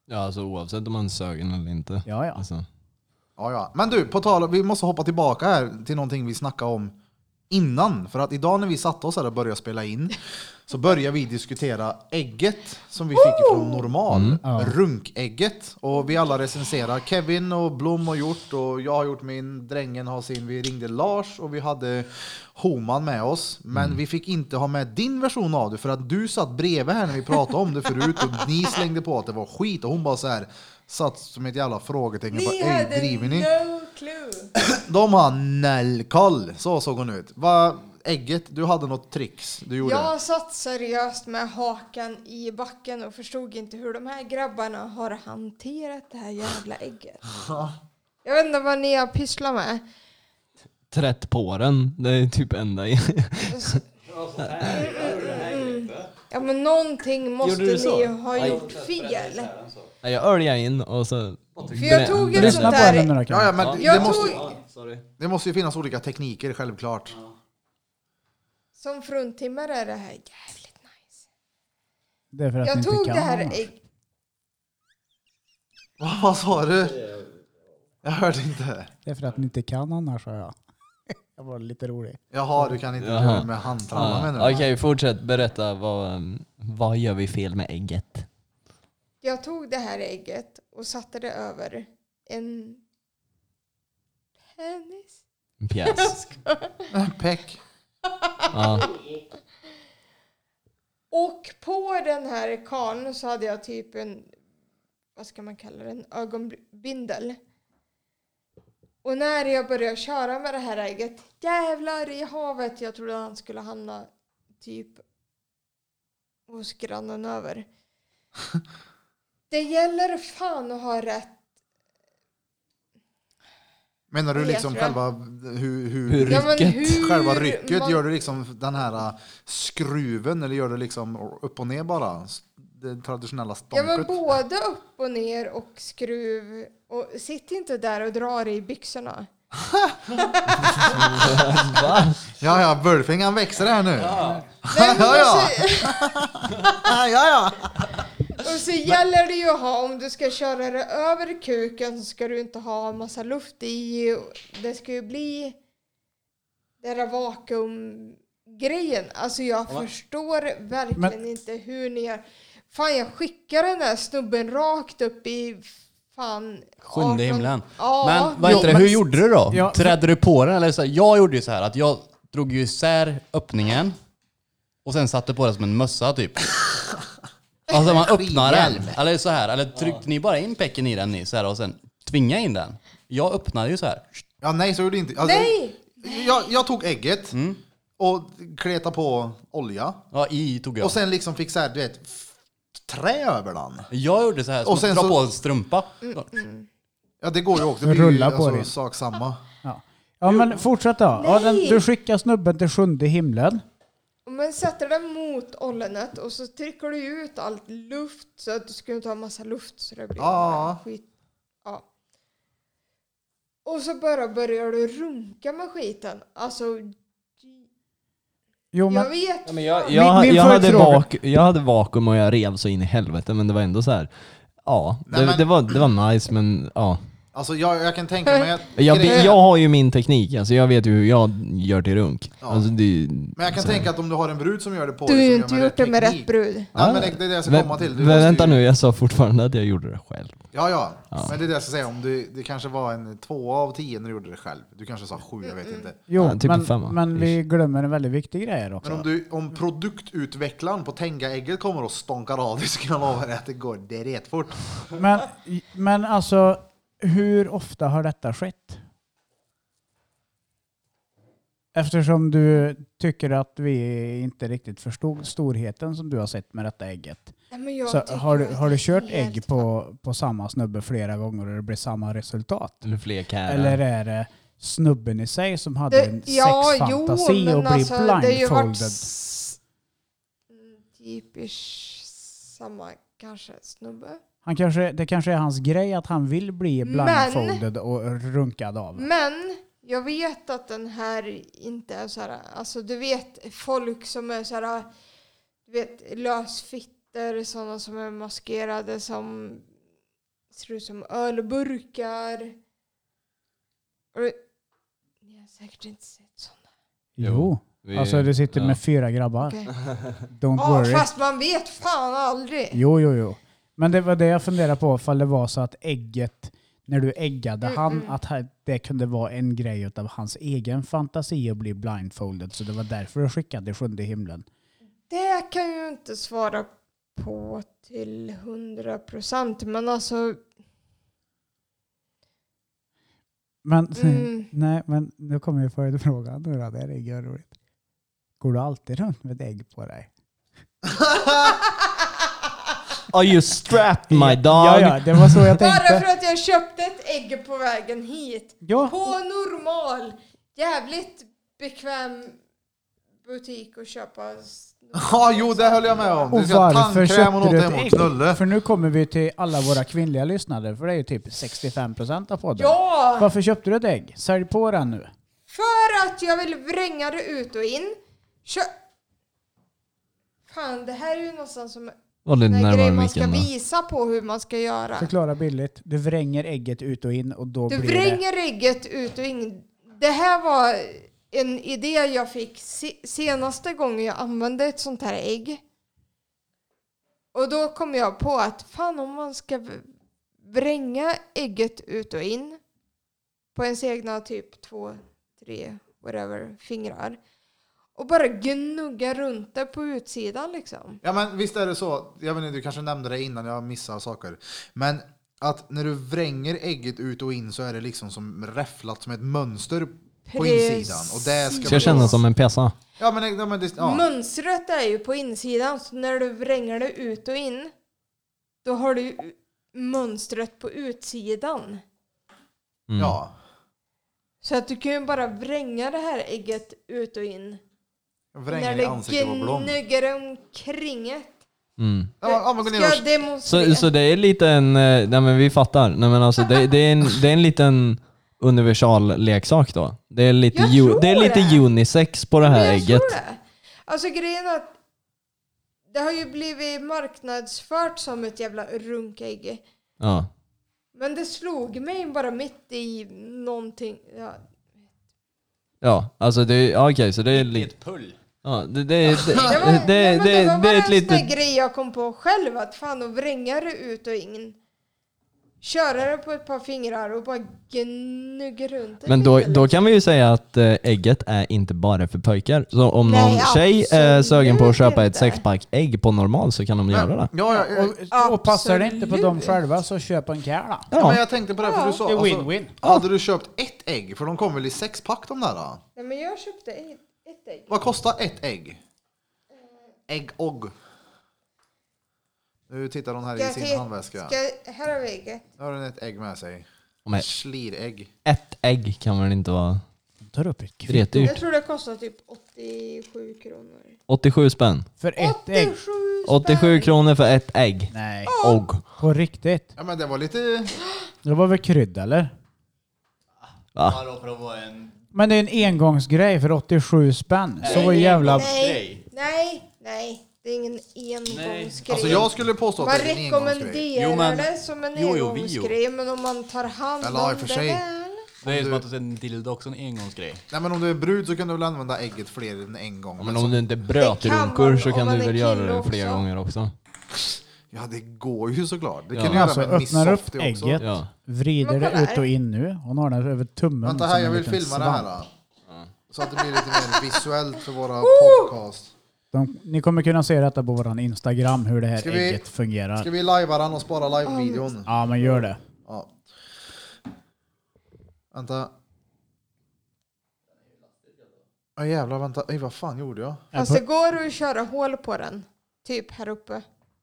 S6: Ja, alltså oavsett om man är sögen eller inte.
S4: Ja, ja.
S6: Alltså.
S1: Ja, ja. Men du, på tal om- vi måste hoppa tillbaka här till någonting vi snackade om innan. För att idag när vi satte oss här och började spela in så började vi diskutera ägget som vi fick från Normal.
S4: Ja.
S1: Runkägget. Och vi alla recenserar. Kevin och Blom har gjort och jag har gjort min. Drängen har sin. Vi ringde Lars och vi hade Homan med oss. Men vi fick inte ha med din version av det för att du satt bredvid här när vi pratade om det förut och ni slängde på att det var skit och hon bara så här satt som ett jävla frågetecken. Bara,
S3: Ni
S1: "Ey,
S3: hade
S1: driver ni?
S3: no clue.
S1: De har nollkoll. Så såg hon ut. Va, ägget, du hade något tricks du gjorde.
S3: Jag satt seriöst med hakan i backen och förstod inte hur de här grabbarna har hanterat det här jävla ägget. Jag vet inte vad ni har pysslat med.
S6: Trätt på den, det är typ enda...
S3: Ja, men någonting måste
S6: Gjorde du så?
S3: ni ha gjort fel.
S6: Nej, Jag öljade in och så...
S3: För jag tog ett
S4: Lyssna
S3: sånt
S4: på henne nu
S3: där...
S4: då
S1: Ja, ja,
S4: Kalle.
S1: men
S3: Jag
S1: det, måste,
S3: tog
S1: det måste ju finnas olika tekniker, självklart.
S3: som fruntimmer är det här jävligt nice.
S4: Det är för att ni
S3: Jag
S4: inte
S3: tog det
S4: kan
S3: här
S4: annars.
S3: ägg.
S1: Va, vad sa du? Jag hörde inte.
S4: Det är för att ni inte kan annars, sa jag. Jag var lite rolig.
S1: Jaha, du kan inte
S6: Jaha. Ah,
S1: göra med handtralla menar du?
S6: Okej, fortsätt berätta. Vad, um, vad gör vi fel med ägget?
S3: Jag tog det här ägget och satte det över en penis.
S6: En Pjäs.
S1: Peck.
S6: ja.
S3: Och på den här karln så hade jag typ en, vad ska man kalla den, ögonbindel. Och när jag började köra med det här ägget, jävlar i havet, jag trodde han skulle hamna typ hos grannen över. Det gäller fan att ha rätt.
S1: Menar du
S3: Jag
S1: liksom
S3: tror jag.
S1: själva hur, hur,
S6: Hur
S3: Ja, men
S6: Rycket.
S3: hur
S1: själva rycket?
S3: man-
S1: uh, Gör du liksom den här äh, skruven eller gör du liksom upp och ner bara? S- det traditionella
S3: Ja men
S1: stånket.
S3: både upp och ner och skruv. Och sitt inte där och dra dig i byxorna.
S1: Ja, ja, bölfingan växer här nu.
S3: Nej, men
S1: Ja, ja.
S3: och, så,
S1: Ja, ja.
S3: och så gäller det ju att ha, om du ska köra det över kuken så ska du inte ha massa luft i. Och Det ska ju bli den där vakuumgrejen. Alltså jag förstår verkligen
S4: Men-
S3: inte hur ni gör. Fan jag skickar den där snubben rakt upp i fan...
S10: Sjunde
S3: 18
S10: himlen.
S3: Ja.
S10: Men vad heter det,
S4: men-
S10: hur gjorde du då?
S4: Ja.
S10: Trädde du på den eller? Så här, jag gjorde ju så här att jag drog ju isär öppningen och sen satte på den som en mössa typ. Alltså man öppnar den. Eller så här, eller tryckte ni bara in pecken i den ni så här och sen tvingade in den? Jag öppnade ju så här.
S1: Ja, nej, så gjorde jag inte. Alltså,
S3: Nej!
S1: Jag, jag tog ägget
S5: Mm.
S1: och kletade på olja.
S10: Ja, i tog jag.
S1: Och sen liksom fick så här, du vet, f- trä över den.
S10: jag gjorde så här, som
S1: och
S10: och
S1: sen
S10: dra
S1: så-
S10: på en strumpa.
S1: Ja, det går ju också. Det blir ju
S4: Rulla på
S1: alltså,
S4: det.
S1: sak samma.
S4: Ja, ja men fortsätt då. Ja, den,
S3: Nej.
S4: du skickar snubben till sjunde himlen.
S3: Men sätter den mot ollonet och så trycker du ut allt luft så att du ska inte ha massa luft så det blir
S1: Ja.
S3: skit. Ja. Och så bara börjar du runka med skiten. Alltså,
S4: Jo, men,
S3: jag vet.
S5: Ja, men jag,
S4: Min-
S5: jag,
S4: min
S5: jag, hade
S4: följdfråga-
S5: vak, jag hade vakuum och jag rev så in i helvete men det var ändå så här. Ja, det,
S1: Nej, men-
S5: det, var, det var nice men ja.
S1: Alltså, jag, jag kan tänka mig att...
S5: Jag,
S1: grejen-
S5: jag har ju min teknik, alltså jag vet ju hur jag gör till runk. Alltså, det, är ju-
S1: Men jag kan
S5: så här.
S1: tänka att om du har en brud som gör det på
S3: Du har
S1: dig
S3: ju
S1: så
S3: inte
S1: gör man
S3: gjort det med
S1: teknik.
S3: rätt brud.
S1: Ja, men det, det är det jag ska
S5: Vä-
S1: komma till. Du
S5: vä-
S1: måste ju-
S5: vänta nu, jag sa fortfarande att jag gjorde det själv.
S1: Ja, ja, Men det är det jag ska säga. Om du, det kanske var en två av tio när du gjorde det själv. Du kanske sa sju, jag vet
S3: Mm.
S1: inte.
S4: jo,
S5: Ja, typ en femma.
S4: men, men vi glömmer en väldigt viktig grej här
S1: Men om,
S4: också.
S1: du, om produktutvecklaren på Tenga-ägget kommer och stånkar av dig så kan jag lova dig att det går direkt fort.
S4: Men, men alltså, hur ofta har detta skett? Eftersom du tycker att vi inte riktigt förstod storheten som du har sett med detta ägget.
S3: Nej, men jag
S4: Så
S3: tycker
S4: har, du-
S3: att
S4: har
S3: det
S4: du
S3: är
S4: kört
S3: helt
S4: ägg på, på samma snubbe flera gånger och det blir samma resultat?
S6: Eller fler kärar.
S4: Eller är det snubben i sig som hade en
S3: Det- ja, jo,
S4: sexfantasi
S3: men
S4: och blir
S3: alltså, det har ju varit
S4: blindfolded?
S3: s- mm, Typiskt samma kanske snubbe.
S4: Han kanske, det kanske är hans grej att han vill bli blindfolded och runkad av.
S3: Men jag vet att den här inte är så här, alltså du vet folk som är så här, du vet lösfitter, sådana som är maskerade som ser ut som ölburkar. Och, det- ni har säkert inte sett sådana.
S4: Jo.
S6: Vi-
S4: Alltså du sitter
S6: ja.
S4: med fyra grabbar.
S3: Okej.
S4: Don't
S3: Ja,
S4: Ah, worry.
S3: fast man vet fan aldrig.
S4: Jo, jo, jo. Men det var det jag funderade på, ifall det var så att ägget, när du äggade
S3: Mm,
S4: han,
S3: mm.
S4: att ha- det kunde vara en grej utav hans egen fantasi att bli blindfolded. Så det var därför du skickade i sjunde himlen.
S3: Det kan jag ju inte svara på till hundra procent, men alltså
S4: Men,
S3: Mm.
S4: nej, men nu kommer ju följdfrågan. Nu då, det här är ju roligt. Går du alltid runt med ett ägg på dig?
S5: Are you strapped my dog?
S4: Ja, ja, det var så jag
S3: Bara för
S4: tänkte.
S3: att jag köpte ett ägg på vägen hit.
S4: Ja.
S3: På normal, jävligt bekväm butik att köpa. s-
S1: Ja, jo, det höll jag med om.
S4: Och
S1: Du ska ha
S4: varför
S1: tandkräm och
S4: köpte
S1: något
S4: du ett
S1: emot.
S4: ägg?
S1: Knulle.
S4: För nu kommer vi till alla våra kvinnliga lyssnare, för det är ju typ 65% av podden.
S3: Ja!
S4: Varför köpte du ett ägg? Sälj på den nu.
S3: För att jag vill vränga det ut och in. Kö Fan, det här är ju nästan som
S6: Var lite
S3: en grej
S6: närmare
S3: man ska
S6: micken då.
S3: visa på hur man ska göra.
S4: Förklara billigt. Du vränger ägget ut och in och då
S3: Du
S4: blir det...
S3: vränger ägget ut och in. Det här var en idé jag fick se- senaste gången jag använde ett sånt här ägg. Och då kom jag på att fan om man ska v- vränga ägget ut och in på ens egna typ två, tre, whatever, fingrar och bara gnugga runt det på utsidan liksom.
S1: Ja, men visst är det så. Jag vet inte, du kanske nämnde det innan jag missade saker. Men att när du vränger ägget ut och in så är det liksom som räfflat som ett mönster på insidan. Och det ska
S6: Ska jag känna som en pjäsa?
S1: Ja, men, ja, men det, ja.
S3: Mönstret är ju på insidan, så när du vränger det ut och in, då har du ju mönstret på utsidan.
S6: Mm.
S1: ja.
S3: Så att du kan ju bara vränga det här ägget ut och in.
S1: Vränger
S3: när
S1: i ansiktet på blom.
S3: gnuggar omkring det.
S1: Ja, ja, men gå
S3: Ska
S1: ner och
S3: jag demonstrera?
S6: Mm. Så, så det är lite en, eh, nej men vi fattar. Nej men alltså det, det, är, en, det är en liten universal leksak då. Det är lite,
S3: Jag
S6: ju,
S3: tror
S6: det är
S3: det.
S6: lite unisex på det
S3: Men
S6: här
S3: jag
S6: ägget.
S3: tror det. Alltså grejen är att det har ju blivit marknadsfört som ett jävla runkägg.
S6: Ja.
S3: Men det slog mig bara mitt i någonting. Ja,
S6: Ja, alltså det är, ja, okej så det är
S10: Det är
S6: lite,
S10: ett pull.
S6: ja, det, det, är- det,
S3: Det var,
S6: det, Eh,
S3: nej, men det,
S6: det,
S3: var
S6: det, det
S3: bara
S6: är
S3: en
S6: ett
S3: sån där
S6: litet,
S3: grej jag kom på själv att fan att vränga det ut och in. Köra det på ett par fingrar och bara gnugga runt det
S6: men då,
S3: lite.
S6: då kan vi ju säga att eh, ägget är inte bara för pojkar. Så om
S3: Nej,
S6: någon tjej är sugen på att
S3: absolut
S6: köpa ett
S3: inte.
S6: sexpack ägg på normal så kan de göra det.
S1: Ja, ja, ja,
S4: Och, och passar det inte på dem
S3: Absolut.
S4: själva så köp en kär då.
S1: ja, men jag tänkte på det, för du sa... alltså,
S4: Det är win-win.
S1: hade du köpt ett ägg? För de kommer väl i sexpack de där? Då?
S3: Nej, men jag köpte ett, ett ägg.
S1: Vad kostar ett ägg? Ägg och. Nu tittar hon här i
S3: Jag
S1: sin
S3: te-
S1: handväska.
S3: Ska, här har vi ägget.
S1: Nu har hon ett ägg med sig.
S6: Men-
S1: Slirägg.
S6: Ett ägg kan väl inte vara
S4: Tar upp ett kvitto.
S6: retdyrt?
S3: Jag tror det kostar typ 87 kronor.
S6: 87 spänn.
S4: För ett ägg.
S3: 87
S6: 87
S3: spänn.
S6: kronor för ett ägg.
S4: Nej.
S6: Och.
S4: På riktigt.
S1: Ja men det var lite...
S4: Det var väl krydda eller?
S10: Ja, då för att vara en
S4: Men det är en engångsgrej för 87 spänn. Så vad jävla...
S3: Nej, nej, nej. Det är ingen engångsgrej.
S1: Alltså jag skulle påstå att
S3: man
S1: det är en engångsgrej.
S3: rekommenderar
S10: Jo, men-
S3: det som en
S10: jo, jo,
S3: engångsgrej, men om man tar hand
S1: Eller, i
S3: om
S1: och för
S3: det
S1: sig.
S3: väl.
S10: Det är som att du en dildo också, en engångsgrej.
S1: Nej men om du är brud så kan du väl använda ägget fler än en gång.
S6: Men om du inte bröt
S3: Det kan
S6: runkor
S3: man
S6: så
S3: om
S6: kan
S3: man
S6: du
S3: är
S6: väl göra
S3: kille
S6: det flera
S3: också.
S6: gånger också?
S1: Ja det går ju såklart. Det
S6: Ja.
S1: kan du
S4: Alltså
S1: göra med
S4: öppnar upp
S1: Missoft också.
S4: ägget,
S6: Ja.
S4: vrider
S3: Men kolla
S4: det ut
S3: här.
S4: och in nu. Hon har den över tummen.
S1: Vänta
S4: som
S1: här,
S4: en
S1: jag vill
S4: liten
S1: filma det här.
S4: svamp.
S1: Då. Så att det blir lite mer visuellt för våra podcast.
S4: De, ni kommer kunna se detta på våran Instagram hur det här
S1: Ska vi-
S4: ägget fungerar.
S1: Ska vi lajva den och spara live-videon?
S4: Ja men gör det.
S1: Ja. Vänta. Ja jävlar, vänta. Ej, vad fan gjorde jag?
S3: Fast det Alltså, går att köra hål på den. Typ här uppe.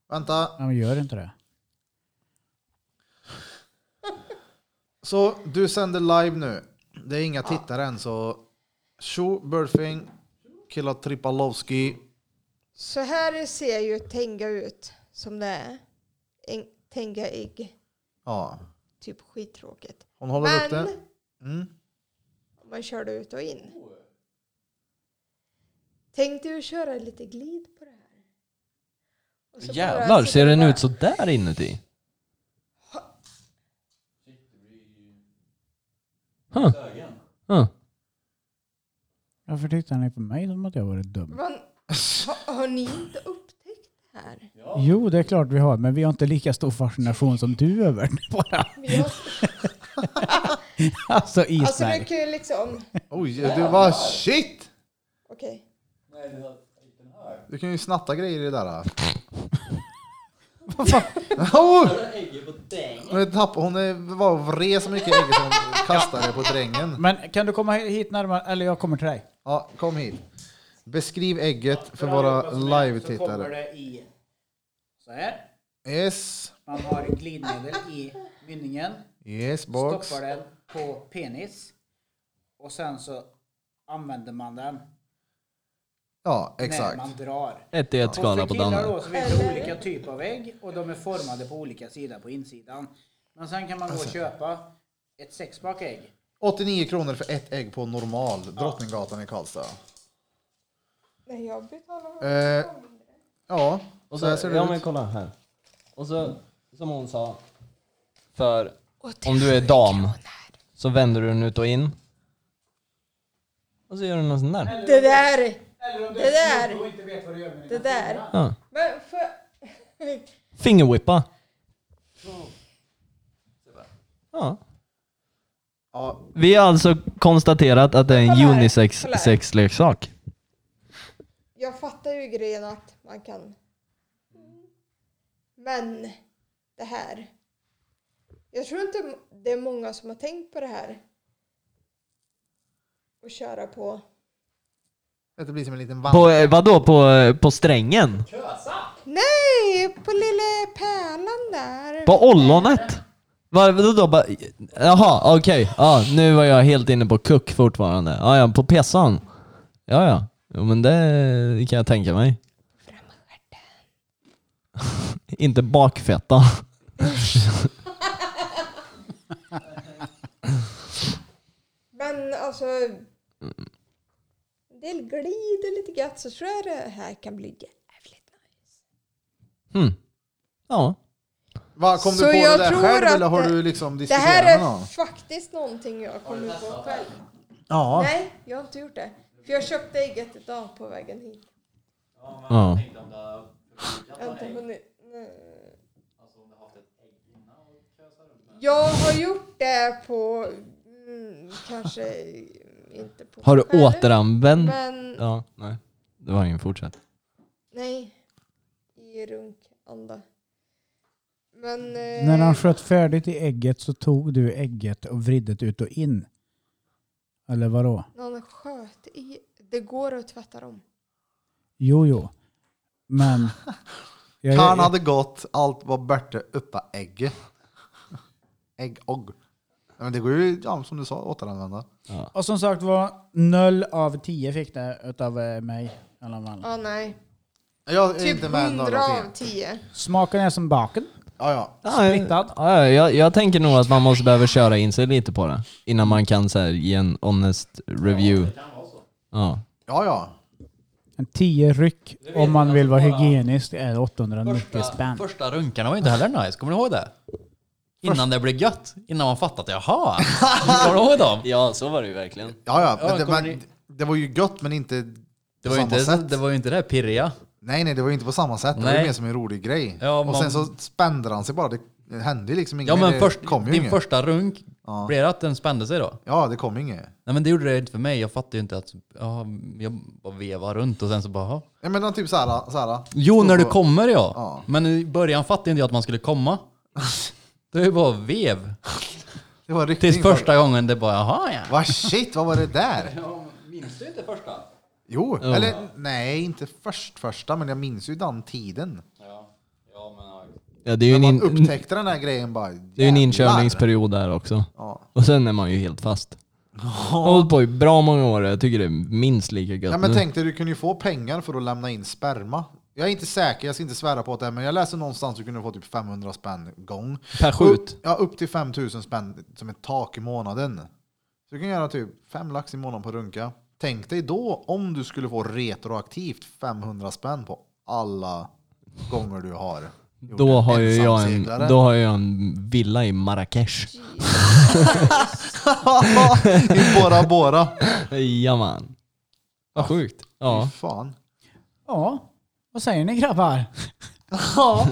S1: Vänta.
S4: Ja, men gör inte det.
S1: Så du sänder live nu. Det är inga tittare än så. Tjo Burfing, Killa Tripalowski.
S3: Så här ser ju tänga ut som det är. En, tänga ägg.
S1: Ja,
S3: Typ skittråkigt.
S1: hon håller upp
S3: Men
S1: det. Mm.
S3: om man kör det ut och in. Tänk dig att köra lite glid på det här. Och så bara
S6: Jävlar,
S3: sitta
S6: ser den
S3: bara-
S6: ut så där inuti? Huh. Huh.
S4: Varför tittar ni på mig som att jag varit dum?
S3: Vad- har, har ni inte upptäckt det här?
S4: Jo, det är klart vi har, men vi har inte lika stor fascination som du över det bara.
S3: Men jag-
S4: Alltså
S3: Alltså
S4: isberg.
S3: det kan ju liksom...
S1: Oj, du var shit!
S3: Okej.
S1: Du kan ju snatta grejer i det där. Vad fan? Oh! Hon tapp- Hon är- var och vred så mycket ägg som hon kastade på drängen.
S4: Men kan du komma hit närmare, eller jag kommer till dig.
S1: Ja, kom hit. Beskriv ägget för våra live-tittare.
S4: det i så här.
S1: Yes,
S4: Man har glidmedel i mynningen,
S1: yes box.
S4: den på penis och sen så använder man den
S1: Ja, exakt.
S4: drar.
S6: Ett i ett skala på
S4: killar
S6: Danne.
S4: då så finns det olika typer av ägg och de är formade på olika sidor på insidan. Men sen kan man gå och
S1: Alltså.
S4: köpa ett sexpack ägg.
S1: 89 kronor för ett ägg på normal Drottninggatan i Karlstad.
S3: Nej, jag betalar.
S1: Eh, ja,
S6: Och
S1: så här ser det ut.
S6: kolla här. Och så, som hon sa, för om du är dam så vänder du den ut och in. Och så gör du någon sån där.
S3: Det där! Det där!
S4: inte vet vad du gör med
S3: Det där!
S6: Ja.
S3: Men för...
S6: Fingerwhippa. Ja.
S1: Ja,
S6: Vi har alltså konstaterat att det är en
S3: Kolla här,
S6: unisex
S3: kolla här.
S6: sexleksak.
S3: Jag fattar ju grejen att man kan... Men det här. Jag tror inte det är många som har tänkt på det här. Och köra på.
S1: det blir som en liten vandring.
S6: På, eh, vadå, på, eh, på strängen?
S3: Nej, på lilla pärlan där.
S6: På ollonet? Vad- Vadå då? Bara- Jaha, okej. Ja, nu var jag helt inne på kuck fortfarande. Ja, ja, på pessan. Ja, ja. Jo, men det kan jag tänka mig. inte bakfetta.
S3: Men alltså, en del glider lite gött så tror jag det här kan bli jävligt nice.
S6: Mm. Ja.
S1: Va, kom
S3: Så
S1: du på det
S3: jag
S1: där
S3: tror
S1: själv
S3: att
S1: eller har
S3: det-
S1: du liksom
S3: Det
S1: diskuterat
S3: här
S1: med
S3: är
S1: någon?
S3: faktiskt någonting jag kommer på själv.
S1: Ja.
S3: Nej, jag har inte gjort det. För jag köpte ägget idag på vägen hit.
S6: ja.
S3: Jag har inte hunnit. nej. Jag har gjort det på, mm, kanske inte på
S6: Har du
S3: mig själv,
S6: återanvänt?
S3: Men
S6: Ja, nej. Det var ingen fortsätt.
S3: Nej. I runkanda. Men... Eh,
S4: När han sköt färdigt i ägget så tog du ägget och vridde ut och in. Eller vadå?
S3: när han sköt i... Det går att tvätta dem.
S4: Jo, jo. Men... Jag,
S1: Han
S4: jag,
S1: hade gått, allt var borta uppe ägg. Ägg och. Men det går ju, ja, som du sa, återanvända.
S4: och som sagt var, noll av tio fick det utav eh, mig. i alla fall.
S3: Ja, Ah, nej.
S1: Jag är
S3: Typ
S1: inte med
S3: 100
S1: någon
S3: av
S1: av
S3: 10.
S4: Smaken är som baken.
S1: Ja, ja.
S6: Ja, jag-
S4: Splittad.
S6: Ja, jag, jag tänker nog att man måste behöva köra in sig lite på det. Innan man kan så här, ge en honest review. Ja.
S1: Ja, ja.
S4: En tio ryck om man vill vara hygienisk är 890
S10: Första,
S4: spänn.
S10: första runkarna var inte heller nice, kommer ni ihåg det? Innan det blev gött, innan man fattat jaha. Kommer du ihåg dem?
S6: ja, så var det ju verkligen.
S1: Ja, ja. Men
S10: Ja,
S1: det,
S10: kommer
S1: men,
S10: ni-
S1: det var ju gött men inte
S10: Det
S1: på
S10: var, ju
S1: samma
S10: inte,
S1: sätt.
S10: det var ju inte det pirriga.
S1: Nej, nej, det var ju inte på samma sätt. Det var
S10: Nej.
S1: ju mer som en rolig grej.
S10: Ja,
S1: och
S10: man-
S1: sen så spände han sig bara. Det det hände ju liksom inget.
S10: Ja men
S1: det
S10: först,
S1: kom ju
S10: din
S1: inget.
S10: första runk,
S1: Ja.
S10: blev det att den spände sig då?
S1: Ja, det kom inget.
S10: Nej men det gjorde det inte för mig, jag fattade ju inte att, ja, jag bara vevade runt och sen så bara, "Jaha."
S1: Ja, men han typ såhär, såhär.
S10: Jo,
S1: stod
S10: när du
S1: och-
S10: kommer ja.
S1: Ja.
S10: Men i början fattade inte jag att man skulle komma. Det var ju bara vev.
S1: Det var en ryckning.
S10: Tills första gången det bara, jaha ja.
S1: Vad shit, vad var det där?
S10: Minns du inte första?
S1: Jo, eller nej, inte först första, men jag minns ju den tiden.
S10: Ja, ja men
S6: Ja, det är ju en,
S1: man
S6: in,
S1: upptäckte den här grejen bara.
S6: det är ju en
S1: jävlar.
S6: inkörningsperiod där också.
S1: Ja.
S6: Och sen är man ju helt fast. Jag har hållit på i bra många år jag tycker det är minst lika gött
S1: Ja, men
S6: nu.
S1: tänk dig, du kunde ju få pengar för att lämna in sperma. Jag är inte säker, jag ska inte svära på det, men jag läste någonstans att du kunde få typ 500 spänn gång.
S6: Per skjut.
S1: Upp, ja, upp till 5000 spänn som ett tak i månaden. Så du kan göra typ 5 lax i månaden på runka. Tänk dig då om du skulle få retroaktivt 500 spänn på alla gånger du har. gjort
S6: Då
S1: en
S6: har, ju jag en,
S1: ensamseglare.
S6: då har jag en villa i Marrakesh.
S1: I Bora Bora.
S6: Jajamän. Vad sjukt.
S1: Fy
S6: Ja.
S1: Fan.
S4: Ja, vad säger ni grabbar?
S1: Ja,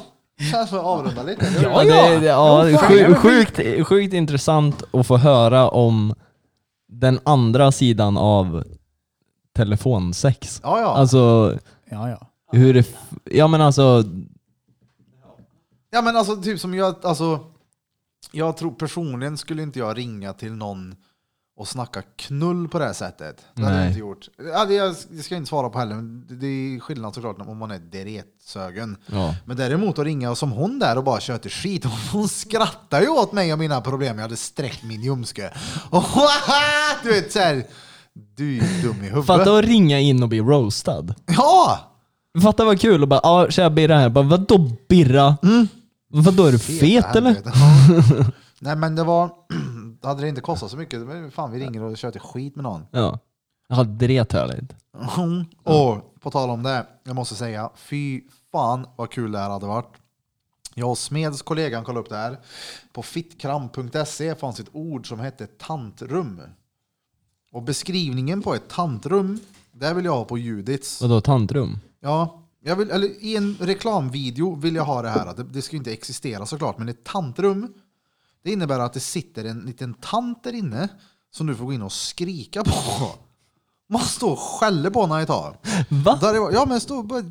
S1: kanske får avrunda lite.
S6: Ja, det, det, ja,
S4: Jo, fan,
S6: sju-
S4: jag vill-
S6: sjukt, sjukt intressant att få höra om den andra sidan av telefonsex.
S1: Ja, ja.
S6: Alltså
S4: Ja, ja.
S6: hur det... f- Ja men alltså...
S1: Ja men alltså typ som jag, alltså jag tror personligen skulle inte jag ringa till någon och snacka knull på det här sättet. Det hade jag
S6: Nej.
S1: inte gjort. Ja, det, jag, det ska jag inte svara på heller, men det- det är skillnad såklart om man är deretsögen.
S6: Ja.
S1: Men däremot att ringa som hon där och bara köter skit, hon, hon skrattar ju åt mig och mina problem. Jag hade sträckt min ljumske. Och, du vet såhär, du är ju dum i huvudet.
S6: Fatta att ringa in och bli roastad.
S1: Ja!
S6: Fatta vad kul och bara ja tja Birra här. Bara, vadå Birra?
S1: Mm.
S6: Vadå är du fet eller?
S1: Helvete. Nej men det var, hade det inte kostat så mycket, men fan vi ringer och kör till skit med någon.
S6: Ja. Ja, drethörligt.
S1: Och på tal om det, jag måste säga, fy fan vad kul det här hade varit. Jag och Smeds kollegan kollade upp det här. På fittkram.se fanns ett ord som hette tantrum. Och beskrivningen på ett tantrum, det vill jag ha på Judits.
S6: Vadå tantrum?
S1: Ja, jag vill, eller i en reklamvideo vill jag ha det här. Det, det ska ju inte existera såklart, men ett tantrum det innebär att det sitter en liten tant där inne som du får gå in och skrika på. Man står och skäller på henne ett tag.
S6: Va?
S1: Där det var, ja men står bara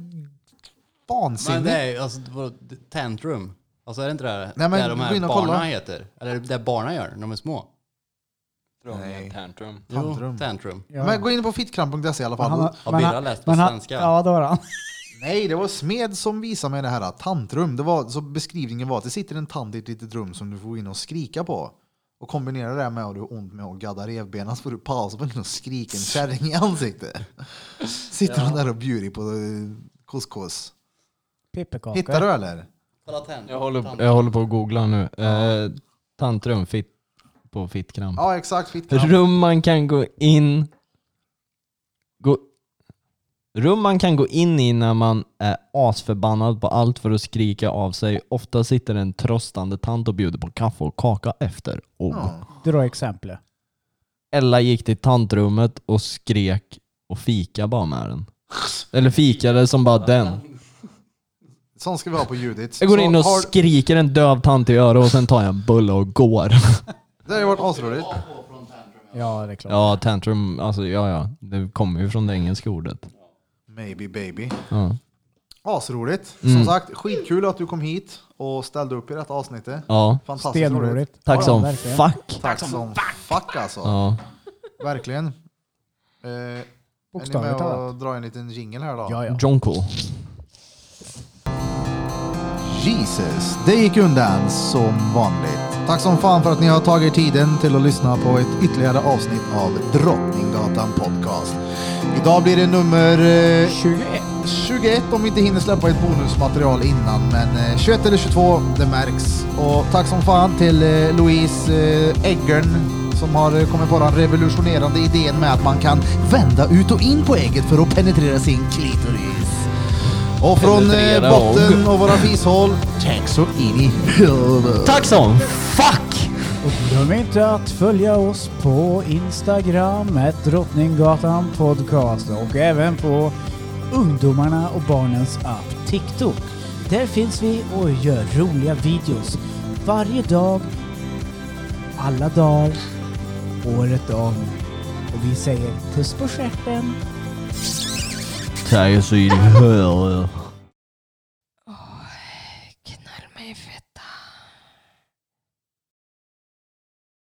S1: vansinnig.
S10: Men det är ju alltså vadå, tantrum. Alltså är det inte det här,
S1: Nej, men
S10: det de
S1: gå
S10: här
S1: in och
S10: barna
S1: kolla.
S10: heter? Eller det barna gör när de är små?
S1: Nej.
S6: Tantrum.
S1: Tantrum.
S10: Jo, tantrum.
S1: Men gå in på fittkram.se i alla fall.
S10: Har Birra läst på
S4: men han-
S10: svenska?
S4: Ja, det har han.
S1: Nej, det var Smed som visade mig det här tantrum. Det var, så beskrivningen var att det sitter en tand i ett litet rum som du får gå in och skrika på. Och kombinera det här med att du har ont med att gadda revbenen så får du pausa på den och skrika en kärring i ansiktet. Sitter hon där och bjuder på eh, couscous.
S4: Pepparkakor.
S1: Hittar du eller?
S10: Palatent.
S6: Jag håller, jag håller på att googla nu. Eh, tantrum fit, på fittkram.
S1: Ja, exakt. Fitt,
S6: Rum man kan gå in... Gå, rum man kan gå in i när man är asförbannad på allt för att skrika av sig. Ofta sitter en tröstande tant och bjuder på kaffe och kaka efter. Och
S4: Dra exempel.
S6: Ella gick till tantrummet och skrek och fika bara med den. Eller fikade som bara den.
S1: Sånt ska vi ha på Judits.
S6: Jag går
S1: Så
S6: in och
S1: har-
S6: skriker en döv tant i örat och sen tar jag en bulle och går.
S1: Det har ju varit asroligt.
S4: Ja, det är klart.
S6: Ja, tantrum, alltså ja ja. Det kommer ju från det engelska ordet.
S1: Maybe baby.
S6: Ja. Mm.
S1: Asroligt. Som sagt, skitkul att du kom hit och ställde upp i detta avsnittet.
S6: ja.
S1: Fantastiskt roligt.
S4: Stenroligt.
S6: Tack som
S4: verkligen.
S6: fuck.
S1: Tack som fuck alltså.
S6: Ja.
S1: Verkligen. Eh, är ni med
S4: Bokstavligt
S1: och
S4: talat.
S1: drar en liten jingle här då?
S4: Ja, ja.
S6: Jonko.
S1: Jesus, det gick undan som vanligt. Tack som fan för att ni har tagit tiden till att lyssna på ett ytterligare avsnitt av Drottninggatan Podcast. Idag blir det nummer eh,
S4: 21.
S1: 21 om vi inte hinner släppa ett bonusmaterial innan, men eh, 21 eller 22, det märks. Och tack som fan till eh, Louise eh, Eggern som har eh, kommit på den revolutionerande idén med att man kan vända ut och in på ägget för att penetrera sin klitoris. Och från eh,
S6: Penetrera
S1: botten av våra fishål, tack så in i huvudet.
S6: Tack som fuck!
S4: Och glöm inte att följa oss på Instagram, ett Drottninggatan podcast och även på ungdomarna och barnens app TikTok. Där finns vi och gör roliga videos varje dag, alla dagar, året om. Och vi säger puss på stjärten.
S6: Tack så in i höret.
S3: Knall mig i fettan.